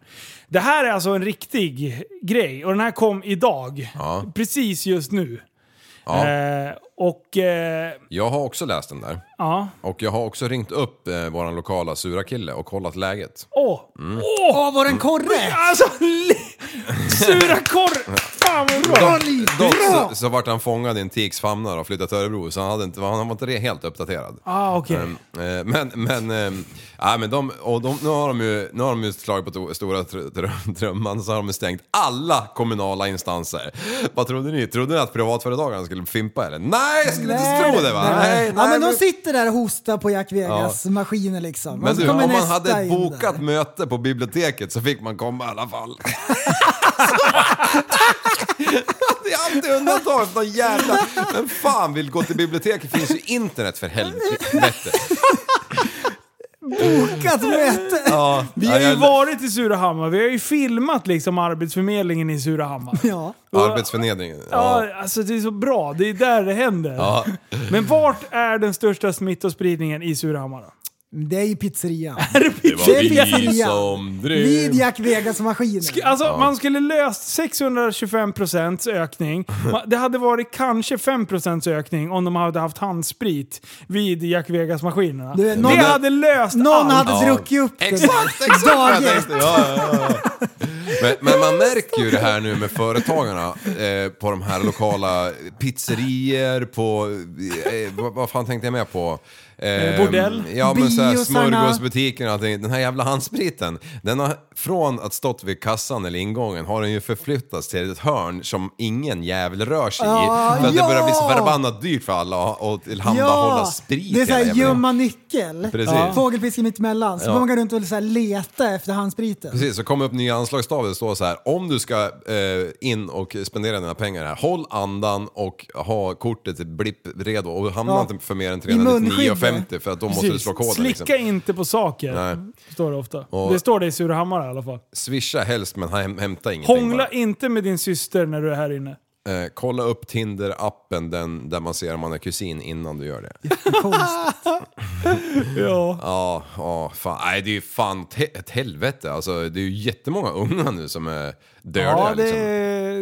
[SPEAKER 2] Det här är alltså en riktig grej och den här kom idag. Precis just nu.
[SPEAKER 1] Ja.
[SPEAKER 2] Eh, och eh,
[SPEAKER 1] Jag har också läst den där.
[SPEAKER 2] ja,
[SPEAKER 1] Och jag har också ringt upp eh, våran lokala sura kille och kollat läget.
[SPEAKER 2] åh!
[SPEAKER 1] Mm.
[SPEAKER 2] Åh,
[SPEAKER 7] var den korre?
[SPEAKER 2] Alltså, sura korre! Fan vad bra!
[SPEAKER 1] Dock så, så vart han fångad i en tiks famnar och flyttat till Örebro, så han, hade inte, han var inte helt uppdaterad.
[SPEAKER 2] Ah, okej.
[SPEAKER 1] Ehm, eh, Men, men, ehm, nej, men de, och de, nu, har de ju, nu har de ju slagit på to, stora tr, tr, trumman så har de ju stängt alla kommunala instanser. Vad trodde ni? Trodde ni att privatföretagarna skulle fimpa eller? Nej, jag skulle inte tro det va? Nej,
[SPEAKER 7] ja,
[SPEAKER 1] nej,
[SPEAKER 7] men de sitter där och hostar på Jack Vegas maskiner liksom.
[SPEAKER 1] men
[SPEAKER 7] Och så
[SPEAKER 1] du, om
[SPEAKER 7] kommer
[SPEAKER 1] man
[SPEAKER 7] nästa
[SPEAKER 1] hade ett
[SPEAKER 7] in
[SPEAKER 1] bokat möte på biblioteket så fick man komma i alla fall. Det är alltid undantag för någon jävla... Men fan vill gå till biblioteket? finns ju internet för helvete.
[SPEAKER 7] Bokat möte!
[SPEAKER 1] Ja,
[SPEAKER 2] Vi
[SPEAKER 1] ja,
[SPEAKER 2] har ju
[SPEAKER 1] jag-
[SPEAKER 2] varit i Surahammar, vi har ju filmat liksom Arbetsförmedlingen i Surahammar.
[SPEAKER 7] Ja.
[SPEAKER 1] Arbetsförnedringen. Ja.
[SPEAKER 2] Ja, alltså det är så bra. Det är där det händer.
[SPEAKER 1] Ja.
[SPEAKER 2] Men vart är den största smittospridningen i Surahammar då?
[SPEAKER 7] Det är ju pizzerian.
[SPEAKER 1] Det var
[SPEAKER 7] Det är
[SPEAKER 1] vi
[SPEAKER 7] pizzeria.
[SPEAKER 1] som
[SPEAKER 7] Vid
[SPEAKER 1] drev...
[SPEAKER 7] Jack Vegas maskiner.
[SPEAKER 1] Mm.
[SPEAKER 2] Alltså man skulle löst 625% ökning. Ma- Det hade varit kanske 5% ökning om de hade haft handsprit vid Jack Vegas-maskinerna.
[SPEAKER 7] Du, någon-
[SPEAKER 2] det hade löst
[SPEAKER 7] Någon
[SPEAKER 2] allt.
[SPEAKER 7] hade druckit upp det
[SPEAKER 1] Exakt,
[SPEAKER 7] där.
[SPEAKER 1] exakt vad jag
[SPEAKER 7] Dag ett.
[SPEAKER 1] tänkte. Ja, ja, ja. Men, men man märker ju det här nu med företagarna eh, på de här lokala pizzerier, på... Eh, vad, vad fan tänkte jag med på? Eh,
[SPEAKER 2] bordell.
[SPEAKER 1] Ja men såhär
[SPEAKER 7] Biosarna.
[SPEAKER 1] smörgåsbutiker och allting. Den här jävla handspriten, den har från att stått vid kassan eller ingången har den ju förflyttats till ett hörn som ingen jävel rör sig
[SPEAKER 7] Ja,
[SPEAKER 1] i. För att det börjar bli så
[SPEAKER 7] ja.
[SPEAKER 1] förbannat dyrt för alla att- att tillhandahålla sprit.
[SPEAKER 7] det är såhär
[SPEAKER 1] hela jävla-
[SPEAKER 7] gömma nyckel.
[SPEAKER 1] Precis.
[SPEAKER 7] Ja. Fågelfiske mitt emellan. Så
[SPEAKER 1] Ja.
[SPEAKER 7] får man gå runt och så här leta efter handspriten.
[SPEAKER 1] Precis, så kommer upp nya anslagstavlor och står så här. Om du ska eh, in och spendera dina pengar här, håll andan och ha kortet i blipp redo. Och hamna
[SPEAKER 7] Ja.
[SPEAKER 1] inte för mer än
[SPEAKER 7] I munskyddet.
[SPEAKER 1] 399,50 för att då måste du
[SPEAKER 2] Precis.
[SPEAKER 1] slå koden.
[SPEAKER 2] Slicka
[SPEAKER 1] Liksom.
[SPEAKER 2] inte på saker,
[SPEAKER 1] Nej.
[SPEAKER 2] står det ofta.
[SPEAKER 1] Och-
[SPEAKER 2] Det står det i Surahammar i alla fall.
[SPEAKER 1] Swisha helst men hem, hämta ingenting.
[SPEAKER 2] Hångla
[SPEAKER 1] bara.
[SPEAKER 2] inte med din syster när du är här inne.
[SPEAKER 1] Eh, kolla upp Tinder-appen den, där man ser om man är kusin innan du gör det.
[SPEAKER 2] Ja.
[SPEAKER 1] Ja, ja, fan. Nej, det är ju fan te- ett helvete. Alltså, det är ju jättemånga unga nu som är döda.
[SPEAKER 2] Ja, det,
[SPEAKER 1] liksom.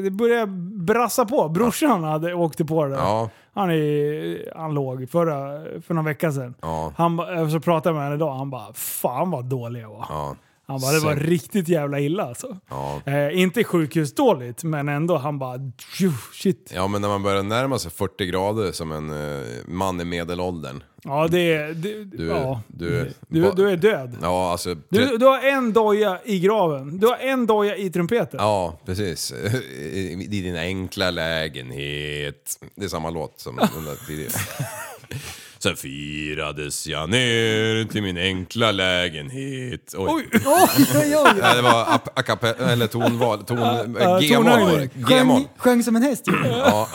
[SPEAKER 2] det börjar brassa på. Brorsan hade, åkte på det.
[SPEAKER 1] Ja.
[SPEAKER 2] Han, är, han låg förra, för någon vecka sedan.
[SPEAKER 1] Ja.
[SPEAKER 2] Han, ba- så pratade jag med honom idag. Han bara “Fan vad dålig jag var”.
[SPEAKER 1] Ja.
[SPEAKER 2] Han bara “Det var
[SPEAKER 1] Säkert.
[SPEAKER 2] riktigt jävla illa alltså”.
[SPEAKER 1] Ja.
[SPEAKER 2] Eh, inte sjukhusdåligt, men ändå. Han bara "Tju, “Shit”.
[SPEAKER 1] Ja men när man börjar närma sig 40 grader som en eh, man i medelåldern.
[SPEAKER 2] Ja, det är... Du,
[SPEAKER 1] Du,
[SPEAKER 2] ja.
[SPEAKER 1] du,
[SPEAKER 2] du, du är död.
[SPEAKER 1] Ja alltså...
[SPEAKER 2] Du, du har en doja i graven. Du har en doja i trumpeten.
[SPEAKER 1] Ja, precis. I din enkla lägenhet. Det är samma låt som den där tidigare. Sen firades jag ner till min enkla lägenhet. Oj!
[SPEAKER 7] Oj, oj, oj.
[SPEAKER 1] Nej, det var ap- a cappella, eller tonval, ton...
[SPEAKER 2] ja,
[SPEAKER 1] Äh, G-moll var det. G-moll.
[SPEAKER 7] Sjöng, sjöng som en häst. ju.
[SPEAKER 1] Ja,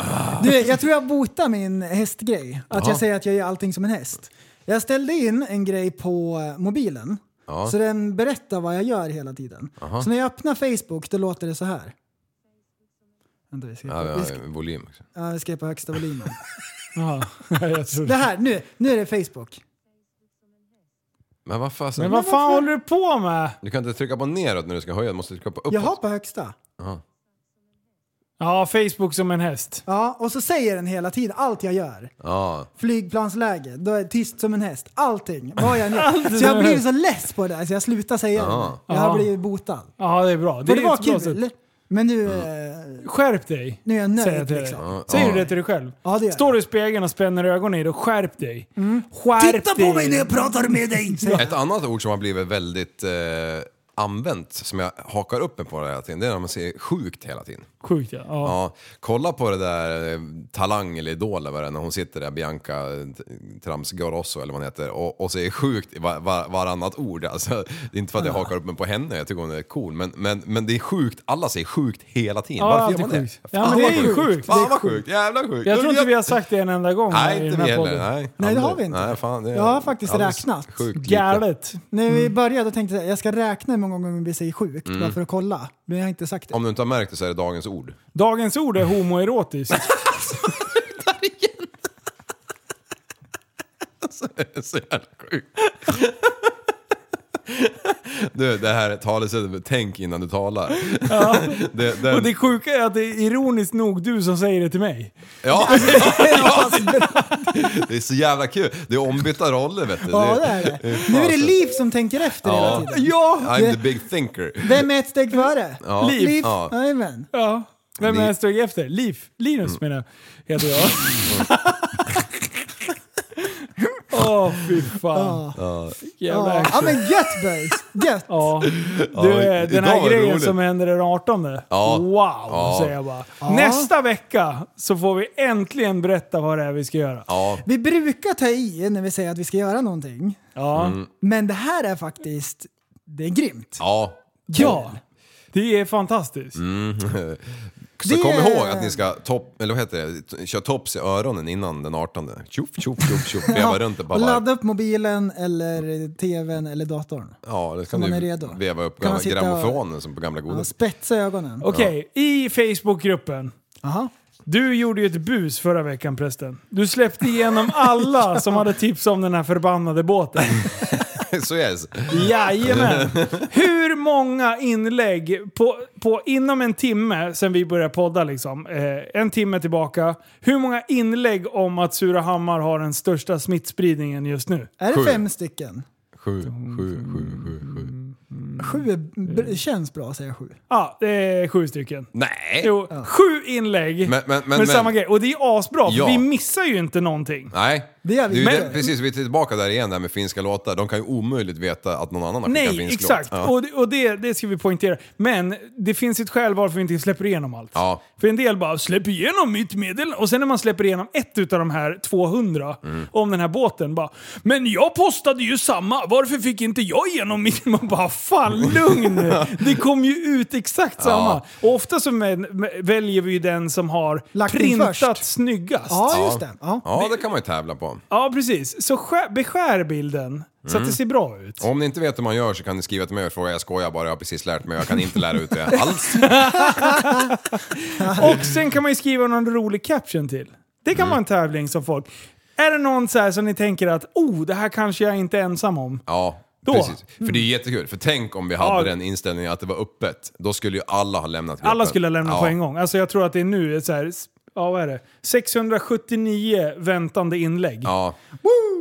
[SPEAKER 7] Du, jag tror jag botar min hästgrej. Att jag säger att jag gör allting som en häst. Jag ställde in en grej på eh, mobilen.
[SPEAKER 1] Ja.
[SPEAKER 7] Så den berättar vad jag gör hela tiden. Så när jag öppnar Facebook då låter det så här. Vänta, vi ska,
[SPEAKER 1] ja, ja,
[SPEAKER 7] vi ska,
[SPEAKER 1] volym också.
[SPEAKER 7] ja, vi ska på högsta volymen.
[SPEAKER 2] Jaha. Jag tror-
[SPEAKER 7] Det här, nu, nu är det Facebook.
[SPEAKER 1] Men vad
[SPEAKER 2] Men
[SPEAKER 1] fasen?
[SPEAKER 2] vad fan håller du på med?
[SPEAKER 1] Du kan inte trycka på neråt när du ska höja, du måste trycka på uppåt.
[SPEAKER 7] Jag har på högsta.
[SPEAKER 1] Jaha.
[SPEAKER 2] Ja, Facebook som en häst.
[SPEAKER 7] Ja, och så säger den hela tiden allt jag gör.
[SPEAKER 1] Ja.
[SPEAKER 7] Flygplansläge, då är jag tyst som en häst. Allting. Vad jag än gör. Så jag blir så less på det här så jag slutar säga det. Jag har
[SPEAKER 2] Ja.
[SPEAKER 7] blivit botad.
[SPEAKER 2] Ja, det är bra.
[SPEAKER 7] För det
[SPEAKER 2] är
[SPEAKER 7] var
[SPEAKER 2] ett bra
[SPEAKER 7] kul.
[SPEAKER 2] sätt.
[SPEAKER 7] Men nu... eh,
[SPEAKER 2] Skärp dig.
[SPEAKER 7] Nu är jag nöjd,
[SPEAKER 2] säger jag till dig.
[SPEAKER 7] liksom. Ja,
[SPEAKER 2] Säger
[SPEAKER 7] ja.
[SPEAKER 2] du det till dig själv?
[SPEAKER 7] Ja, det gör Mm.
[SPEAKER 2] Står du i spegeln och spänner ögonen i dig, skärp dig. Skärp
[SPEAKER 7] Titta på
[SPEAKER 2] dig.
[SPEAKER 7] mig när jag pratar med dig, säger
[SPEAKER 1] Ett annat ord som har blivit väldigt eh, använt, som jag hakar upp mig på hela tiden, det är när man säger sjukt hela tiden.
[SPEAKER 2] Sjukt ja. ja.
[SPEAKER 1] Ja, kolla på det där eh, Talang eller Idol eller vad det är, när hon sitter där, Bianca eh, Trams Garosso eller vad hon heter, och, och säger sjukt i var, var, varannat ord. Alltså, det är inte för
[SPEAKER 2] Ah.
[SPEAKER 1] att jag hakar upp mig på henne, jag tycker hon är cool, men, men, men det är sjukt, alla säger sjukt hela tiden.
[SPEAKER 2] Ja,
[SPEAKER 1] Varför gör
[SPEAKER 2] Ah, det är
[SPEAKER 1] man det?
[SPEAKER 2] sjukt. Ja, men det är ju sjukt. Det
[SPEAKER 1] Fan
[SPEAKER 2] är
[SPEAKER 1] vad sjukt, jävla sjukt.
[SPEAKER 2] Jag tror inte vi har sagt det en enda gång här
[SPEAKER 1] Nej,
[SPEAKER 2] i
[SPEAKER 1] inte
[SPEAKER 2] den
[SPEAKER 1] vi
[SPEAKER 2] här
[SPEAKER 1] heller.
[SPEAKER 2] podden.
[SPEAKER 1] Nej,
[SPEAKER 7] Nej, det har
[SPEAKER 1] aldrig.
[SPEAKER 7] vi inte.
[SPEAKER 1] Nej, fan, det är
[SPEAKER 7] Jag har faktiskt
[SPEAKER 1] alldeles
[SPEAKER 7] räknat.
[SPEAKER 1] Sjukt lite.
[SPEAKER 2] Galet.
[SPEAKER 7] När vi började tänkte jag jag ska räkna hur många gånger vi säger sjukt
[SPEAKER 1] Mm.
[SPEAKER 7] bara för att kolla. Men jag har inte sagt det.
[SPEAKER 1] Om du inte har märkt det så är det dagens ord.
[SPEAKER 2] Dagens ord är homoerotiskt.
[SPEAKER 1] så jävla sjukt. Du, det här talesättet med tänk innan du talar.
[SPEAKER 2] Ja.
[SPEAKER 1] Det, den-
[SPEAKER 2] Och det sjuka är att det är ironiskt nog du som säger det till mig.
[SPEAKER 1] ja. det är så jävla kul. Det är ombytta roller vet du.
[SPEAKER 7] Ja, det är det. Nu är det Liv som tänker efter hela
[SPEAKER 1] ja.
[SPEAKER 7] tiden.
[SPEAKER 2] Ja!
[SPEAKER 1] I'm the big thinker.
[SPEAKER 7] Vem är ett steg före?
[SPEAKER 1] Ja.
[SPEAKER 7] Liv.
[SPEAKER 1] Liv. Ja.
[SPEAKER 7] Jajamän.
[SPEAKER 2] Ja. Vem är
[SPEAKER 1] Liv.
[SPEAKER 2] jag steg efter? Liv. Linus menar jag. Heter jag. Mm. Åh fy
[SPEAKER 7] Ah.
[SPEAKER 2] fan.
[SPEAKER 1] Ja.
[SPEAKER 2] Jävla
[SPEAKER 7] Ja. ja
[SPEAKER 2] action.
[SPEAKER 7] men gött boys! Gött!
[SPEAKER 2] Ja. Du, eh,
[SPEAKER 1] Ja, i-
[SPEAKER 2] den
[SPEAKER 1] idag
[SPEAKER 2] här
[SPEAKER 1] var det
[SPEAKER 2] grejen
[SPEAKER 1] roligt.
[SPEAKER 2] som händer den 18.
[SPEAKER 1] Ja.
[SPEAKER 2] Wow,
[SPEAKER 1] Ja.
[SPEAKER 2] säger jag bara. Nästa vecka så får vi äntligen berätta vad det är vi ska göra.
[SPEAKER 1] Ja.
[SPEAKER 7] Vi brukar ta i när vi säger att vi ska göra någonting.
[SPEAKER 2] Ja.
[SPEAKER 1] Mm.
[SPEAKER 7] Men det här är faktiskt... Det är grymt.
[SPEAKER 1] ja.
[SPEAKER 2] Ja. Det är fantastiskt.
[SPEAKER 1] Mm. Så
[SPEAKER 7] Det-
[SPEAKER 1] kom ihåg att ni ska topp, eller vad heter det, T- köra tops i öronen innan den 18. Tjoff, tjoff, tjoff, tjoff. Veva runt det
[SPEAKER 7] Och
[SPEAKER 1] bara.
[SPEAKER 7] ladda upp mobilen eller tvn eller datorn.
[SPEAKER 1] Ja, det
[SPEAKER 7] Så
[SPEAKER 1] kan
[SPEAKER 7] man
[SPEAKER 1] du
[SPEAKER 7] är redo.
[SPEAKER 1] veva upp
[SPEAKER 7] Kan man
[SPEAKER 1] gamla
[SPEAKER 7] sitta och-
[SPEAKER 1] grammofonen som på gamla
[SPEAKER 7] Ja,
[SPEAKER 1] godis.
[SPEAKER 7] spetsa ögonen.
[SPEAKER 2] Okej, i Facebookgruppen.
[SPEAKER 7] Aha.
[SPEAKER 2] Du gjorde ju ett bus förra veckan prästen. Du släppte igenom alla som hade tips om den här förbannade båten.
[SPEAKER 1] Så är det.
[SPEAKER 2] Jajamän! Hur många inlägg på, på inom en timme sen vi började podda liksom, eh, en timme tillbaka. Hur många inlägg om att Surahammar har den största smittspridningen just nu?
[SPEAKER 7] Är det
[SPEAKER 1] Sju.
[SPEAKER 7] fem
[SPEAKER 2] Mm.
[SPEAKER 7] stycken?
[SPEAKER 1] Sju, sju, sju, sju, sju.
[SPEAKER 7] Sju är, b- känns bra att säga sju.
[SPEAKER 2] Ja, det är sju stycken.
[SPEAKER 1] Nej!
[SPEAKER 2] Jo, sju inlägg
[SPEAKER 1] Men- men- men-
[SPEAKER 2] med samma
[SPEAKER 1] men-
[SPEAKER 2] grej. Och det är asbra, för
[SPEAKER 1] Ja.
[SPEAKER 2] vi missar ju inte någonting.
[SPEAKER 1] Nej.
[SPEAKER 7] Det gör vi
[SPEAKER 1] är ju
[SPEAKER 7] inte.
[SPEAKER 1] det, precis, vi är tillbaka där igen där med finska låtar. De kan ju omöjligt veta att någon annan har skickat en
[SPEAKER 2] Nej,
[SPEAKER 1] finsk
[SPEAKER 2] exakt.
[SPEAKER 1] låt. Ja.
[SPEAKER 2] Och, det- och det, det ska vi poängtera. Men det finns ett skäl varför vi inte släpper igenom allt.
[SPEAKER 1] Ja.
[SPEAKER 2] För en del bara “släpp igenom mitt meddelande” och sen när man släpper igenom ett utav de här 200
[SPEAKER 1] Mm.
[SPEAKER 2] om den här båten bara “men jag postade ju samma, varför fick inte jag igenom mitt?” Man bara “fan lugn!” Det kom ju ut exakt samma. Och ofta så men- väljer vi ju den som har
[SPEAKER 7] Lagt in
[SPEAKER 2] printat
[SPEAKER 7] först.
[SPEAKER 2] snyggast.
[SPEAKER 7] Ja, just det. Ja.
[SPEAKER 1] ja, det kan man ju tävla på.
[SPEAKER 2] Ja, precis. Så skär, beskär bilden så
[SPEAKER 1] Mm.
[SPEAKER 2] att det ser bra ut.
[SPEAKER 1] Om ni inte vet hur man gör så kan ni skriva till mig och fråga. Jag skojar bara, jag har precis lärt mig. Jag kan inte lära ut det alls.
[SPEAKER 2] Och sen kan man ju skriva någon rolig caption till. Det kan
[SPEAKER 1] Mm.
[SPEAKER 2] vara en tävling som folk... Är det någon så här som ni tänker att oh, det här kanske jag inte är ensam om?
[SPEAKER 1] Ja,
[SPEAKER 2] Då. Mm.
[SPEAKER 1] precis. För det är jättekul. För tänk om vi hade
[SPEAKER 2] Ja.
[SPEAKER 1] den inställningen att det var öppet. Då skulle ju alla ha lämnat gruppen.
[SPEAKER 2] Alla skulle lämna
[SPEAKER 1] ja.
[SPEAKER 2] på en gång. Alltså jag tror att det är nu är så här, ja, vad är det? 679 väntande inlägg.
[SPEAKER 1] Ja.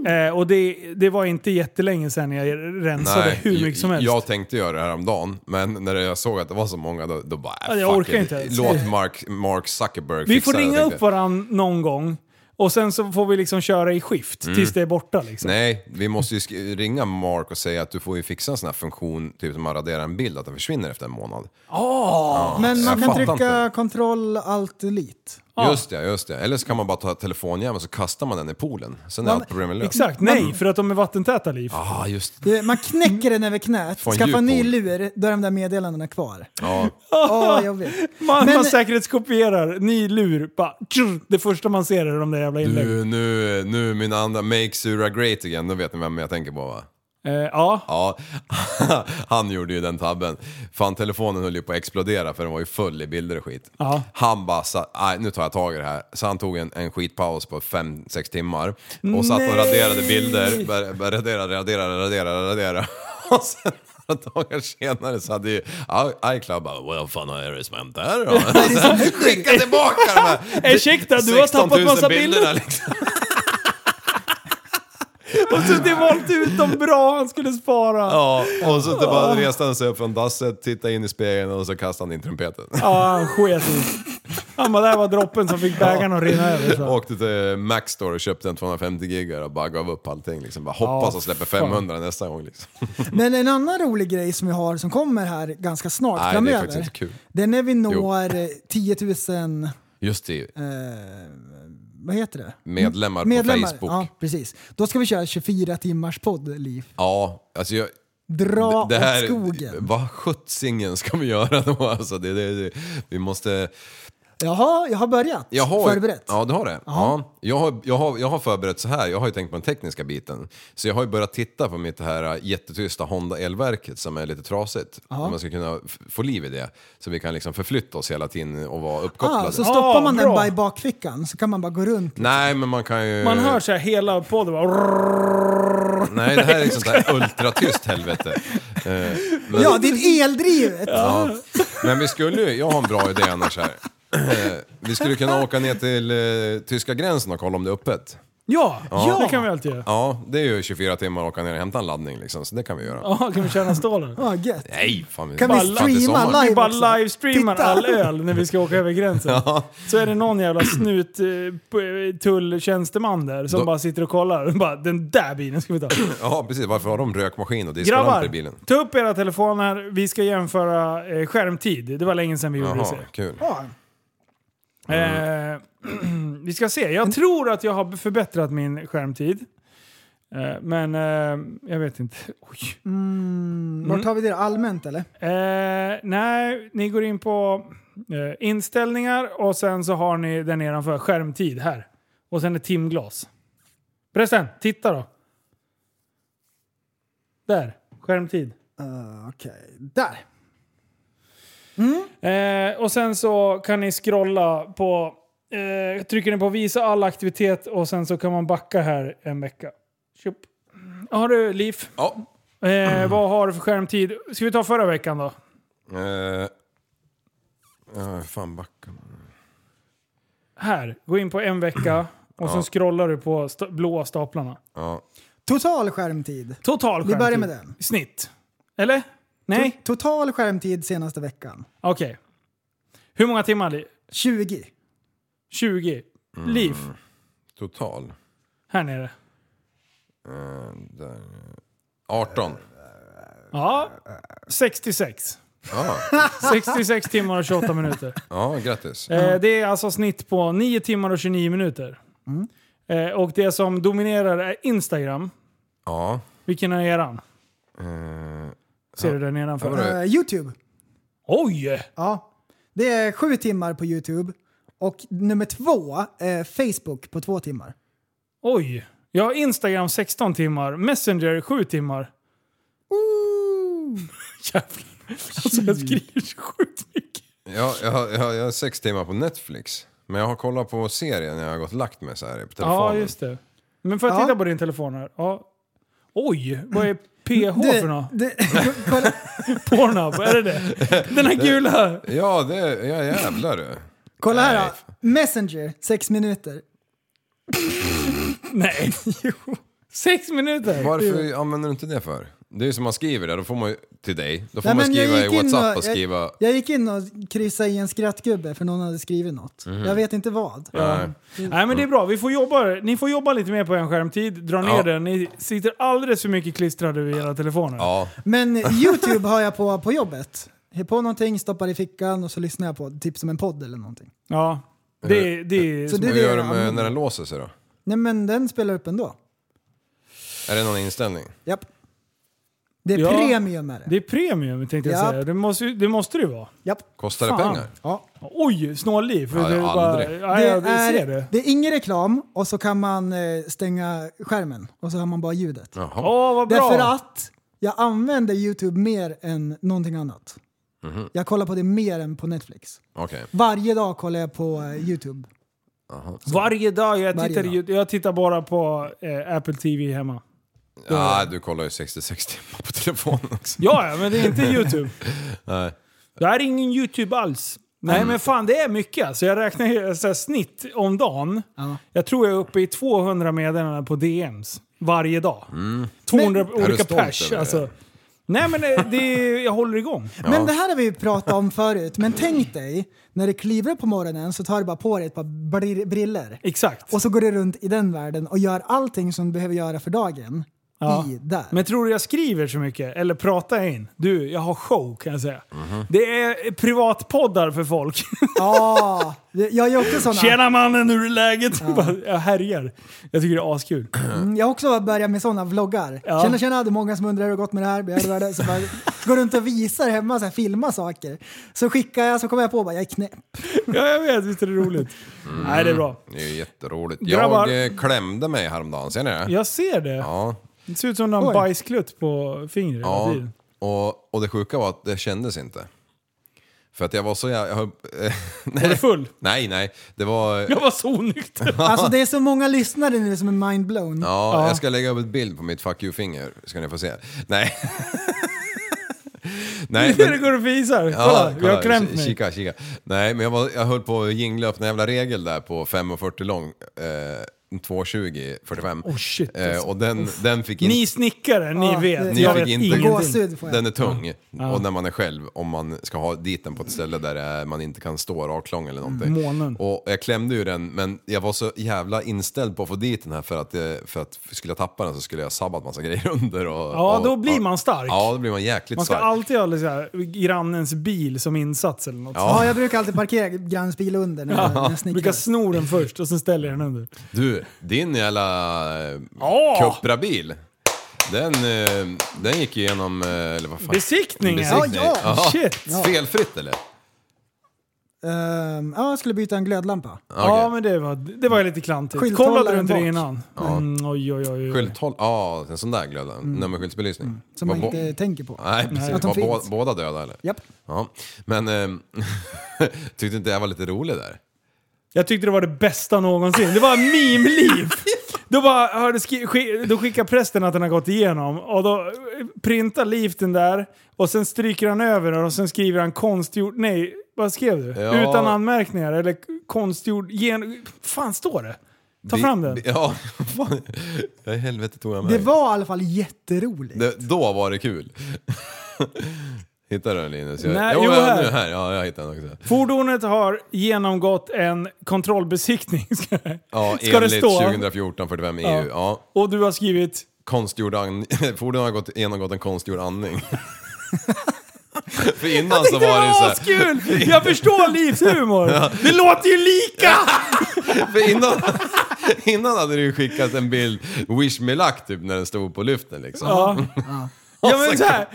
[SPEAKER 2] Eh, och det, det var inte jättelänge sedan jag rensade
[SPEAKER 1] Nej,
[SPEAKER 2] Alltså, hur mycket som helst.
[SPEAKER 1] Jag tänkte göra det här om dagen men när jag såg att det var så många då, då bara...
[SPEAKER 2] Ja, jag
[SPEAKER 1] fuck
[SPEAKER 2] orkar
[SPEAKER 1] it.
[SPEAKER 2] inte ens.
[SPEAKER 1] Låt Mark, Mark Zuckerberg
[SPEAKER 2] vi
[SPEAKER 1] fixa
[SPEAKER 2] får
[SPEAKER 1] det,
[SPEAKER 2] ringa
[SPEAKER 1] tänkte
[SPEAKER 2] upp
[SPEAKER 1] jag.
[SPEAKER 2] varandra någon gång och sen så får vi liksom köra i skift tills det är borta. Liksom.
[SPEAKER 1] Mm. Nej, vi måste ju sk- ringa Mark och säga att du får ju fixa en sån här funktion, typ som att radera en bild, att den försvinner efter en månad. Ja,
[SPEAKER 7] Men
[SPEAKER 1] jag
[SPEAKER 7] man kan
[SPEAKER 1] fattar
[SPEAKER 7] trycka
[SPEAKER 1] inte.
[SPEAKER 7] kontroll alt delete.
[SPEAKER 1] Just det, just det. Eller så kan man bara ta telefonjäveln och så kastar man den i poolen. Sen är
[SPEAKER 7] Ja,
[SPEAKER 1] allt problem löst.
[SPEAKER 2] Exakt, nej, för att de är vattentäta liv.
[SPEAKER 1] Ah, just det.
[SPEAKER 7] Det- Man knäcker den över knät,
[SPEAKER 1] Får en
[SPEAKER 7] skaffar en ny
[SPEAKER 1] djup
[SPEAKER 7] lur, då är de där meddelandena kvar.
[SPEAKER 1] Ja.
[SPEAKER 7] Åh, vad jobbigt.
[SPEAKER 2] Man,
[SPEAKER 7] Men-
[SPEAKER 2] man säkerhetskopierar, ny lur, bara, tjur, det första man ser är de där jävla inläggen.
[SPEAKER 1] Nu, nu, nu min andra, Make Sura Great Again, då vet ni vem jag tänker på va?
[SPEAKER 2] Eh, ja,
[SPEAKER 1] Ja, han gjorde ju den tabben. Fan, telefonen höll ju på att explodera för den var ju full i bilder och skit.
[SPEAKER 2] Ja.
[SPEAKER 1] Han bara sa, "Aj, nu tar jag tag i det här. Så han tog en, en skitpaus på 5-6 timmar och satt och raderade bilder. Ba- ba- Raderade, raderade, raderade, raderade. Och sen några dagar senare så hade ju I- iCloud bara, vad fan har jag smänt där då? Skicka tillbaka de här
[SPEAKER 2] Ursäkta, du
[SPEAKER 1] 16 000
[SPEAKER 2] har
[SPEAKER 1] liksom.
[SPEAKER 2] tappat massa bilder.
[SPEAKER 1] bilderna, liksom.
[SPEAKER 2] Och suttit och valt ut de bra han skulle spara.
[SPEAKER 1] Ja, och så typ bara reste han sig upp från dasset, tittade in i spegeln och så kastade han in trumpeten.
[SPEAKER 2] Ja, han sket i. Han bara, där var droppen som fick bägaren att rinna över.
[SPEAKER 7] Alltså-
[SPEAKER 2] Så.
[SPEAKER 1] Åkte till Mac Store och köpte en 250 gigar och bara gav upp allting. Liksom. Bara hoppas
[SPEAKER 2] Ja,
[SPEAKER 1] och släpper
[SPEAKER 2] fan.
[SPEAKER 1] 500 nästa gång. Liksom.
[SPEAKER 7] Men en annan rolig grej som vi har som kommer här ganska snart
[SPEAKER 1] Nej, det är
[SPEAKER 7] framöver.
[SPEAKER 1] faktiskt inte kul.
[SPEAKER 7] det är när vi når eh, 10 000,
[SPEAKER 1] Just det,
[SPEAKER 7] vad heter det?
[SPEAKER 1] medlemmar,
[SPEAKER 7] Eh, Medlemmar.
[SPEAKER 1] på Facebook.
[SPEAKER 7] Ja,
[SPEAKER 1] Ja,
[SPEAKER 7] precis. Då ska vi köra 24 timmars podd, Liv.
[SPEAKER 1] alltså jag...
[SPEAKER 7] Dra
[SPEAKER 1] det
[SPEAKER 7] åt
[SPEAKER 1] här,
[SPEAKER 7] skogen.
[SPEAKER 1] Vad sjuttsingen ska vi göra då? Alltså, det, det, det, vi måste...
[SPEAKER 7] Jaha, jag har börjat.
[SPEAKER 1] Jag har,
[SPEAKER 7] Förberett.
[SPEAKER 1] Ja, du har det. Ja, jag, har, jag, har, jag har förberett så här, jag har ju tänkt på den tekniska biten. Så jag har ju börjat titta på mitt här äh, jättetysta Honda-elverket som är lite trasigt. Om man ska kunna f- få liv i det. Så vi kan liksom förflytta oss hela tiden och vara uppkopplade.
[SPEAKER 7] Ah, så stoppar man den
[SPEAKER 2] bra.
[SPEAKER 7] bara i bakfickan så kan man bara gå runt.
[SPEAKER 1] Nej, men man kan ju...
[SPEAKER 2] Man hör så här hela podden bara...
[SPEAKER 1] Nej, det här är ett sånt där ultratyst helvete. Eh, men-
[SPEAKER 7] Ja, det är eldrivet!
[SPEAKER 1] Ja. Men vi skulle ju, jag har en bra idé annars här. Eh, Vi skulle kunna åka ner till eh, tyska gränsen och kolla om det är öppet.
[SPEAKER 2] Ja,
[SPEAKER 1] Ja.
[SPEAKER 2] det kan vi alltid göra.
[SPEAKER 1] Ja, det är ju 24 timmar att åka ner och hämta en laddning liksom, så det kan vi göra.
[SPEAKER 2] Ja, kan vi tjäna stålen?
[SPEAKER 7] Ah, gött.
[SPEAKER 1] Nej, fan vi
[SPEAKER 7] Kan vi
[SPEAKER 1] fan, det är
[SPEAKER 7] streama
[SPEAKER 1] sommar.
[SPEAKER 7] live?
[SPEAKER 2] Vi bara
[SPEAKER 7] också.
[SPEAKER 2] livestreamar
[SPEAKER 7] Titta.
[SPEAKER 2] all öl när vi ska åka över gränsen.
[SPEAKER 1] Ja.
[SPEAKER 2] Så är det någon jävla snut eh, p- tulltjänsteman där som
[SPEAKER 1] Då-
[SPEAKER 2] bara sitter och kollar. Bara, den där bilen ska vi ta.
[SPEAKER 1] Ja, precis. Varför har de rökmaskin och diskolamp i bilen?
[SPEAKER 2] Grabbar, ta upp era telefoner. Vi ska jämföra eh, skärmtid. Det var länge sedan vi gjorde det.
[SPEAKER 1] Jaha,
[SPEAKER 2] ser jag.
[SPEAKER 1] kul.
[SPEAKER 2] Eh, vi ska se.
[SPEAKER 1] Mm.
[SPEAKER 2] Jag tror att jag har förbättrat min skärmtid. Eh, men eh, jag vet inte. Oj.
[SPEAKER 7] Mm, Vart har vi det? Allmänt eller?
[SPEAKER 2] Eh, nej, ni går in på eh, inställningar och sen så har ni där nedanför skärmtid här. Och sen ett timglas. Förresten, titta då. Där, skärmtid.
[SPEAKER 7] Uh, Okej, där.
[SPEAKER 2] Eh, och sen så kan ni scrolla på, eh, trycker ni på visa all aktivitet och sen så kan man backa här en vecka. Tjup. Har du Liv?
[SPEAKER 1] Ja.
[SPEAKER 2] Eh, vad har du för skärmtid? Ska vi ta förra veckan då?
[SPEAKER 1] Eh, ja, fan, backa.
[SPEAKER 2] Här, gå in på en vecka och sen scrollar du på sta- blåa staplarna.
[SPEAKER 1] Ja.
[SPEAKER 7] Total skärmtid.
[SPEAKER 2] Total
[SPEAKER 7] Vi
[SPEAKER 2] skärmtid.
[SPEAKER 7] börjar med den.
[SPEAKER 2] Snitt. Eller? Nej?
[SPEAKER 7] To- Total skärmtid senaste veckan.
[SPEAKER 2] Okej. Hur många timmar? Li-
[SPEAKER 7] 20.
[SPEAKER 2] 20?
[SPEAKER 1] Mm.
[SPEAKER 2] Liv?
[SPEAKER 1] Total.
[SPEAKER 2] Här nere.
[SPEAKER 1] Eh, där. 18.
[SPEAKER 2] Ja. 66.
[SPEAKER 1] Ja,
[SPEAKER 2] 66 timmar och 28 minuter.
[SPEAKER 1] ja grattis.
[SPEAKER 2] Eh, det är alltså snitt på 9 timmar och 29 minuter.
[SPEAKER 7] Mm.
[SPEAKER 2] Eh, och det som dominerar är Instagram.
[SPEAKER 1] Ja.
[SPEAKER 2] Vilken är eran?
[SPEAKER 1] Eh,
[SPEAKER 2] Ser du
[SPEAKER 1] Ja,
[SPEAKER 2] där
[SPEAKER 1] vadå?
[SPEAKER 2] nedanför?
[SPEAKER 7] Eh, Youtube.
[SPEAKER 2] Oj!
[SPEAKER 7] Ja. Det är sju timmar på Youtube. Och nummer två är Facebook på två timmar.
[SPEAKER 2] Oj! Jag har Instagram 16 timmar, Messenger 7 timmar. Jävlar. Alltså jag skriver så sjukt mycket.
[SPEAKER 1] Ja, jag, har- jag, har- jag har sex timmar på Netflix. Men jag har kollat på serien när jag har gått och lagt mig så här på telefonen.
[SPEAKER 2] Ja, just det. Men får jag
[SPEAKER 7] Ja.
[SPEAKER 2] titta på din telefon här? Ja. Oj, vad är PH för något?
[SPEAKER 7] det, kolla,
[SPEAKER 2] Pornhub, är det det? Den här gula?
[SPEAKER 1] Ja, det, ja jävlar du.
[SPEAKER 7] kolla här
[SPEAKER 1] Nej.
[SPEAKER 7] då. Messenger, sex minuter.
[SPEAKER 2] Nej. Sex minuter?
[SPEAKER 1] Varför använder du inte det för? Det är ju som man skriver där, då får man ju till dig. Då får
[SPEAKER 7] Nej,
[SPEAKER 1] man
[SPEAKER 7] men jag
[SPEAKER 1] skriva i
[SPEAKER 7] gick in
[SPEAKER 1] WhatsApp och
[SPEAKER 7] jag-
[SPEAKER 1] skriva...
[SPEAKER 7] Jag, gick in och kryssade i en skrattgubbe för någon hade skrivit något.
[SPEAKER 1] Mhm.
[SPEAKER 7] Jag vet inte vad.
[SPEAKER 1] Nej.
[SPEAKER 2] Nej men det är bra, Vi får jobba, ni får jobba lite mer på en skärmtid, dra ner
[SPEAKER 1] Ja.
[SPEAKER 2] den. Ni sitter alldeles för mycket klistrade vid era telefoner.
[SPEAKER 1] Ja,
[SPEAKER 7] Men Youtube har jag på, på jobbet. Hör på någonting, stoppar i fickan och så lyssnar jag på det, typ som en podd eller någonting.
[SPEAKER 2] Ja. Det, det är
[SPEAKER 7] Så
[SPEAKER 2] smart.
[SPEAKER 7] det är
[SPEAKER 1] hur
[SPEAKER 7] det
[SPEAKER 1] gör
[SPEAKER 7] jag
[SPEAKER 1] de med- när
[SPEAKER 7] använder.
[SPEAKER 1] den låser sig då?
[SPEAKER 7] Nej men den spelar upp ändå.
[SPEAKER 1] Är det någon inställning?
[SPEAKER 7] Japp. Det är
[SPEAKER 2] Ja.
[SPEAKER 7] premium är det.
[SPEAKER 2] Det är premium tänkte jag
[SPEAKER 7] Japp.
[SPEAKER 2] säga. Det måste, ju- det måste det ju vara.
[SPEAKER 7] Japp.
[SPEAKER 1] Kostar det
[SPEAKER 2] Fan.
[SPEAKER 1] pengar?
[SPEAKER 7] Ja.
[SPEAKER 2] Oj, snålliv.
[SPEAKER 1] Ja,
[SPEAKER 2] det är
[SPEAKER 1] aldrig.
[SPEAKER 2] bara, ja, jag ser det.
[SPEAKER 7] är ingen reklam och så kan man eh, stänga skärmen och så har man bara ljudet.
[SPEAKER 1] Jaha.
[SPEAKER 2] Åh, vad bra.
[SPEAKER 7] Därför att jag använder Youtube mer än någonting annat.
[SPEAKER 1] Mhm.
[SPEAKER 7] Jag kollar på det mer än på Netflix.
[SPEAKER 1] Okej.
[SPEAKER 7] Varje dag kollar jag på eh, Youtube.
[SPEAKER 2] Varje dag. Jag
[SPEAKER 7] Varje
[SPEAKER 2] tittar,
[SPEAKER 7] dag.
[SPEAKER 2] ju- jag tittar bara på eh, Apple TV hemma.
[SPEAKER 1] Ja, du kollar ju 66 timmar på telefonen också.
[SPEAKER 2] Ja, ja, men det är inte YouTube.
[SPEAKER 1] Nej.
[SPEAKER 2] Det här är ingen YouTube alls. Nej
[SPEAKER 7] Mm.
[SPEAKER 2] men fan det är mycket alltså. Jag räknar ju så här, snitt om dagen. Jag tror jag är uppe i 200 meddelanden på DMs varje dag.
[SPEAKER 1] Mm.
[SPEAKER 2] 200
[SPEAKER 7] Men- Är du
[SPEAKER 2] olika
[SPEAKER 7] stolt
[SPEAKER 2] pers
[SPEAKER 7] över det?
[SPEAKER 2] alltså. Nej men eh, det, det, jag håller igång.
[SPEAKER 7] Men det här har vi ju pratat om förut, men tänk dig när du kliver upp på morgonen så tar du bara på dig ett par bri- briller.
[SPEAKER 2] Exakt.
[SPEAKER 7] Och så går du runt i den världen och gör allting som du behöver göra för dagen
[SPEAKER 2] Ja.
[SPEAKER 7] i där.
[SPEAKER 2] Men tror du jag skriver så mycket? Eller pratar jag in? Du, jag har show kan jag säga.
[SPEAKER 1] Mhm.
[SPEAKER 2] Det är privatpoddar för folk.
[SPEAKER 7] Ja, jag gör också såna.
[SPEAKER 2] Tjena mannen, hur är läget? Bara, Jag härjar. Jag tycker det är askul.
[SPEAKER 7] Mm, jag har också börjat med sådana vloggar.
[SPEAKER 2] Ja.
[SPEAKER 7] Tjena tjena, det är många som undrar hur det har gått med det här. Begär det, det. Så bara, går runt och visar hemma, så här, filmar saker. Så skickar jag, så kommer jag på bara jag är knäpp.
[SPEAKER 2] Ja, jag vet. Visst är det roligt?
[SPEAKER 1] Mm.
[SPEAKER 2] Nej, det är bra.
[SPEAKER 1] Det är ju jätteroligt.
[SPEAKER 2] Grabbar.
[SPEAKER 1] Jag eh, klämde mig häromdagen, ser ni det?
[SPEAKER 2] Jag ser det.
[SPEAKER 1] Ja.
[SPEAKER 2] Det ser ut som en
[SPEAKER 1] Oj.
[SPEAKER 2] bajsklutt på fingret hela
[SPEAKER 1] Ja,
[SPEAKER 2] tiden.
[SPEAKER 1] och, och det sjuka var att det kändes inte. För att jag var så jag, jag höll- eh, nej. Var
[SPEAKER 2] du full?
[SPEAKER 1] Nej, nej. Det var...
[SPEAKER 2] Jag var så onykter.
[SPEAKER 7] Alltså det är så många lyssnare nu som är mindblown.
[SPEAKER 1] Ja, jag ska lägga upp ett bild på mitt fuck you-finger, ska ni få se. Nej.
[SPEAKER 2] Det går och visar. Kolla, jag har klämt mig.
[SPEAKER 1] Kika, kika. Nej, men jag, var, jag höll på att jingla upp en jävla regel där på 5.40 lång. Eh, 2.20, 45.
[SPEAKER 2] Oh, shit,
[SPEAKER 1] eh,
[SPEAKER 2] alltså.
[SPEAKER 1] och den,
[SPEAKER 2] Uff.
[SPEAKER 1] den fick
[SPEAKER 2] Ni snickare, ni
[SPEAKER 7] Ja,
[SPEAKER 2] vet.
[SPEAKER 1] Ni
[SPEAKER 2] jag
[SPEAKER 1] fick
[SPEAKER 2] vet ingenting.
[SPEAKER 1] Den är tung.
[SPEAKER 2] Ja.
[SPEAKER 1] Och när man är själv, om man ska ha dit den på ett ställe där det är- man inte kan stå raklång eller någonting.
[SPEAKER 2] Mm, Månen.
[SPEAKER 1] Och jag klämde ju den, men jag var så jävla inställd på att få dit den här för att, eh, för att skulle jag tappa den så skulle jag sabbat massa grejer under. Och,
[SPEAKER 2] Ja,
[SPEAKER 1] och,
[SPEAKER 2] då blir man stark.
[SPEAKER 1] Ja, då blir man jäkligt
[SPEAKER 2] Man ska
[SPEAKER 1] stark.
[SPEAKER 2] alltid ha så här, grannens bil som insats eller något.
[SPEAKER 1] Ja.
[SPEAKER 7] Ja, jag brukar alltid parkera grannens bil under när jag, när jag
[SPEAKER 2] Jag
[SPEAKER 7] snickrar.
[SPEAKER 2] brukar sno den först och sen ställer jag den under.
[SPEAKER 1] Du, din jävla eh,
[SPEAKER 2] Ja.
[SPEAKER 1] Cupra-bil. Den, eh, den gick igenom, eh, eller vad fan?
[SPEAKER 2] Besiktningen. Ja, ja, shit. Ja.
[SPEAKER 1] Felfritt eller?
[SPEAKER 7] Ehm, ja, jag skulle byta en glödlampa.
[SPEAKER 2] Ja, men det var, det var lite klantigt.
[SPEAKER 7] Skylthållaren
[SPEAKER 2] Kollade du inte det
[SPEAKER 7] bak.
[SPEAKER 2] innan?
[SPEAKER 1] Ja.
[SPEAKER 2] Mm, oj, oj, oj. oj.
[SPEAKER 1] Skylthåll, ja en sån där glödlampa.
[SPEAKER 7] Mm.
[SPEAKER 1] Nummerskyltsbelysning.
[SPEAKER 7] Som man
[SPEAKER 1] Var
[SPEAKER 7] inte
[SPEAKER 1] bo-
[SPEAKER 7] tänker på.
[SPEAKER 1] Nej, precis.
[SPEAKER 7] Att de
[SPEAKER 1] Var
[SPEAKER 7] finns.
[SPEAKER 1] bå- båda döda eller?
[SPEAKER 7] Japp.
[SPEAKER 1] Ja. Men ehm, tyckte inte jag var lite rolig där?
[SPEAKER 2] Jag tyckte det var det bästa någonsin. Det var meme-liv! Då, bara, hörde, skri- sk- då skickar prästen att den har gått igenom och då eh, printar Liv den där och sen stryker han över den och sen skriver han konstgjord... Nej, vad skrev du?
[SPEAKER 1] Ja.
[SPEAKER 2] Utan anmärkningar eller konstgjord... Gen... Fan står det? Ta
[SPEAKER 1] Bi-
[SPEAKER 2] fram den.
[SPEAKER 1] bi- Ja, fan. Ja, i helvete tog jag med
[SPEAKER 7] Det var i alla fall jätteroligt.
[SPEAKER 1] det, Då var det kul. Hittar du den Linus? Jag,
[SPEAKER 2] Nej,
[SPEAKER 1] jo,
[SPEAKER 2] jo,
[SPEAKER 1] ja,
[SPEAKER 2] här.
[SPEAKER 1] Nu, här. Ja, jag hittade den också.
[SPEAKER 2] Fordonet har genomgått en kontrollbesiktning. Ska
[SPEAKER 1] Ja,
[SPEAKER 2] Ska det
[SPEAKER 1] enligt
[SPEAKER 2] stå?
[SPEAKER 1] 2014 45 EU. Ja.
[SPEAKER 2] Och du har skrivit?
[SPEAKER 1] Konstgjord andning. Fordonet har gått, genomgått en konstgjord andning. För innan
[SPEAKER 2] Jag
[SPEAKER 1] så
[SPEAKER 2] tyckte
[SPEAKER 1] var det så här-
[SPEAKER 2] det var askul! Jag förstår Livs humor.
[SPEAKER 1] Ja.
[SPEAKER 2] Det låter ju lika!
[SPEAKER 1] För innan, innan hade du ju skickat en bild, wish me luck typ, när den stod på lyften liksom.
[SPEAKER 2] Ja. Ja
[SPEAKER 1] Alltså.
[SPEAKER 2] men såhär,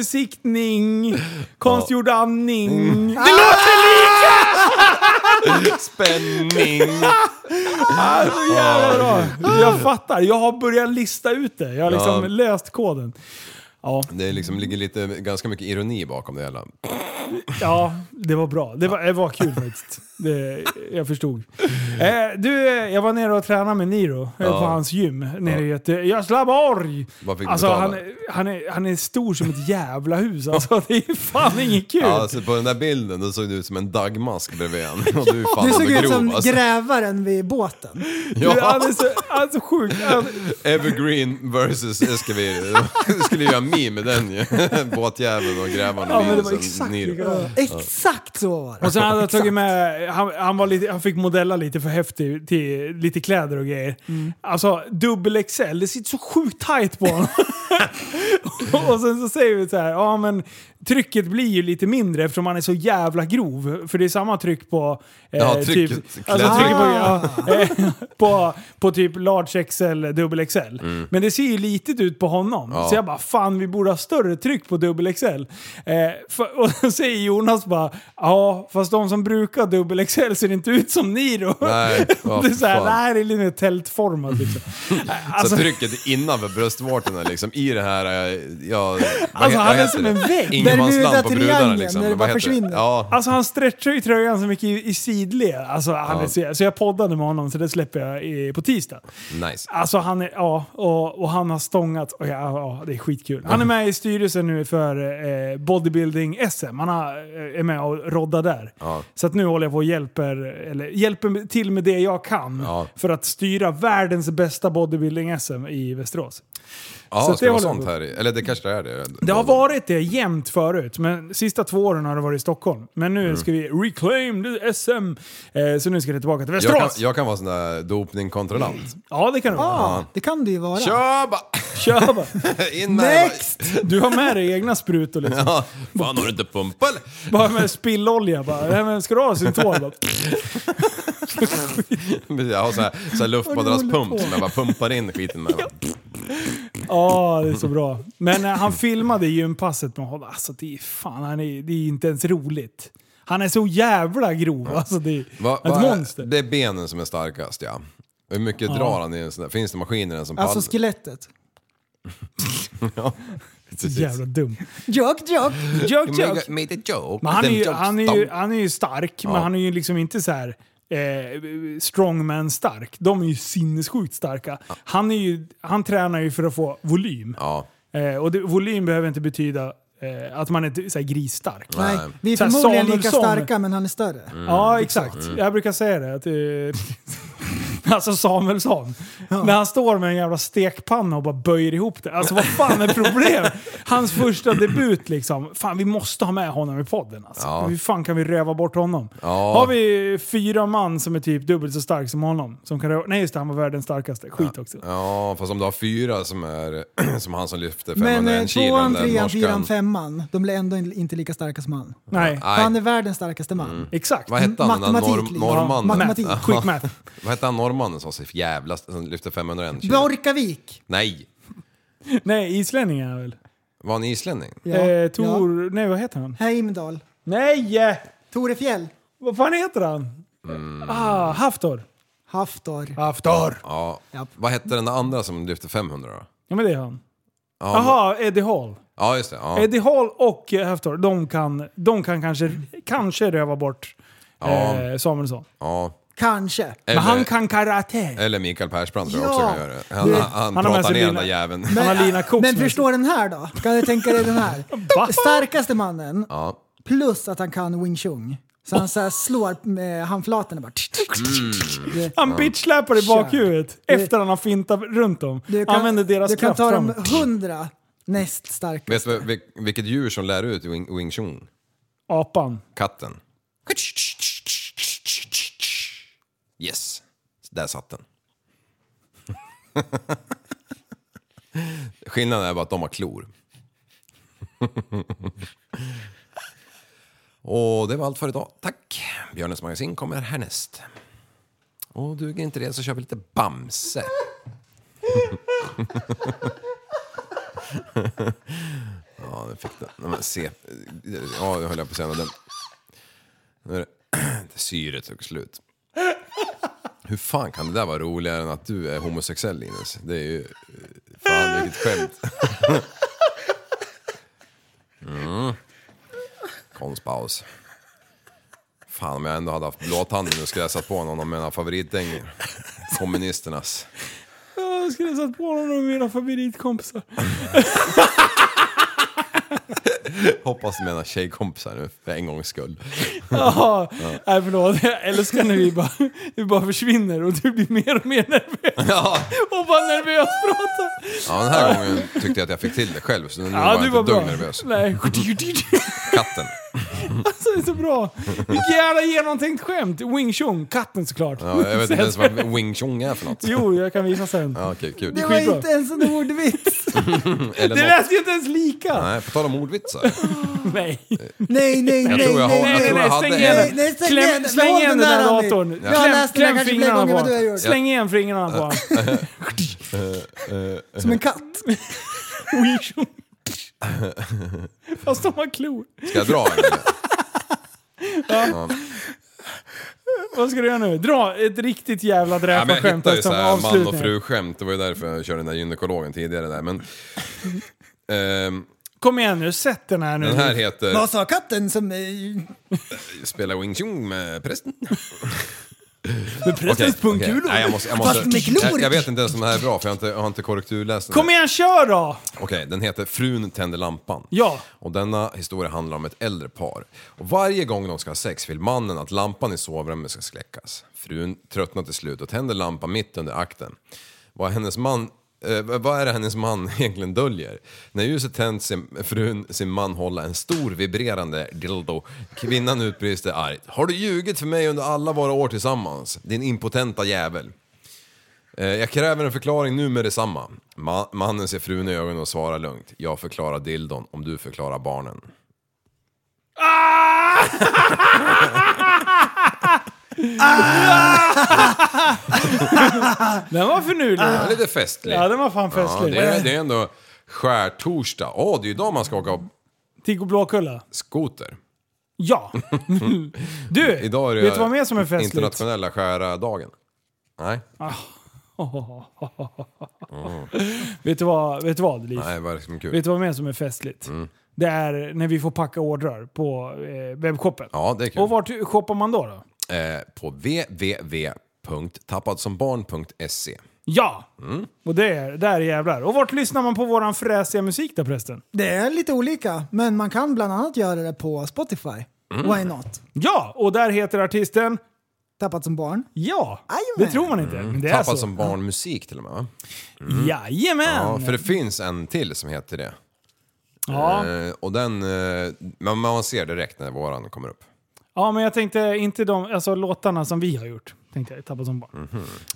[SPEAKER 2] kontrollbesiktning, konstgjord andning. Det låter lika!
[SPEAKER 1] Alltså, Spänning.
[SPEAKER 2] Ah, så jävla bra. Jag fattar, jag har börjat lista ut det. Jag har liksom
[SPEAKER 1] Ja.
[SPEAKER 2] löst koden. Ja.
[SPEAKER 1] Det liksom ligger lite, ganska mycket ironi bakom det hela.
[SPEAKER 2] Ja, det var bra. Det var, det var kul faktiskt. Det, jag förstod. Eh, du, eh, jag var nere och tränade med Niro eh,
[SPEAKER 1] Ja.
[SPEAKER 2] på hans gym nere i Göte- Göteborg.
[SPEAKER 1] Vad fick du
[SPEAKER 2] Alltså
[SPEAKER 1] betala?
[SPEAKER 2] han, han, är, han är stor som ett jävla hus alltså. Det är fan inget kul.
[SPEAKER 1] Ja, alltså, på den där bilden då såg du ut som en dagmask bredvid en. Och du är fan
[SPEAKER 7] Du såg
[SPEAKER 1] grov,
[SPEAKER 7] ut som
[SPEAKER 1] alltså.
[SPEAKER 7] grävaren vid båten.
[SPEAKER 2] Du,
[SPEAKER 1] Ja.
[SPEAKER 2] han är så, han är så sjuk. Han-
[SPEAKER 1] Evergreen versus Escavir. Du skulle göra en meme med den ju. Båtjäveln och grävaren
[SPEAKER 2] Ja, men det
[SPEAKER 1] Linus
[SPEAKER 2] var
[SPEAKER 1] och
[SPEAKER 2] exakt
[SPEAKER 1] Niro.
[SPEAKER 2] likadant.
[SPEAKER 1] Ja.
[SPEAKER 7] Exakt så var det.
[SPEAKER 2] Och sen hade jag tagit med, han, han, var lite, han fick modella lite för häftig till lite kläder och grejer. Alltså dubbel XL, det sitter så sjukt tight på honom. och sen så säger vi så här, ja men trycket blir ju lite mindre eftersom han är så jävla grov. För det är samma tryck på...
[SPEAKER 1] Ja, trycket,
[SPEAKER 2] alltså,
[SPEAKER 1] kläder.
[SPEAKER 2] trycket på, ja, eh, på, på typ large XL, dubbel XL. Men det ser ju litet ut på honom.
[SPEAKER 1] Mm. Ja.
[SPEAKER 2] Så jag bara, fan vi borde ha större tryck på dubbel XL. Eh, för, och då säger Jonas bara, ja fast de som brukar dubbel LXL ser inte ut som Niro.
[SPEAKER 1] Nej, vad
[SPEAKER 2] det är så här,
[SPEAKER 1] fan.
[SPEAKER 2] det här är lite tältformat liksom. Alltså-
[SPEAKER 1] så trycket innanför bröstvårtorna liksom, i det här, eh, ja, vad, he-
[SPEAKER 2] Alltså
[SPEAKER 1] vad
[SPEAKER 2] han är
[SPEAKER 1] heter
[SPEAKER 2] som
[SPEAKER 1] det?
[SPEAKER 2] en vägg.
[SPEAKER 1] Ingenmansland på brudarna liksom.
[SPEAKER 7] när det
[SPEAKER 1] Vad
[SPEAKER 7] bara
[SPEAKER 1] heter
[SPEAKER 7] försvinner.
[SPEAKER 1] Ja,
[SPEAKER 2] Alltså han stretchar ju tröjan så mycket i, i sidled. Alltså, han
[SPEAKER 1] Ja.
[SPEAKER 2] är, så- så jag poddade med honom, så det släpper jag i, på tisdag.
[SPEAKER 1] nice.
[SPEAKER 2] Alltså han är, ja, och, och han har stångat. Och ja, ja, det är skitkul. Han är med i styrelsen nu för eh, bodybuilding-SM. Han har, eh, är med och roddar där.
[SPEAKER 1] Ja.
[SPEAKER 2] Så att nu håller jag på och hjälper, eller, hjälper till med det jag kan
[SPEAKER 1] Ja.
[SPEAKER 2] för att styra världens bästa bodybuilding-SM i Västerås.
[SPEAKER 1] Ja,
[SPEAKER 2] Så
[SPEAKER 1] så
[SPEAKER 2] att
[SPEAKER 1] ska
[SPEAKER 2] det
[SPEAKER 1] det vara
[SPEAKER 2] håller jag
[SPEAKER 1] sånt
[SPEAKER 2] på.
[SPEAKER 1] här i- Eller det kanske det är det.
[SPEAKER 2] Det har varit det jämt förut, men sista två åren har det varit i Stockholm. Men
[SPEAKER 1] Mm.
[SPEAKER 2] nu ska vi reclaim the SM, eh, så nu ska det tillbaka till
[SPEAKER 1] jag, kan,
[SPEAKER 2] Västerås.
[SPEAKER 1] jag kan vara sån där dopningkontrollant.
[SPEAKER 2] Ja, det kan det vara.
[SPEAKER 7] Ja, det kan det ju vara.
[SPEAKER 1] Tja bara!
[SPEAKER 2] Kör bara.
[SPEAKER 1] In med
[SPEAKER 7] Next!
[SPEAKER 2] Du har med dig egna sprutor liksom.
[SPEAKER 1] Ja, Fan, har du inte pumpa eller?
[SPEAKER 2] Bara med spillolja bara. Nej, men ska du ha syntol?
[SPEAKER 1] Precis, Jag har sån här, så här luftmadrasspump som jag bara pumpar in skiten med.
[SPEAKER 2] Ja, det är så bra. Men eh, han filmade gympasset med honom. Alltså det är fan, han är, det är inte ens roligt. Han är så jävla grov. Alltså det är
[SPEAKER 1] Va,
[SPEAKER 2] ett
[SPEAKER 1] va,
[SPEAKER 2] monster.
[SPEAKER 1] Det är benen som är starkast ja. Hur mycket drar han i en sån där? Finns det maskiner i en sån pall?
[SPEAKER 7] Alltså skelettet.
[SPEAKER 1] ja, precis.
[SPEAKER 2] Jävla dum.
[SPEAKER 7] Joke, joke.
[SPEAKER 2] Joke,
[SPEAKER 1] You
[SPEAKER 2] joke.
[SPEAKER 1] make- made a joke.
[SPEAKER 2] Men han, är
[SPEAKER 1] Them
[SPEAKER 2] ju,
[SPEAKER 1] jokes
[SPEAKER 2] han, är ju,
[SPEAKER 1] don't.
[SPEAKER 2] han är ju stark, men han är ju liksom inte så här eh, strongman-stark. De är ju sinnessjukt starka. Han, är ju, han tränar ju för att få volym.
[SPEAKER 1] Ja.
[SPEAKER 2] Eh, och det, volym behöver inte betyda eh, att man är så här, grisstark.
[SPEAKER 7] Nej,
[SPEAKER 1] Nej. Mm.
[SPEAKER 7] vi är
[SPEAKER 2] Så här,
[SPEAKER 7] förmodligen lika
[SPEAKER 2] Samuelsson.
[SPEAKER 7] starka men han är större.
[SPEAKER 2] Ja, exakt. Jag brukar säga det. Att, eh, alltså Samuelsson. När han står med en jävla stekpanna och bara böjer ihop det. Alltså vad fan är problemet? Hans första debut liksom. Fan, vi måste ha med honom i podden. Alltså.
[SPEAKER 1] Ja.
[SPEAKER 2] Hur fan kan vi röva bort honom?
[SPEAKER 1] Ja.
[SPEAKER 2] Har vi fyra man som är typ dubbelt så stark som honom? Som kan röva... Nej just det, han var världens starkaste. Skit också.
[SPEAKER 1] Ja, fast om du har fyra som är som han som lyfter
[SPEAKER 7] Men
[SPEAKER 1] 501
[SPEAKER 7] eh,
[SPEAKER 1] kilo, den
[SPEAKER 7] tvåan,
[SPEAKER 1] där
[SPEAKER 7] trean, fyran,
[SPEAKER 1] norskan.
[SPEAKER 7] femman, de blir ändå in- inte lika starka som han.
[SPEAKER 2] Nej, Mm.
[SPEAKER 1] Nej.
[SPEAKER 7] Han är världens starkaste man.
[SPEAKER 2] exakt.
[SPEAKER 1] Vad hette han den där
[SPEAKER 7] Matematik,
[SPEAKER 1] norm,
[SPEAKER 7] liksom.
[SPEAKER 1] norrmannen?
[SPEAKER 7] Ja, matematik.
[SPEAKER 1] Ja.
[SPEAKER 2] Quick math.
[SPEAKER 1] Vad hette han norrmannen som var så jävla... Som lyfte 501 kilo?
[SPEAKER 7] Björkavik!
[SPEAKER 1] Nej!
[SPEAKER 2] Nej, islänningen är han väl?
[SPEAKER 1] Var han islänning?
[SPEAKER 7] Ja.
[SPEAKER 2] Eh, Tor... Nej, vad heter han?
[SPEAKER 7] Ja. Heimdall.
[SPEAKER 2] Nej! eh,
[SPEAKER 7] Torefjäll.
[SPEAKER 2] Vad fan heter han? Ah, Haftor.
[SPEAKER 7] Haftor.
[SPEAKER 2] Haftor!
[SPEAKER 1] Ja.
[SPEAKER 7] Japp.
[SPEAKER 1] Vad hette den där andra som lyfte 500 då?
[SPEAKER 2] Ja men det är han.
[SPEAKER 1] Ja,
[SPEAKER 2] Jaha, Eddie Hall.
[SPEAKER 1] men- ja just det. Ja.
[SPEAKER 2] Eddie Hall och eh, Haftor, de kan, de kan kanske, kanske röva bort
[SPEAKER 1] Ja.
[SPEAKER 2] eh, Samuelsson.
[SPEAKER 1] ja.
[SPEAKER 7] Kanske.
[SPEAKER 1] Eller,
[SPEAKER 2] Men Eh. han kan karate.
[SPEAKER 1] eller Mikael Persbrandt tror jag
[SPEAKER 7] Ja.
[SPEAKER 1] också kan göra det. Han,
[SPEAKER 7] Du vet,
[SPEAKER 1] han, han,
[SPEAKER 2] har med
[SPEAKER 1] pratar
[SPEAKER 2] sig
[SPEAKER 1] ner den
[SPEAKER 2] lina-
[SPEAKER 1] där jäveln.
[SPEAKER 2] Han har lina koks
[SPEAKER 7] Men
[SPEAKER 2] med sig.
[SPEAKER 7] förstå den här då. Kan du tänka dig den här? Starkaste mannen,
[SPEAKER 1] Ja.
[SPEAKER 7] plus att han kan wing chun. Så han så här slår med handflatorna bara.
[SPEAKER 1] Mm.
[SPEAKER 7] Det-
[SPEAKER 2] Han bitchsläpar i bakhuvudet efter han har fintat runt dem.
[SPEAKER 7] Du kan,
[SPEAKER 2] Använder deras
[SPEAKER 7] du kan
[SPEAKER 2] kraft
[SPEAKER 7] ta
[SPEAKER 2] fram.
[SPEAKER 7] de hundra näst starka.
[SPEAKER 1] Vet du vil- vilket djur som lär ut wing, wing chun?
[SPEAKER 2] Apan.
[SPEAKER 1] Katten. Yes. Där satt den. Skillnaden är bara att de har klor. Och det var allt för idag. Tack! Björnens magasin kommer härnäst. Och duger inte det så kör vi lite Bamse. Ja, den fick den. Nej, men se. Ja, jag höll jag på att säga. något. Den. Nu är det syret tog slut. Hur fan kan det där vara roligare än att du är homosexuell Linus? Det är ju... eh, Fan vilket skämt. Mm. Mm. Konstpaus. Fan om jag ändå hade haft blåtanden nu skulle jag satt på någon av mina favoritdängor. Kommunisternas.
[SPEAKER 2] Jag skulle ha satt på honom med mina favoritkompisar.
[SPEAKER 1] Hoppas du menar tjejkompisar nu för en gångs skull.
[SPEAKER 2] Jaha. Nej förlåt, jag älskar när vi bara, vi bara försvinner och du blir mer och mer nervös.
[SPEAKER 1] Ja.
[SPEAKER 2] Och bara nervös pratar.
[SPEAKER 1] Ja, den här gången tyckte jag att jag fick till det själv, så nu var
[SPEAKER 2] Ja,
[SPEAKER 1] jag
[SPEAKER 2] du
[SPEAKER 1] inte
[SPEAKER 2] var
[SPEAKER 1] ett
[SPEAKER 2] bra.
[SPEAKER 1] dugg nervös.
[SPEAKER 2] Nej.
[SPEAKER 1] Katten.
[SPEAKER 2] Alltså det är så bra! Vilket jävla genomtänkt skämt! Wing Chun, katten såklart.
[SPEAKER 1] Ja, jag vet inte ens vad wing chun är för något.
[SPEAKER 2] Jo, jag kan visa sen.
[SPEAKER 1] Ja, okej, kul.
[SPEAKER 7] Det var
[SPEAKER 2] Skitbra.
[SPEAKER 7] inte ens en ordvits.
[SPEAKER 1] Eller
[SPEAKER 2] Det
[SPEAKER 1] något.
[SPEAKER 2] lät ju inte ens lika!
[SPEAKER 1] Nej, på tal om ordvitsar.
[SPEAKER 2] Nej.
[SPEAKER 7] Nej, nej,
[SPEAKER 1] Jag
[SPEAKER 7] nej,
[SPEAKER 1] tror jag har-
[SPEAKER 7] nej,
[SPEAKER 1] jag tror
[SPEAKER 7] nej, nej.
[SPEAKER 1] jag hade-
[SPEAKER 2] stäng igen
[SPEAKER 7] Nej,
[SPEAKER 2] den.
[SPEAKER 7] nej, stäng igen
[SPEAKER 2] Kläm,
[SPEAKER 7] den.
[SPEAKER 2] släng
[SPEAKER 7] Behåll
[SPEAKER 2] igen den
[SPEAKER 7] den
[SPEAKER 2] där
[SPEAKER 7] där, Andy.
[SPEAKER 2] datorn.
[SPEAKER 7] Jag har
[SPEAKER 2] Kläm,
[SPEAKER 7] läst den här
[SPEAKER 2] kläm
[SPEAKER 7] kanske fler
[SPEAKER 2] fingrarna
[SPEAKER 7] gånger
[SPEAKER 2] på
[SPEAKER 7] än vad du har
[SPEAKER 2] honom.
[SPEAKER 7] gjort.
[SPEAKER 2] Släng igen fingrarna på honom.
[SPEAKER 7] Som en katt.
[SPEAKER 2] Wing Chun. Fast de har klor.
[SPEAKER 1] Ska jag dra en? eller? Ja.
[SPEAKER 2] Vad ska du göra nu? Dra ett riktigt jävla
[SPEAKER 1] Ja, men jag
[SPEAKER 2] dräparskämt
[SPEAKER 1] hittade ju
[SPEAKER 2] som
[SPEAKER 1] såhär man och
[SPEAKER 2] avslutning.
[SPEAKER 1] fru-skämt, det var ju därför jag körde den där gynekologen tidigare där. Men, ehm,
[SPEAKER 2] Kom igen nu, sätt den här nu.
[SPEAKER 1] Den här heter-
[SPEAKER 7] Vad sa katten som... eh,
[SPEAKER 1] spela Wing Chun med prästen.
[SPEAKER 2] Med
[SPEAKER 1] Okej,
[SPEAKER 2] prästens pungkulor.
[SPEAKER 1] okej. Nej, jag måste, jag,
[SPEAKER 2] Fast med
[SPEAKER 1] måste,
[SPEAKER 2] klor.
[SPEAKER 1] jag, jag vet inte ens om det här är bra för jag har inte, jag har inte korrekturläst den. här.
[SPEAKER 2] Kom igen, kör då!
[SPEAKER 1] Okej, den heter Frun tänder lampan.
[SPEAKER 2] Ja.
[SPEAKER 1] Och denna historia handlar om ett äldre par. Och varje gång de ska ha sex vill mannen att lampan i sovrummet ska släckas. Frun tröttnar till slut och tänder lampan mitt under akten. Vad, hennes man, eh, vad är det hennes man egentligen döljer? När ljuset tänds ser frun sin man hålla en stor vibrerande dildo. Kvinnan utbrister argt. Har du ljugit för mig under alla våra år tillsammans? Din impotenta jävel. Eh, Jag kräver en förklaring nu med detsamma. Ma- mannen ser frun i ögonen och svarar lugnt. Jag förklarar dildon om du förklarar barnen.
[SPEAKER 2] Den var finurlig.
[SPEAKER 1] Ja, lite festlig.
[SPEAKER 2] Ja, den var fan festlig.
[SPEAKER 1] Ja, det, är, det är ändå skärtorsdag. Åh, det är ju idag man ska åka
[SPEAKER 2] Tigg och Blåkulla.
[SPEAKER 1] skoter.
[SPEAKER 2] Ja. Du,
[SPEAKER 1] Idag är det
[SPEAKER 2] vet du vad mer som är festligt?
[SPEAKER 1] internationella skärdagen. Nej,
[SPEAKER 2] Vet du vad, vet du vad Liv?
[SPEAKER 1] nej, Mm. vad är det som är kul?
[SPEAKER 2] Vet du vad mer som är festligt? Det är när vi får packa ordrar på eh, webbshoppen.
[SPEAKER 1] Ja, det är kul.
[SPEAKER 2] Och vart shoppar man då? då?
[SPEAKER 1] Eh, på www.tappadsombarn.se.
[SPEAKER 2] Ja!
[SPEAKER 1] Mm.
[SPEAKER 2] Och det är, där jävlar. Och vart lyssnar man på våran fräsiga musik då prästen?
[SPEAKER 7] Det är lite olika, men man kan bland annat göra det på Spotify.
[SPEAKER 1] Mm.
[SPEAKER 7] Why not?
[SPEAKER 2] Ja! Och där heter artisten...
[SPEAKER 7] Tappat som barn.
[SPEAKER 2] Ja!
[SPEAKER 7] Jajamän.
[SPEAKER 2] Det tror man inte. Men det är alltså-
[SPEAKER 1] Tappad
[SPEAKER 2] så.
[SPEAKER 1] Mm. som barnmusik till och med va?
[SPEAKER 2] Jajamän!
[SPEAKER 1] Ja, för det finns en till som heter det.
[SPEAKER 2] Ja.
[SPEAKER 1] Eh, och den, eh, man, man ser direkt när våran kommer upp.
[SPEAKER 2] Ja, men jag tänkte inte de alltså, låtarna som vi har gjort. Tänkte jag, Tappa som barn.
[SPEAKER 1] Mm.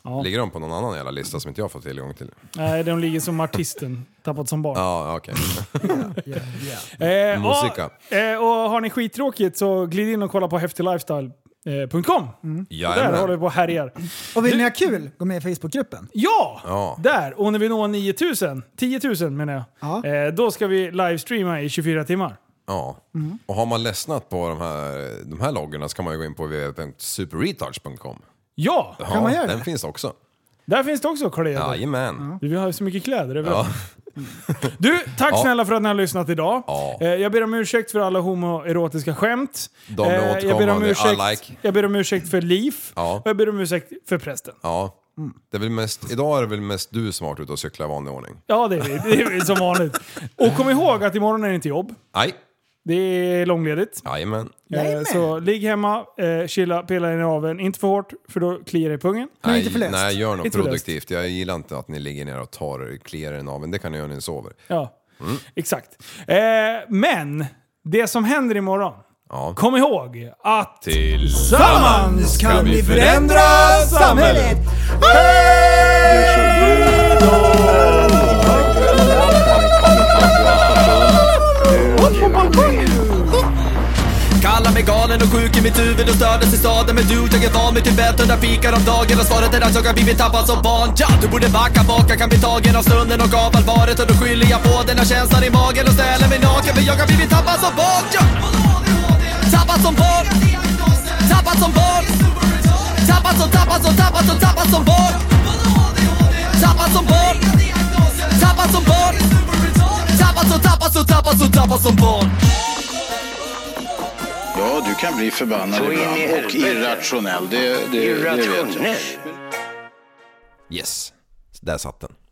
[SPEAKER 2] Ja.
[SPEAKER 1] Ligger de på någon annan jävla lista som inte jag får tillgång till?
[SPEAKER 2] Nej, de ligger som artisten. Tappat som barn.
[SPEAKER 1] Ja, okej.
[SPEAKER 2] Eh,
[SPEAKER 1] Musica.
[SPEAKER 2] Och, eh, och har ni skittråkigt så glid in och kolla på häftiglifestyle.com. Där håller vi
[SPEAKER 1] Mm. Jajamän.
[SPEAKER 2] på och härjar.
[SPEAKER 7] Och vill ni ha kul, gå med i Facebookgruppen.
[SPEAKER 2] Ja!
[SPEAKER 1] Ja.
[SPEAKER 2] Där! Och när vi når 9000, 10 000 menar jag,
[SPEAKER 7] Ja.
[SPEAKER 2] eh, då ska vi livestreama i 24 timmar.
[SPEAKER 1] Ja.
[SPEAKER 7] Mm.
[SPEAKER 1] Och har man ledsnat på de här, de här loggarna så kan man ju gå in på www.superretards.com.
[SPEAKER 2] Ja!
[SPEAKER 1] ja,
[SPEAKER 7] man göra
[SPEAKER 1] Den
[SPEAKER 7] det?
[SPEAKER 1] finns också.
[SPEAKER 2] Där finns det också kläder.
[SPEAKER 1] Jajamän.
[SPEAKER 2] Vi har ju så mycket kläder överallt.
[SPEAKER 1] Ja.
[SPEAKER 2] Mm. Du, tack
[SPEAKER 1] Ja.
[SPEAKER 2] snälla för att ni har lyssnat idag.
[SPEAKER 1] Ja.
[SPEAKER 2] Eh, Jag ber om ursäkt för alla homoerotiska skämt.
[SPEAKER 1] De
[SPEAKER 2] Eh,
[SPEAKER 1] är
[SPEAKER 2] jag, ber om
[SPEAKER 1] återkommande. I
[SPEAKER 2] ursäkt,
[SPEAKER 1] like.
[SPEAKER 2] jag ber om ursäkt för Liv.
[SPEAKER 1] Ja.
[SPEAKER 2] Och jag ber om ursäkt för prästen.
[SPEAKER 1] Ja.
[SPEAKER 7] Mm.
[SPEAKER 1] Det är väl mest, idag är det väl mest du som har varit ute och cyklat i vanlig ordning?
[SPEAKER 2] Ja, det är vi. Det är vi som vanligt. Och kom ihåg att imorgon är det inte jobb.
[SPEAKER 1] Nej.
[SPEAKER 2] Det är långledigt.
[SPEAKER 1] Jajamän.
[SPEAKER 2] Eh, så ligg hemma, eh, chilla, pilla i naveln. Inte för hårt, för då kliar det i pungen.
[SPEAKER 7] Men inte för
[SPEAKER 1] Nej,
[SPEAKER 7] läst.
[SPEAKER 1] nej, gör något
[SPEAKER 2] Inte för läst.
[SPEAKER 1] produktivt. Jag gillar inte att ni ligger ner och tar och kliar er i naveln. Det kan ni göra när ni sover.
[SPEAKER 2] Ja,
[SPEAKER 1] Mm.
[SPEAKER 2] exakt. Eh, men, det som händer imorgon.
[SPEAKER 1] Ja.
[SPEAKER 2] Kom ihåg att...
[SPEAKER 1] Tillsammans
[SPEAKER 7] kan vi förändra samhället.
[SPEAKER 4] Kallar mig galen och sjuk i mitt huvud och stördes i staden Men du, jag är van vid Tibet under fikar om dagen Och svaret är att jag har blivit tappad som barn ja, Du borde backa bak, jag kan bli tagen av stunden och av allvaret Och då skyller jag på den här känslan i magen och ställer mig naken För jag har blivit tappad som barn ja. Tappad som barn Tappad som barn Tappad som, tappad som, tappad som, tappad som barn Tappad som barn Tappad som barn Tappad som, tappad som, tappad som, tappad som barn
[SPEAKER 5] Ja, du kan bli förbannad ibland och irrationell. Det, det, det vet jag.
[SPEAKER 1] Yes. Så där satt den.